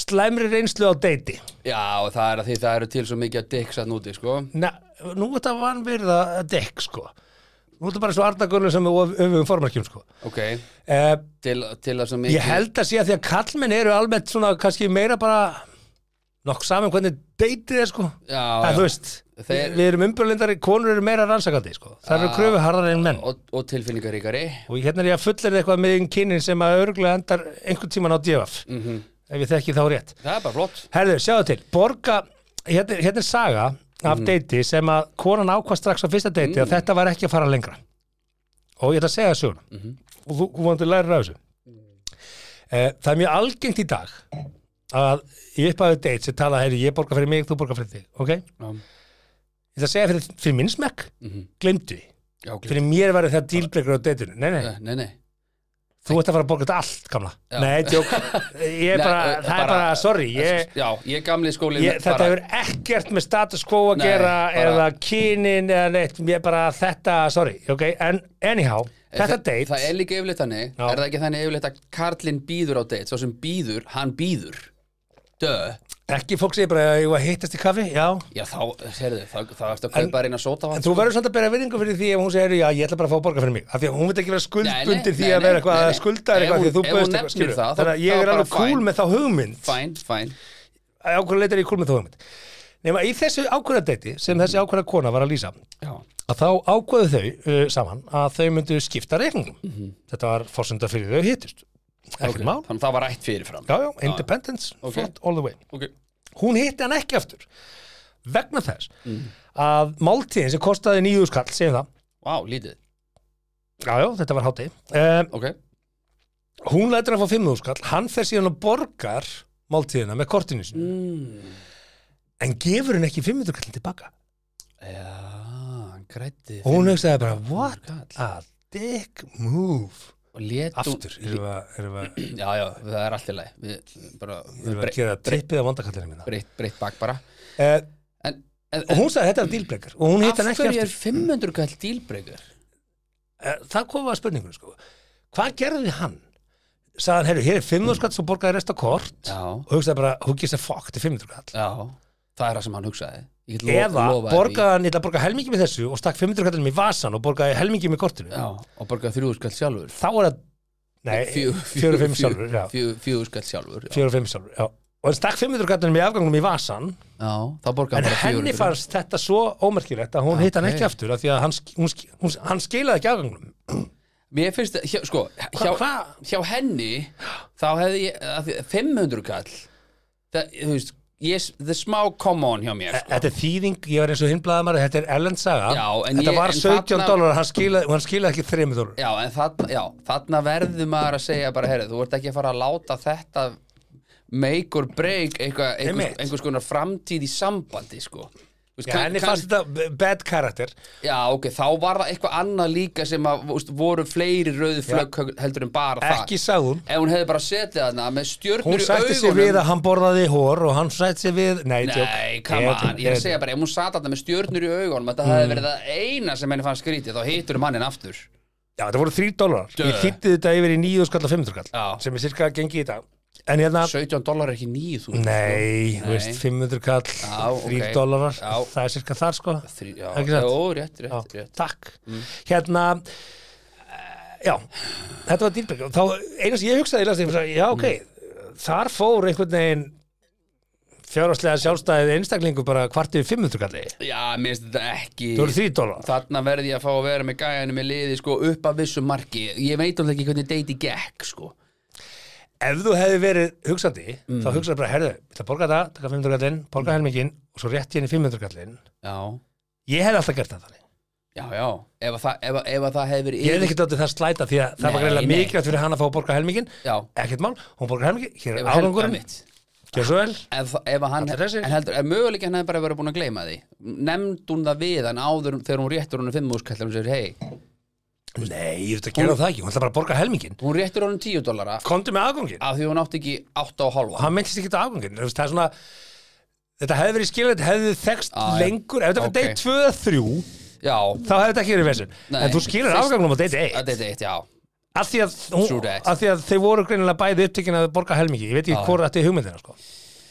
Speaker 1: slæmri reynslu á deiti
Speaker 3: Já, og það er að því það eru til svo mikið að dyksa núti, sko
Speaker 1: Na, Nú er þetta vanvirða dekk, sko Nú er þetta bara svo ardagunum sem við öfum formarkjum, sko
Speaker 3: Ok,
Speaker 1: uh,
Speaker 3: til, til að svo mikið
Speaker 1: Ég held að sé að því að kallmenn eru almennt svona kannski meira bara nokk saman hvernig deytið er sko
Speaker 3: Já,
Speaker 1: að, þú
Speaker 3: já,
Speaker 1: veist,
Speaker 3: Þeir-
Speaker 1: við erum umbjörlindari konur eru meira rannsakandi sko það eru kröfu harðar en menn og,
Speaker 3: og, og tilfinningaríkari
Speaker 1: hérna er ég að fullera eitthvað með einn kynin sem að örgulega endar einhvern tíman á djöfaf ef ég þekki þá rétt
Speaker 3: Það er bara flott
Speaker 1: Herðu, sjáðu til, borga hérna, er- hérna er saga af deiti sem að konan ákvað strax á fyrsta deiti að þetta var ekki að fara lengra og ég ætla að segja það söguna og þú, þú vandur lærir af þessu eh, Það er mjög algengt í dag að ég upphafið deit sem tala, heyrðu, ég borga fyrir mig, þú borga fyrir þig ok?
Speaker 3: Já.
Speaker 1: Ég ætla að segja fyrir, fyrir minn smekk mm -hmm. glemdu,
Speaker 3: Já, ok Eh,
Speaker 1: fyrir mér verður það dílbrekur á deitinu, nei, nei,
Speaker 3: Nei, nei
Speaker 1: þú ert að fara að borga þetta allt, gamla Nei, tjók, ég er
Speaker 3: Nei,
Speaker 1: bara,
Speaker 3: eh,
Speaker 1: það er bara, sorry ég,
Speaker 3: Já, ég gamli skólinn
Speaker 1: ég, þetta
Speaker 3: bara-
Speaker 1: hefur ekkert með status quo að
Speaker 3: Nei,
Speaker 1: gera
Speaker 3: bara-
Speaker 1: eða kynin eða neitt, ég bara þetta sorry, ok, en anyhow þetta
Speaker 3: Eh, Það-
Speaker 1: date,
Speaker 3: Það er líka yfirleitt þannig,
Speaker 1: Já.
Speaker 3: er það ekki þannig yfirleitt að Karlinn býður á date, svo sem býður, hann býður Dö,
Speaker 1: ekki fólk segir bara að ég var hittast í kaffi, já
Speaker 3: já þá, herðu, það, það ertu að kaupa reyna sóta sko.
Speaker 1: en þú verður samt að bera virðingu fyrir því ef hún segir já, ég ætla bara að fá að borga fyrir mig af því að hún veit ekki vera skuldbundir því að vera eitthvað að skulda er eitthvað af því að þú
Speaker 3: Ef hún- ef hún
Speaker 1: bauðst
Speaker 3: nefnir
Speaker 1: eitthvað, skilur
Speaker 3: það, þá-
Speaker 1: þannig að
Speaker 3: þá
Speaker 1: ég er
Speaker 3: bara
Speaker 1: alveg cool
Speaker 3: fine.
Speaker 1: með þá hugmynd
Speaker 3: Fæn, fæn
Speaker 1: ákveður leitar ég cool með þá hugmynd nema í þessu ákveða deiti sem þessi ákveða kona var að lýsa
Speaker 3: Já,
Speaker 1: að þá ákveðu þau uh, saman að þau myndu skipta reikningum þetta var forsenda fyrir þau hittust Mhm. ekkert
Speaker 3: ok.
Speaker 1: mál,
Speaker 3: Þannig að það var rætt fyrirfram
Speaker 1: já já, independence flott all the way,
Speaker 3: Ok,
Speaker 1: hún hitti hann ekki aftur vegna þess að máltíðin sem kostaði nýju skall segjum það,
Speaker 3: vá, lítið
Speaker 1: já já, þetta var hátíð um,
Speaker 3: Ok,
Speaker 1: hún lætur að fá 5.000 skall, hann fer síðan og borgar máltíðina með kortinu sinu Mm. en gefur hann ekki 500 kallin tilbaka
Speaker 3: já, hann grætti
Speaker 1: og hún hugsaði bara, what
Speaker 3: kall.
Speaker 1: a dick move
Speaker 3: Og létt
Speaker 1: aftur, erum við, að- erum við að-
Speaker 3: Já, já, það er allt í lagi Við bara,
Speaker 1: Við erum að
Speaker 3: breytt,
Speaker 1: gera trippið á vandakallinu mína
Speaker 3: breytt, breytt bak bara
Speaker 1: eh,
Speaker 3: En, en,
Speaker 1: Og
Speaker 3: en
Speaker 1: hún sagði þetta er dílbrekkar Og hún hitt hann
Speaker 3: af
Speaker 1: ekki
Speaker 3: hverju er
Speaker 1: aftur
Speaker 3: 500 kall dílbreykur?
Speaker 1: eh, Það kom að spurningunum sko Hvað gerði hann? Sagði hann, herru, hér er 500 skatt Svo borgaði resta kort
Speaker 3: Já,
Speaker 1: Og hugsaði bara, who gives a fuck til 500 skatt
Speaker 3: já, það er það sem hann hugsaði Ég get lo-
Speaker 1: Eða
Speaker 3: lofað því.
Speaker 1: borgaði hann, ég ætla að borga helmingi með þessu Og stakk 500 skattinum í vasan og borgaði helmingi með kortinu
Speaker 3: Já, og borgaði þrjú skall sjálfur
Speaker 1: Þá er það, nei,
Speaker 3: Fjö-
Speaker 1: fjögur og fimm
Speaker 3: fjö-
Speaker 1: sjálfur já.
Speaker 3: fjö- Fjögur skall sjálfur já.
Speaker 1: Fjögur og fimm sjálfur, já Og hann stakk 500 skattinum í afgangnum í vasan
Speaker 3: já, þá borgaði
Speaker 1: En
Speaker 3: bara
Speaker 1: henni
Speaker 3: 400.
Speaker 1: fannst þetta svo ómerkilegt að hún hitt hann
Speaker 3: Ok.
Speaker 1: ekki aftur af því að hann, sk- hún, sk- hún, hann skilaði ekki afgangnum
Speaker 3: Mér finnst, það- hjá, sko hjá,
Speaker 1: hva?
Speaker 3: hjá henni þá hefði ég, að því- 500 kall það, þú veist yes, the smá come on hjá mér sko.
Speaker 1: Þetta er þýðing, ég var eins og hinblaðamar þetta er Ellen Saga,
Speaker 3: Já, en
Speaker 1: þetta
Speaker 3: ég-
Speaker 1: var
Speaker 3: en
Speaker 1: 17
Speaker 3: þarna-
Speaker 1: dólar hann skilaði, og hann skilaði ekki 3 dólar
Speaker 3: Já, en þarna, já, þarna verður maður að segja bara, herri, þú ert ekki að fara að láta þetta make or break eitthvað, einhvers,
Speaker 1: Einmitt.
Speaker 3: einhvers konar framtíð í sambandi, sko Þú veist,
Speaker 1: Já,
Speaker 3: kann-
Speaker 1: henni
Speaker 3: kann-
Speaker 1: fannst þetta b- bad character
Speaker 3: já, ok, þá var það eitthvað annað líka sem að, þú veist, voru fleiri rauðu flögg heldur en bara
Speaker 1: ekki
Speaker 3: það
Speaker 1: sagði hún,
Speaker 3: Ef hún hefði bara setið þarna með stjörnur
Speaker 1: hún
Speaker 3: í
Speaker 1: sætti sig
Speaker 3: augunum-
Speaker 1: við að hann borðaði hór og hann sætti sig við, nei, tjók
Speaker 3: Nei, come on, ég er að segja bara, ef hún sat þarna með stjörnur í augunum að það
Speaker 1: Mm.
Speaker 3: hefði verið það eina sem henni fann skrítið, þá hittur um mannin aftur
Speaker 1: Já, þetta voru 3 dólar,
Speaker 3: Dö.
Speaker 1: ég þýtti þetta yfir í 9 skall og 5 skall,
Speaker 3: Já.
Speaker 1: sem er cirka gengið í dag en hérna,
Speaker 3: 17 dólar er ekki 9.000
Speaker 1: nei, þú veist 500 kall, 3
Speaker 3: ok.
Speaker 1: dólarar
Speaker 3: Já.
Speaker 1: það er cirka þar sko
Speaker 3: Þrý, já,
Speaker 1: Ekki satt?
Speaker 3: Jó, rétt,
Speaker 1: Já,
Speaker 3: rétt, rétt
Speaker 1: takk hérna eh, já, þetta var dýrbygg þá eina sem ég hugsaði, ég las þetta, ég hugsaði, já ok þar fór einhvern veginn fjárhagslega sjálfstæðið einstaklingu bara kvart yfir 500 kalli
Speaker 3: Já, mér finnst þetta ekki
Speaker 1: þú eru 3 dólar
Speaker 3: Þarna verði ég að fá að vera með gæjanum með liði sko, upp af vissu marki Ég veit alveg ekki hvernig deiti gekk sko.
Speaker 1: ef þú hefði verið hugsandi þá hugsaði bara, herðu, ég ætla að borga það taka 500 kallinn, borga helminginn og svo rétt ég henni 500 kallinn
Speaker 3: já,
Speaker 1: ég hefði alltaf gert það þannig
Speaker 3: já, já ef að það, ef, að- ef að það hefði verið
Speaker 1: ég hefði ekkert áttið það slæta því að það var
Speaker 3: Nei,
Speaker 1: greiðlega
Speaker 3: nei.
Speaker 1: mikilvægt fyrir hann að fá að borga helminginn
Speaker 3: já,
Speaker 1: ekkert mál, hún borgar helminginn, hér
Speaker 3: ef
Speaker 1: er
Speaker 3: að
Speaker 1: árangurinn
Speaker 3: mitt
Speaker 1: gjör svo vel,
Speaker 3: ef, ef að hann,
Speaker 1: Allir þessir.
Speaker 3: en heldur, ef möguleik hann hefði bara verið búin að gleyma því nefnd hún það við hann áður en- þegar hún réttur honum fimm úrskall hún segir, hei,
Speaker 1: nei, ég veit að gera það ekki hún ætla bara að borga helminginn,
Speaker 3: hún réttur honum tíu dollara
Speaker 1: komdu með afganginn
Speaker 3: af því hún átti ekki átta og
Speaker 1: og
Speaker 3: halva
Speaker 1: hann myndist ekki á afganginn Þú veist, það er svona þetta hefði verið skilvægt, hefði þekst
Speaker 3: Já, já.
Speaker 1: lengur ef þetta var
Speaker 3: Ok.
Speaker 1: date 2 eða 3
Speaker 3: já,
Speaker 1: þá hefði þetta ekki verið vesinn
Speaker 3: Nei.
Speaker 1: en þú skilur
Speaker 3: Fyrst-
Speaker 1: afgangnum á date
Speaker 3: að
Speaker 1: 1
Speaker 3: þetta er eitt, já
Speaker 1: af því að, hún,
Speaker 3: True that.
Speaker 1: af því að þeir voru greinilega bæði upptekin að borga helmingi ég veit ekki hvort þetta er hugmyndina sko.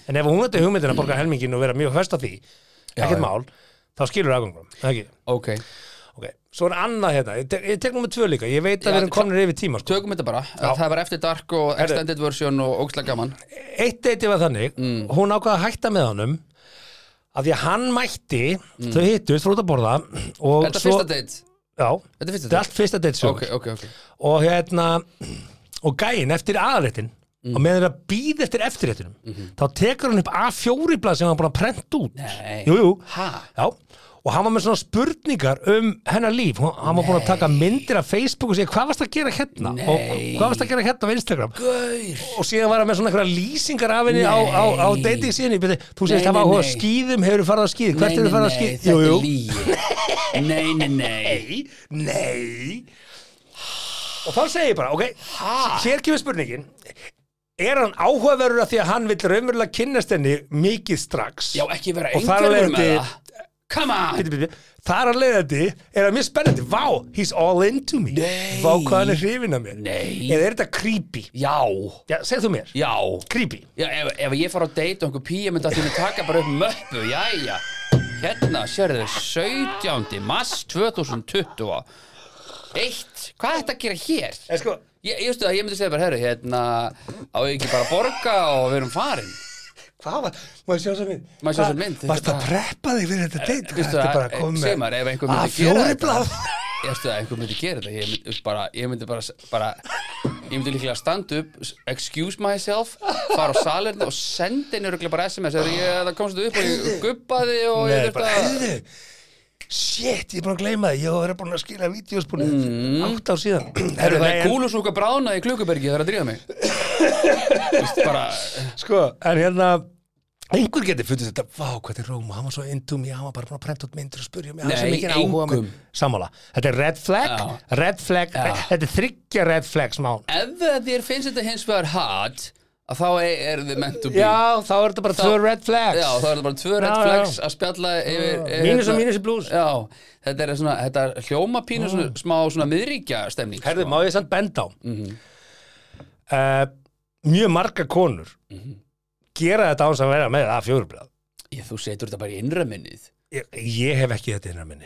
Speaker 1: en ef hún þetta er hugmyndina að borga helmingin og vera mjög höst af því
Speaker 3: já.
Speaker 1: ekkert mál, þá skilur afgangnum ekki
Speaker 3: ok,
Speaker 1: Ok, svo er annað hérna, ég tek, ég tek nummer tvö líka, ég veit að
Speaker 3: Já,
Speaker 1: við erum komnir yfir tíma sko.
Speaker 3: tökum þetta bara það var eftir dark og extended version og ógstlega gaman
Speaker 1: Eitt deiti var þannig,
Speaker 3: Mm.
Speaker 1: hún ákvaði að hætta með honum að því að hann mætti, þau hittust, fór út að borða og
Speaker 3: þetta er
Speaker 1: svo,
Speaker 3: fyrsta date,
Speaker 1: já,
Speaker 3: þetta er fyrsta
Speaker 1: þetta er
Speaker 3: date
Speaker 1: allt fyrsta date sögur
Speaker 3: ok, ok, ok,
Speaker 1: og hérna og gæinn eftir aðaréttin
Speaker 3: Mm.
Speaker 1: og meðan það býð eftir eftirréttinum
Speaker 3: Mhm.
Speaker 1: þá tekur hann upp A4 blað sem hann er búin að prenta út
Speaker 3: Nei.
Speaker 1: jú, jú.
Speaker 3: Ha?
Speaker 1: Já. og hann var með svona spurningar um hennar líf, Hún- hann var búin að taka myndir af Facebook og segja hvað varst að gera hérna og hvað varst að gera hérna á Instagram
Speaker 3: gaur
Speaker 1: og síðan var hann með svona einhverja lýsingar af henni á, á, á dating síðan þú segist
Speaker 3: Nei,
Speaker 1: það var
Speaker 3: nei,
Speaker 1: áhuga á
Speaker 3: nei.
Speaker 1: skýðum, hefur farið á skýði hvert
Speaker 3: nei,
Speaker 1: hefur
Speaker 3: nei,
Speaker 1: farið á
Speaker 3: nei,
Speaker 1: skýði
Speaker 3: þetta er líi nei, nei, nei
Speaker 1: Nei, nei Og þá segi ég bara, ok Hér kemur spurningin Er hann áhugaverður af því að hann vill raunverulega kynnast henni mikið strax
Speaker 3: já, ekki vera
Speaker 1: Og þar af
Speaker 3: einhverjum með
Speaker 1: leiðandi-
Speaker 3: það come on
Speaker 1: Bíddu, bíddu. Þar að leiðandi er það mjög spennandi Vá, he's all into me
Speaker 3: Nei.
Speaker 1: Vá, hvað hann er hrifin af mér
Speaker 3: Nei.
Speaker 1: Eða er þetta creepy?
Speaker 3: já,
Speaker 1: Já, segð þú mér
Speaker 3: já
Speaker 1: Creepy
Speaker 3: Já, ef, ef ég fara á date og einhver píja myndi að þínu taka bara upp möppu, jæja Hérna, sérðu, 17. mass 2020 Eitt, hvað er þetta að gera hér?
Speaker 1: En sko,
Speaker 3: Ég, ég veistu að ég myndi segja bara, herru, hérna á ég ekki bara að borga og við erum farin
Speaker 1: hvað var, maður sjá svo mynd
Speaker 3: Má ég sjá þessa mynd?
Speaker 1: Varst það að preppa þig fyrir þetta date? Hvað
Speaker 3: veistu
Speaker 1: ertu
Speaker 3: það,
Speaker 1: bara að
Speaker 3: eh,
Speaker 1: koma
Speaker 3: segðu maður, ef einhver myndi
Speaker 1: að
Speaker 3: gera þetta.
Speaker 1: fjóriblað
Speaker 3: Ég veistu að einhver myndi gera þetta Ég myndi bara, ég myndi bara, bara ég myndi líklega standa upp excuse myself, fara á salerni og senda henni örugglega bara SMS þegar ég, það komst upp og ég guppaði og
Speaker 1: Nei,
Speaker 3: ég
Speaker 1: bara,
Speaker 3: að
Speaker 1: heyrðu Shit, ég er búin að gleyma það Ég hef verið búin að skila vídeospúlið mm. Átt á síðan
Speaker 3: Herru, það
Speaker 1: nei,
Speaker 3: er
Speaker 1: en-
Speaker 3: kúlusúka bráðna í Klukubergi þegar að drífa mig Vist, bara,
Speaker 1: Sko, en hérna Einhver getur fundið þetta, vá, hvað þetta er Róma Hann var svo indum, já, hann var bara búin að prenta út myndir og spurja mig hann
Speaker 3: Nei,
Speaker 1: sem mikið áhuga á
Speaker 3: engum.
Speaker 1: mig. Sammála, þetta er red flag
Speaker 3: Já.
Speaker 1: Red flag, þetta er þryggja red flags mál
Speaker 3: Ef að þér finnst þetta hins vegar hard að þá er- eru þið meant to be
Speaker 1: Já, þá er þetta bara
Speaker 3: Þá-
Speaker 1: tvö red flags
Speaker 3: Já, þá er þetta bara tvö red
Speaker 1: Já, já.
Speaker 3: flags að spjalla yfir eh,
Speaker 1: Mínus og
Speaker 3: hérna-
Speaker 1: mínus í blús.
Speaker 3: Já, þetta er svona, þetta er hljóma pínu svona, smá svona miðríkja stemning
Speaker 1: Ah.
Speaker 3: sko.
Speaker 1: Herðu, má ég samt benda á
Speaker 3: Mhm.
Speaker 1: uh, Mjög marga konur
Speaker 3: Mhm.
Speaker 1: gera þetta á hans að vera með að fjórublað
Speaker 3: ég, Þú setur þetta bara í innra minnið
Speaker 1: ég, ég hef ekki þetta innan minni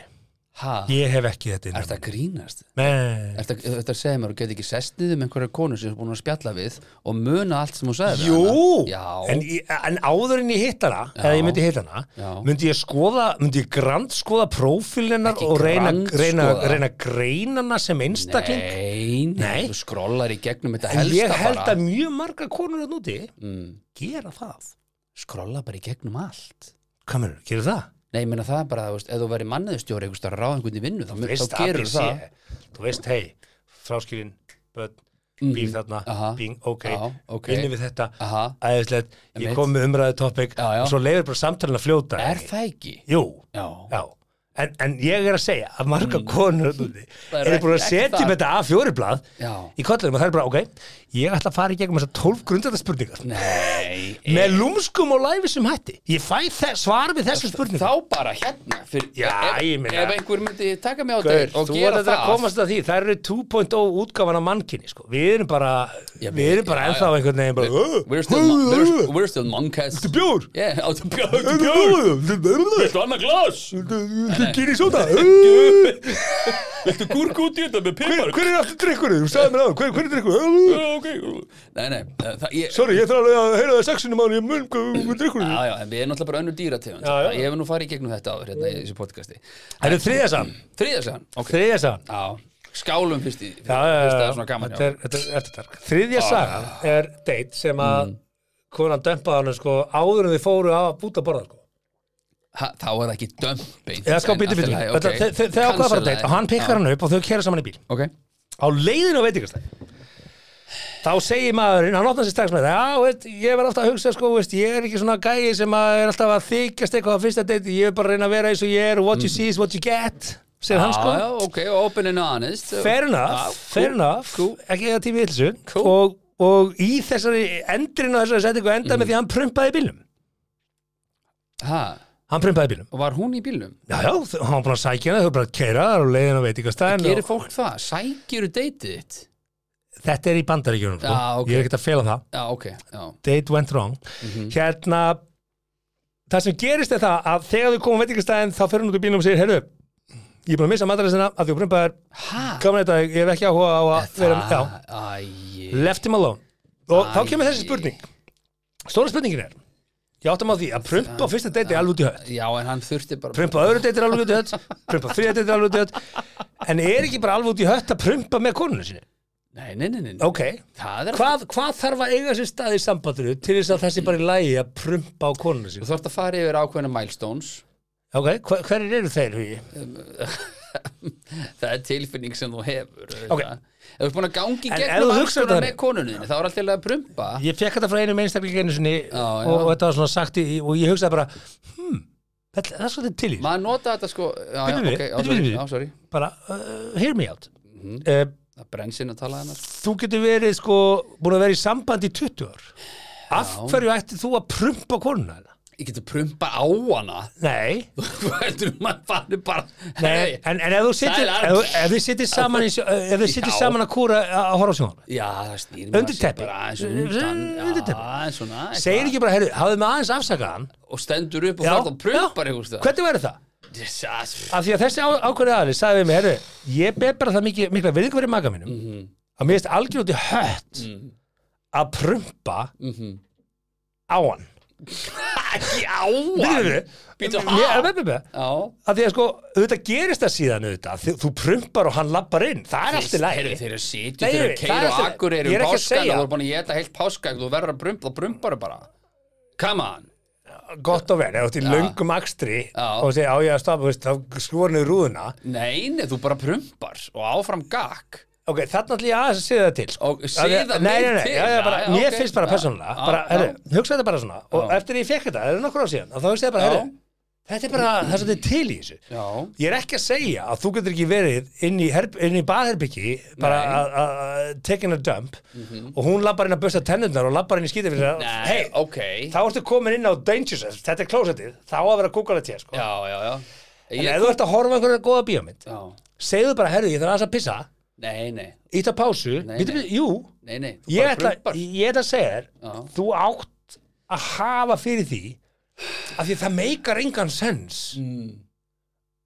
Speaker 3: Ha,
Speaker 1: Ég hef ekki þetta
Speaker 3: er
Speaker 1: innan
Speaker 3: þetta að grínast?
Speaker 1: minni
Speaker 3: Er þetta að segja mér og geti ekki sest niður með einhverja konu sem er búin að spjalla við og muna allt sem hún sagði við
Speaker 1: Jú,
Speaker 3: hana? Já,
Speaker 1: en, ég- en áður en ég hitt hana eða ég myndi hitt hana
Speaker 3: Já.
Speaker 1: myndi ég skoða, myndi ég grand skoða prófílinnar
Speaker 3: Ekki
Speaker 1: og reyna,
Speaker 3: grandskoða.
Speaker 1: reyna, reyna greinana sem einstakling
Speaker 3: Nei,
Speaker 1: Nei.
Speaker 3: nei, þú skrollar í gegnum þetta
Speaker 1: en
Speaker 3: helsta
Speaker 1: ég held
Speaker 3: bara
Speaker 1: að mjög marga konur að núti gera það
Speaker 3: Skrolla bara í gegnum allt
Speaker 1: Hvað mennur, gerir það?
Speaker 3: Nei, ég meina það er bara, þú veist, ef þú væri manniðustjóri einhvers staðar að ráða einhvern í vinnu, þá,
Speaker 1: Veist
Speaker 3: þá gerur
Speaker 1: ABC.
Speaker 3: það Mm.
Speaker 1: Þú veist, hei, fráskilin börn, býr þarna
Speaker 3: Aha.
Speaker 1: bing, ok,
Speaker 3: Já, ok.
Speaker 1: inni við þetta
Speaker 3: Aha,
Speaker 1: æðislegt, ég
Speaker 3: Einmitt.
Speaker 1: kom með umræðu topic
Speaker 3: Já, já.
Speaker 1: og svo leiður bara samtalen að fljóta
Speaker 3: er það ekki?
Speaker 1: Jú,
Speaker 3: Já,
Speaker 1: Já, en, en ég er að segja að marga konur núti
Speaker 3: Það er
Speaker 1: eru búin að
Speaker 3: ekki- ekki
Speaker 1: setja
Speaker 3: það.
Speaker 1: með þetta A4 blað
Speaker 3: Já.
Speaker 1: í kollinum og það er bara, ok, ég ætla að fara í gegnum þessar 12 grundarðarspurningar
Speaker 3: Nei,
Speaker 1: með lúmskum og læfisum hætti ég fæ þess, svar við þessum
Speaker 3: þá
Speaker 1: spurningum
Speaker 3: bara hérna fyrir,
Speaker 1: Já,
Speaker 3: ef,
Speaker 1: ég meina-
Speaker 3: ef einhver myndi taka mig á
Speaker 1: Gaur,
Speaker 3: dörr og
Speaker 1: þú
Speaker 3: gera
Speaker 1: ert að
Speaker 3: það
Speaker 1: komast að því, það eru 2.0 útgáfan af mannkinni, sko, við erum bara
Speaker 3: Ég
Speaker 1: við erum bara
Speaker 3: já,
Speaker 1: ennþá
Speaker 3: já.
Speaker 1: einhvern veginn bara,
Speaker 3: We're still, mon- we're, we're still monkeys Þetta
Speaker 1: bjór
Speaker 3: Yeah, á þetta bjór, þetta bjór
Speaker 1: bjór
Speaker 6: Viltu annað glas?
Speaker 1: Gini sóta Hver
Speaker 6: Viltu gúrk út í þetta með pipar?
Speaker 1: hver er aftur drikkurinn? Þú sagði mér á, hver hver er drikkurinn?
Speaker 6: Ok,
Speaker 3: Nei, nei, það, ég,
Speaker 1: Sorry, ég þarf alveg að heyra það sexinu mánu, ég mun hvað hvað drikkurinn
Speaker 3: Já, já, en við erum náttúrulega bara önnur dýrategund
Speaker 1: Já, já.
Speaker 3: Ég hef nú farið í gegnum þetta áður hérna í þessu podcasti
Speaker 1: Það eru þriðasagan
Speaker 3: Þriðarslegan
Speaker 1: Þriðasagan
Speaker 3: Já, skálum fyrst í fyrst
Speaker 1: Já, já, já,
Speaker 3: að
Speaker 1: já.
Speaker 3: svona gaman Ah,
Speaker 1: þetta er, þetta er, þetta er dark. Þriðja saga er date sem að
Speaker 3: Mm.
Speaker 1: konan dömpaði hann sko áður en þið fóru að búta borða sko.
Speaker 3: ha, Þá er það ekki dömpin
Speaker 1: Eða sko, býti, býti, þeir þeir ákvaða að fara að date og hann pikkar hann upp og þau kæra saman í bíl.
Speaker 3: Ok,
Speaker 1: Á leiðinu á veitingastæð. Þá segir maðurinn, hann opnar sér strax með það, já, veit, ég verð alltaf að hugsa, sko, veist, ég er ekki svona gæi sem að er alltaf að þykjast eitthvað á fyrsta date, ég er bara að reyna að vera eins og ég er, what you see is what you get, segir hann, sko.
Speaker 3: Já, Mm. já, ok, open and honest
Speaker 1: fair enough, fair enough ekki eða tími yllsu
Speaker 3: Cool.
Speaker 1: og, og í þessari endurinn á þessari settingu endaði
Speaker 3: Mm.
Speaker 1: með því að hann prumpaði í bílnum
Speaker 3: Ha,
Speaker 1: hann prumpaði í bílnum
Speaker 3: og var hún í bílnum?
Speaker 1: já, já, þau- hann var búin að sækja hana, þau voru bara að keira þar og leiðin á veitingastæðin
Speaker 3: Gerir
Speaker 1: og
Speaker 3: fólk það? Sækjur deitið þitt?
Speaker 1: þetta er í bandaríkjunum sko.
Speaker 3: Já, ok. Mhm.
Speaker 1: ég er ekkert að fela það,
Speaker 3: Já, ok, já
Speaker 1: date went wrong hérna það sem gerist er það að þegar þau komum á veitingastæðin þá fer hún út í bílnum og segir, heyrðu ég er búin að missa mataræsina að því að prumpaði
Speaker 3: Ha,
Speaker 1: gaman þetta, ég hef ekki áhuga á að vera já,
Speaker 3: Ah, Æ,
Speaker 1: left him alone og þá
Speaker 3: Æ.
Speaker 1: kemur þessi spurning stóra spurningin er ég áttum á því að prumpa á fyrsta deiti er alveg út í höll
Speaker 3: já, en hann þurfti bara
Speaker 1: prumpa á öðru deiti er alveg út í höll prumpa á þriða deiti er alveg út í höll en er ekki bara alveg út í höll að prumpa með konunni sinni
Speaker 3: Nei, nei, nei, nei
Speaker 1: ok,
Speaker 3: Það er
Speaker 1: hvað, hvað þarf að eiga sér stað í sambandinu til þess að þessi bara í lægi að prumpa á konunni
Speaker 3: Þú
Speaker 1: sinni
Speaker 3: þarft að fara yfir ákveðna milestones
Speaker 1: ok, hver, hverjir eru þeir hugi?
Speaker 3: Það er tilfinning sem þú hefur
Speaker 1: Ok.
Speaker 3: auðvitað. Ef þú ert búin að gangi
Speaker 1: En ef
Speaker 3: gegnum
Speaker 1: þú
Speaker 3: alls
Speaker 1: hugsar
Speaker 3: konar
Speaker 1: þetta
Speaker 3: með konunni þá er alltaf að prumpa
Speaker 1: ég fekk þetta frá einum einstakling einu sinni
Speaker 3: já.
Speaker 1: og, og þetta var svona sagt í, og ég hugsaði bara hmm, það, það er svolítið til í þessu.
Speaker 3: Maður nota þetta sko já, já,
Speaker 1: Bíddu,
Speaker 3: ok, já,
Speaker 1: bíddu,
Speaker 3: sorry,
Speaker 1: bíddu.
Speaker 3: já, sorry.
Speaker 1: bara, uh, hear me out uh,
Speaker 3: Það brenns inn að tala hennar
Speaker 1: þú getur verið sko búin að vera í sambandi í 20 ár af hverju ætti þú að prumpa konuna hana?
Speaker 3: Ég getur prumpa á hana
Speaker 1: Nei,
Speaker 3: Þú heldur um maður fannir bara
Speaker 1: nei en, en ef þú sittir
Speaker 3: Sæl,
Speaker 1: ef, ef þið sittir saman, í, sjó- ef þið sittir
Speaker 3: Já.
Speaker 1: saman að kúra uh, að horfa á sjónum
Speaker 3: Já, það snýr
Speaker 1: Undir
Speaker 3: sér
Speaker 1: teppi.
Speaker 3: bara aðeins undan já,
Speaker 1: Undir teppi.
Speaker 3: aðeins svona, eitthvað.
Speaker 1: segir ekki bara, heyrðu, hafðu mig aðeins afsakaðan
Speaker 3: Og stendur upp og
Speaker 1: Já,
Speaker 3: þarf að prumpa
Speaker 1: já.
Speaker 3: einhvers staðar.
Speaker 1: hvernig væri það?
Speaker 3: Jesus.
Speaker 1: af því að þessi á- ákveðni aðli sagði við mig, heyrðu ég ber bara það mikið, mikla virðingu verið maga mínum
Speaker 3: Mhm.
Speaker 1: að mér finnst algjörn út í hött að prumpa
Speaker 3: Mhm.
Speaker 1: á hann
Speaker 3: Já,
Speaker 1: Bíddu,
Speaker 3: Bíddu,
Speaker 1: bíddu.
Speaker 3: ha?
Speaker 1: Mér- eh, bíddu, bíddu.
Speaker 3: já
Speaker 1: að því að sko, auðvitað gerist það síðan auðvitað, þú, þú prumpar og hann lappar inn það er allt í
Speaker 3: Heyrðu,
Speaker 1: læri
Speaker 3: Þeir eru sitjum,
Speaker 1: Nei,
Speaker 3: þeir
Speaker 1: nei,
Speaker 3: eru
Speaker 1: það er
Speaker 3: keir og
Speaker 1: allt í lagi.
Speaker 3: akkur
Speaker 1: Ég
Speaker 3: eru
Speaker 1: er ekki að
Speaker 3: páskana
Speaker 1: segja.
Speaker 3: Þú er búin að geta heilt páska ef Þú verður að brumpa, þá brumpar bara Come on
Speaker 1: gott og vel, ef þú ert í löngum akstri
Speaker 3: Já.
Speaker 1: og segir á ég að stoppa, veist, þá skrúar niður rúðuna
Speaker 3: Nei, nei, þú bara brumpar og áfram gakk
Speaker 1: ok, þarna ætlum ég aðeins að siða það til sko.
Speaker 3: Og siða
Speaker 1: nei, nei,
Speaker 3: mig
Speaker 1: nei,
Speaker 3: til,
Speaker 1: já, já, bara,
Speaker 3: já,
Speaker 1: mér
Speaker 3: ok.
Speaker 1: finnst bara
Speaker 3: Já,
Speaker 1: persónulega
Speaker 3: já,
Speaker 1: bara,
Speaker 3: já.
Speaker 1: herru, hugsa þetta bara svona og
Speaker 3: Já.
Speaker 1: eftir ég fekk þetta, það eru nokkur á síðan og þá hugsa ég bara,
Speaker 3: Já.
Speaker 1: herru, þetta er bara það er svolítið til í þessu
Speaker 3: Já,
Speaker 1: Ég er ekki að segja að þú getur ekki verið inn í, herb, inn í baðherbyggi bara
Speaker 3: Nei. Mhm.
Speaker 1: að- að að- taking a dump og hún lappar inn að busta tennurnar og lappar inn í skítið fyrir það
Speaker 3: Nei,
Speaker 1: hey,
Speaker 3: ok.
Speaker 1: þá ertu komin inn á danger zone, þetta er klósettið þá á að vera kúkalegt hér sko
Speaker 3: já, já, já.
Speaker 1: en
Speaker 3: Ég-
Speaker 1: ef þú ert að horfa á einhverja góða bíómynd
Speaker 3: já.
Speaker 1: segðu bara, herðu, ég þarf aðeins að pissa
Speaker 3: Nei, nei,
Speaker 1: ít að pásu,
Speaker 3: Nei,
Speaker 1: Bíddu,
Speaker 3: nei.
Speaker 1: bíddu, jú
Speaker 3: nei, nei Þú
Speaker 1: ég
Speaker 3: bara
Speaker 1: ætla,
Speaker 3: brumpar
Speaker 1: ég ætla að segja þér
Speaker 3: Já.
Speaker 1: þú átt að hafa fyrir því af því það meikar engan sens
Speaker 3: Mm.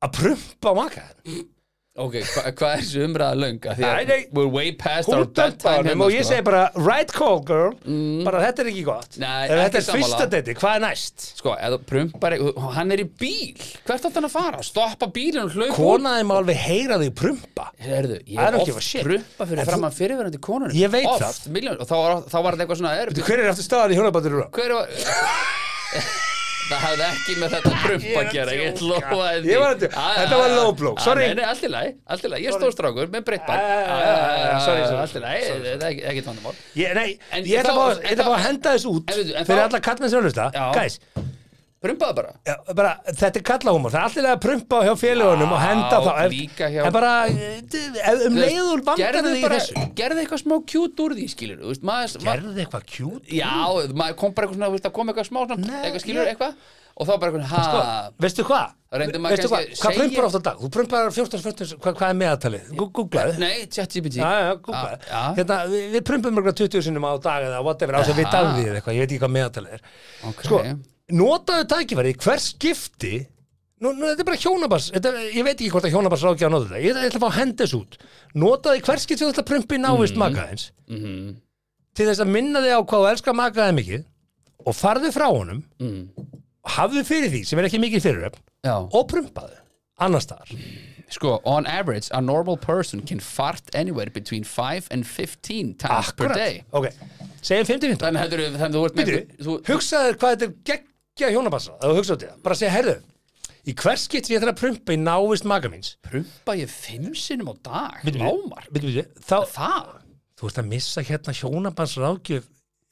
Speaker 1: að prumpa á makaðan
Speaker 3: Ok, hva- hvað er þessu umræða löng? Af því
Speaker 1: Nei,
Speaker 3: að
Speaker 1: nei.
Speaker 3: We're way past our
Speaker 1: hún
Speaker 3: bedtime
Speaker 1: dömpaðanum og ég
Speaker 3: sko. Mm.
Speaker 1: segi bara right call girl, bara þetta er ekki gott
Speaker 3: Nei,
Speaker 1: ef
Speaker 3: ekki
Speaker 1: þetta er
Speaker 3: sammála.
Speaker 1: fyrsta deiti, hvað er næst?
Speaker 3: Sko, eða prumpar, hann er í bíl Hvert átt hann að fara? Stoppa bílinn og hlaupa út?
Speaker 1: konaði maður alveg heyra þig prumpa
Speaker 3: Herðu, ég
Speaker 1: I
Speaker 3: er
Speaker 1: don't give a
Speaker 3: oft
Speaker 1: shit.
Speaker 3: prumpa fyrir
Speaker 1: En þú-
Speaker 3: fram að fyrirverandi konunum
Speaker 1: Ég veit
Speaker 3: oft,
Speaker 1: það.
Speaker 3: Miljón, og þá, var- þá var þetta eitthvað svona er,
Speaker 1: hver er aftur staðan í hjónabandur
Speaker 3: hver var það hafði ekki með þetta prumpa að gera ég lofa Ah,
Speaker 1: Ég var að djóka. Þetta var low blow, sorry.
Speaker 3: nei, nei, allt í lagi, allt í lagi, ég er stórstrákur með breytt barn
Speaker 1: Ah, ah, ah, ah, ah, sorry, sorry,
Speaker 3: allt í lagi,
Speaker 1: sorry,
Speaker 3: það er ekki- ekkert vandamál
Speaker 1: ég, nei,
Speaker 3: En
Speaker 1: ég ætla
Speaker 3: þá-
Speaker 1: bara
Speaker 3: en
Speaker 1: ég ætla
Speaker 3: þá-
Speaker 1: bara að henda þess út
Speaker 3: En veitu, en
Speaker 1: fyrir
Speaker 3: þá-
Speaker 1: alla kallmenn sem hlusta
Speaker 3: Já.
Speaker 1: guys,
Speaker 3: prumpaðu bara
Speaker 1: ja, bara, þetta er kallahúmor það er allir að prumpa hjá félagunum og henda
Speaker 3: Já,
Speaker 1: þá en,
Speaker 3: líka hjá-
Speaker 1: en bara, eh, ef- um leiður vangar
Speaker 3: Gerðu
Speaker 1: þig í
Speaker 3: bara-
Speaker 1: þessu
Speaker 3: gerðu eitthvað smá kjút úr því skilur þú veist, maður, maður
Speaker 1: gerðu þið eitthvað cute
Speaker 3: já, maður kom bara eitthvað svona, þú veist, það kom eitthvað smá svona,
Speaker 1: Nei,
Speaker 3: eitthvað skilur,
Speaker 1: ég-
Speaker 3: eitthvað og þá bara eitthvað,
Speaker 1: Sko,
Speaker 3: ha,
Speaker 1: veistu hvað?
Speaker 3: Ah. Reyndi maður
Speaker 1: Veistu hvað,
Speaker 3: kannski að
Speaker 1: hvað
Speaker 3: segja-
Speaker 1: prumpar oft á dag? Þú prumpar 14, 14, hvað, hvað er meðaltalið? Gú- Googlaðu
Speaker 3: nei, tjátt GPT
Speaker 1: Já, já, gúglaði.
Speaker 3: Já, já.
Speaker 1: Hérna, við, við prumpum mörgla 20 sinnum á dag eða whatever, á þess að við
Speaker 3: Aha.
Speaker 1: dagðið eða eitthvað, ég veit ekki hvað meðaltalið er.
Speaker 3: Ok.
Speaker 1: Sko, notaðu tækifæri, hver skipti, nú, nú þetta er bara hjónabars, þetta, ég veit ekki hvort að hjónabars rákja að nota þetta, ég, ég ætla að fá hendes út. Notaðu hvert skipti sem þú ætla að prumpi návist
Speaker 3: Mhm.
Speaker 1: mm. makaðins, til þess að minna þig á hvað þú elskar makaðið mikið og farðu frá honum, mm. hafðu fyrir því sem er ekki mikið fyriröfn
Speaker 3: Mhm. já,
Speaker 1: og prumpaðu, annar staðar.
Speaker 3: Sko, on average, a normal person can fart anywhere between 5 and 15 times per day
Speaker 1: ok, segjum 50-50
Speaker 3: Þannig heldur við, þannig þú ert með
Speaker 1: Býtu,
Speaker 3: þú-
Speaker 1: hugsaðu þér hvað þetta er geggja hjónabassa Það þú hugsaðu þetta, bara segja, herðu Í hvers getur ég ætla að prumpa í návist maga míns
Speaker 3: Prumpa ég fimm sinnum á dag
Speaker 1: Bíddu, bíddu,
Speaker 3: Lámar
Speaker 1: bíddu, bíddu, þá,
Speaker 3: Það
Speaker 1: Þú ert að missa hérna hjónabass ráðgjöf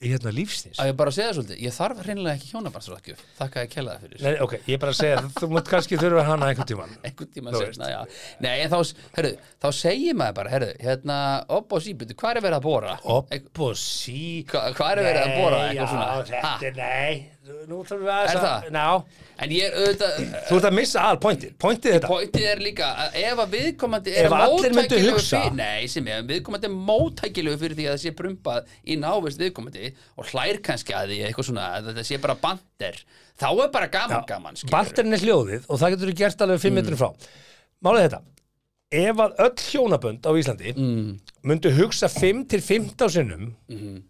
Speaker 1: í hérna lífsins
Speaker 3: Að ég bara segja svolítið Ég þarf hreinlega ekki hjónabarsrækju Þakka að ég kella það fyrir
Speaker 1: Nei, ok, ég er bara að segja, þú mátt kannski þurfa hana einhvern tímann
Speaker 3: Einhvern tíma
Speaker 1: Þú
Speaker 3: sérna, já Nei, en þá, herru, þá segir maður bara, herru Hérna, opp á síbytu, hvað er verið að bóra?
Speaker 1: Opp og sí
Speaker 3: Hva- Hvað er verið að bóra?
Speaker 1: Nei,
Speaker 3: Eitthvað
Speaker 1: já,
Speaker 3: svona Ha?
Speaker 1: þetta er, nei Nú þurfum við aðeins
Speaker 3: Er
Speaker 1: að
Speaker 3: það?
Speaker 1: Ná,
Speaker 3: En ég er auðvitað eh,
Speaker 1: þú ert að missa aðal pointið Pointið þetta
Speaker 3: Pointið er líka að ef að viðkomandi er
Speaker 1: Ef allir myndu
Speaker 3: móttækilegur
Speaker 1: hugsa.
Speaker 3: fyrir, nei sem ég, ef viðkomandi er móttækilegu fyrir því að það sé prumpað í návist viðkomandi og hlær kannski að því eitthvað svona að þetta sé bara bandir þá er bara gaman gaman skilurðu. Mm.
Speaker 1: Barterinn er hljóðið og það getur þú gert alveg 5 metrum frá Málið er þetta Ef að öll hjónabönd á Íslandi
Speaker 3: Mm.
Speaker 1: myndu hugsa 5 til 15 sinnum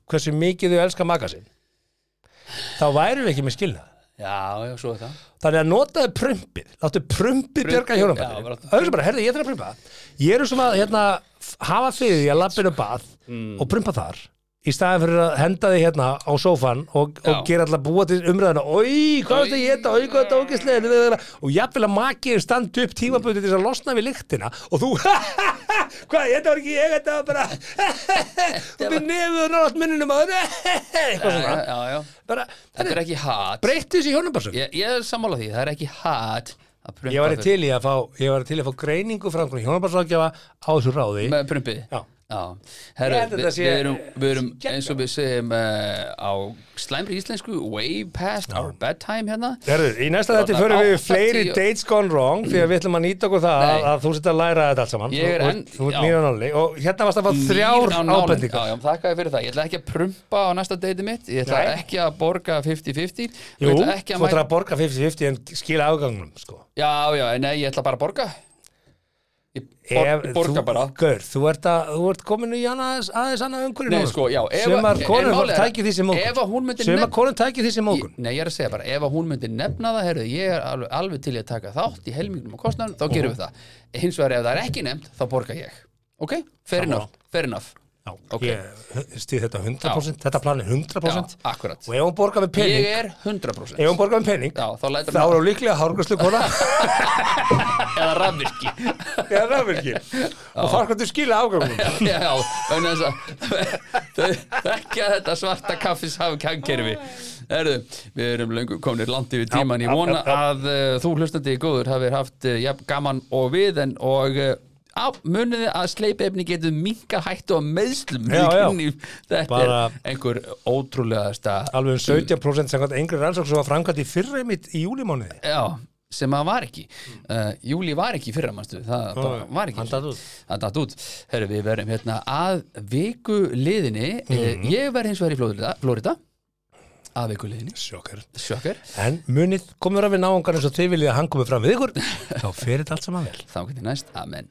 Speaker 1: hversu mikið þau elska maka sinn þá væru við ekki með skilnað
Speaker 3: Já, já, svo er það
Speaker 1: Þannig að notaðu prumpið, láttu prumpið björga
Speaker 3: já, bara
Speaker 1: hjónaböndinu
Speaker 3: láttu-
Speaker 1: Það er bara, herðu, ég þarf að prumpa Ég er sem að hérna, f- hafa fyrir því að lappinu bað
Speaker 3: Mm.
Speaker 1: og prumpa þar í staðan fyrir að henda því hérna á sófan og, og
Speaker 3: Já.
Speaker 1: gera alltaf búa til umræðina Oi, hvað er þetta
Speaker 3: Oj.
Speaker 1: ég þetta, oi, hvað er þetta ógeðslega og jafnvel að makiðin standi upp tímabundið til þess að losna við lyktina og þú, hvað, þetta var ekki ég þetta var bara þú byrð nefður nátt minnunum á þetta eitthvað
Speaker 3: Já,
Speaker 1: svona
Speaker 3: já, já,
Speaker 1: bara,
Speaker 3: þetta er ekki hat
Speaker 1: breyttu þessi hjónabarsum
Speaker 3: ég, ég er sammála því, það er ekki hat að prumpa
Speaker 1: Ég var
Speaker 3: fyrir-
Speaker 1: til í að fá, ég var til í að fá greiningu frá einhverjum hjónabarsrákjafa á þessu ráði
Speaker 3: með prumpið
Speaker 1: Já.
Speaker 3: Herru,
Speaker 1: Ég held að
Speaker 3: við,
Speaker 1: þetta sé-
Speaker 3: við erum, við erum eins og við segjum uh, á slæmri íslensku way past our bedtime hérna
Speaker 1: Herðu, í næsta þetta
Speaker 3: Þarna
Speaker 1: förum við í
Speaker 3: áttatíu-
Speaker 1: fleiri dates gone wrong því að við ætlum að nýta okkur það
Speaker 3: Nei.
Speaker 1: að, að þú setja að læra þetta allt saman
Speaker 3: Ég er
Speaker 1: Þú-
Speaker 3: enn-
Speaker 1: Þú ert
Speaker 3: já.
Speaker 1: nýra náli og hérna varst að fá þrjár
Speaker 3: Nýr á nálinni.
Speaker 1: ábendingar
Speaker 3: Já, já, þakka þér fyrir það, ég ætla ekki að prumpa á næsta deiti mitt Ég ætla
Speaker 1: Nei.
Speaker 3: ekki að borga 50-50 og
Speaker 1: Jú,
Speaker 3: ég ætla ekki
Speaker 1: þú
Speaker 3: að
Speaker 1: ætlar
Speaker 3: mæta
Speaker 1: að borga 50-50 en skila afgangnum sko.
Speaker 3: Já, já, nei, ég ætla bara að borga Ég bor,
Speaker 1: Ef
Speaker 3: borga
Speaker 1: þú,
Speaker 3: bara
Speaker 1: Gaur, þú ert, að, þú ert kominu í aðeins, aðeins annað umhverju
Speaker 3: Nei,
Speaker 1: núna,
Speaker 3: sko, já, ef-
Speaker 1: Sumar
Speaker 3: en
Speaker 1: konur
Speaker 3: málið er að-
Speaker 1: tækir því sem
Speaker 3: ef að hún
Speaker 1: mókun
Speaker 3: myndi
Speaker 1: Sumar
Speaker 3: nefn-
Speaker 1: konur tækir því sem
Speaker 3: Ég,
Speaker 1: mókun
Speaker 3: nei, ég er að segja bara, ef að hún myndi nefna það heyrðu, ég er alveg, alveg til í að taka þátt í helmingnum og kostnæðan, þá gerum við það hins vegar ef það er ekki nefnt, þá borga ég ok, fair enough, fair enough
Speaker 1: Já,
Speaker 3: Ok.
Speaker 1: ég stið þetta 100% Þetta plan er 100%
Speaker 3: Já, akkurat.
Speaker 1: Og ef hún borgar með pening
Speaker 3: ég er 100%
Speaker 1: Ef hún borgar með pening
Speaker 3: Já, þá lætur
Speaker 1: Þá er
Speaker 3: hún
Speaker 1: hún líklega hárgræslu kona
Speaker 3: eða rafvirki
Speaker 1: Eða rafvirki Og fara hvað þú skila afgangum
Speaker 3: Já, vegna þess að þau þekkja þetta svarta kaffis hafa kangkerfi Erðu, við erum löngu komnir landi við tíman Ég vona að uh, þú hlustandi góður hafið haft uh, jafn gaman og við en og uh, á, muniði að sleipefni getur minka hættu á meðslum
Speaker 1: Já, já.
Speaker 3: Í- Þetta
Speaker 1: Bara-
Speaker 3: er einhver ótrúlegasta
Speaker 1: Alveg um 17% samkvæmt engri rannsók sem var framkvæmt í fyrra mitt í júlimónuði
Speaker 3: Já, sem að var ekki uh, Júli var ekki í fyrra, manstu Það bara var ekki
Speaker 1: hann datt út.
Speaker 3: Hann datt út Herru, við verðum hérna að viku liðinni eh,
Speaker 1: Mhm.
Speaker 3: Ég verð hins vegar í Flórida, Flórida að viku liðinni
Speaker 1: Sjókar
Speaker 3: Sjokkar,
Speaker 1: En munið, komur að við náungar eins og þið viljið að hann komið fram við ykkur Þá fer þetta allt saman vel
Speaker 3: þá getur næst, amen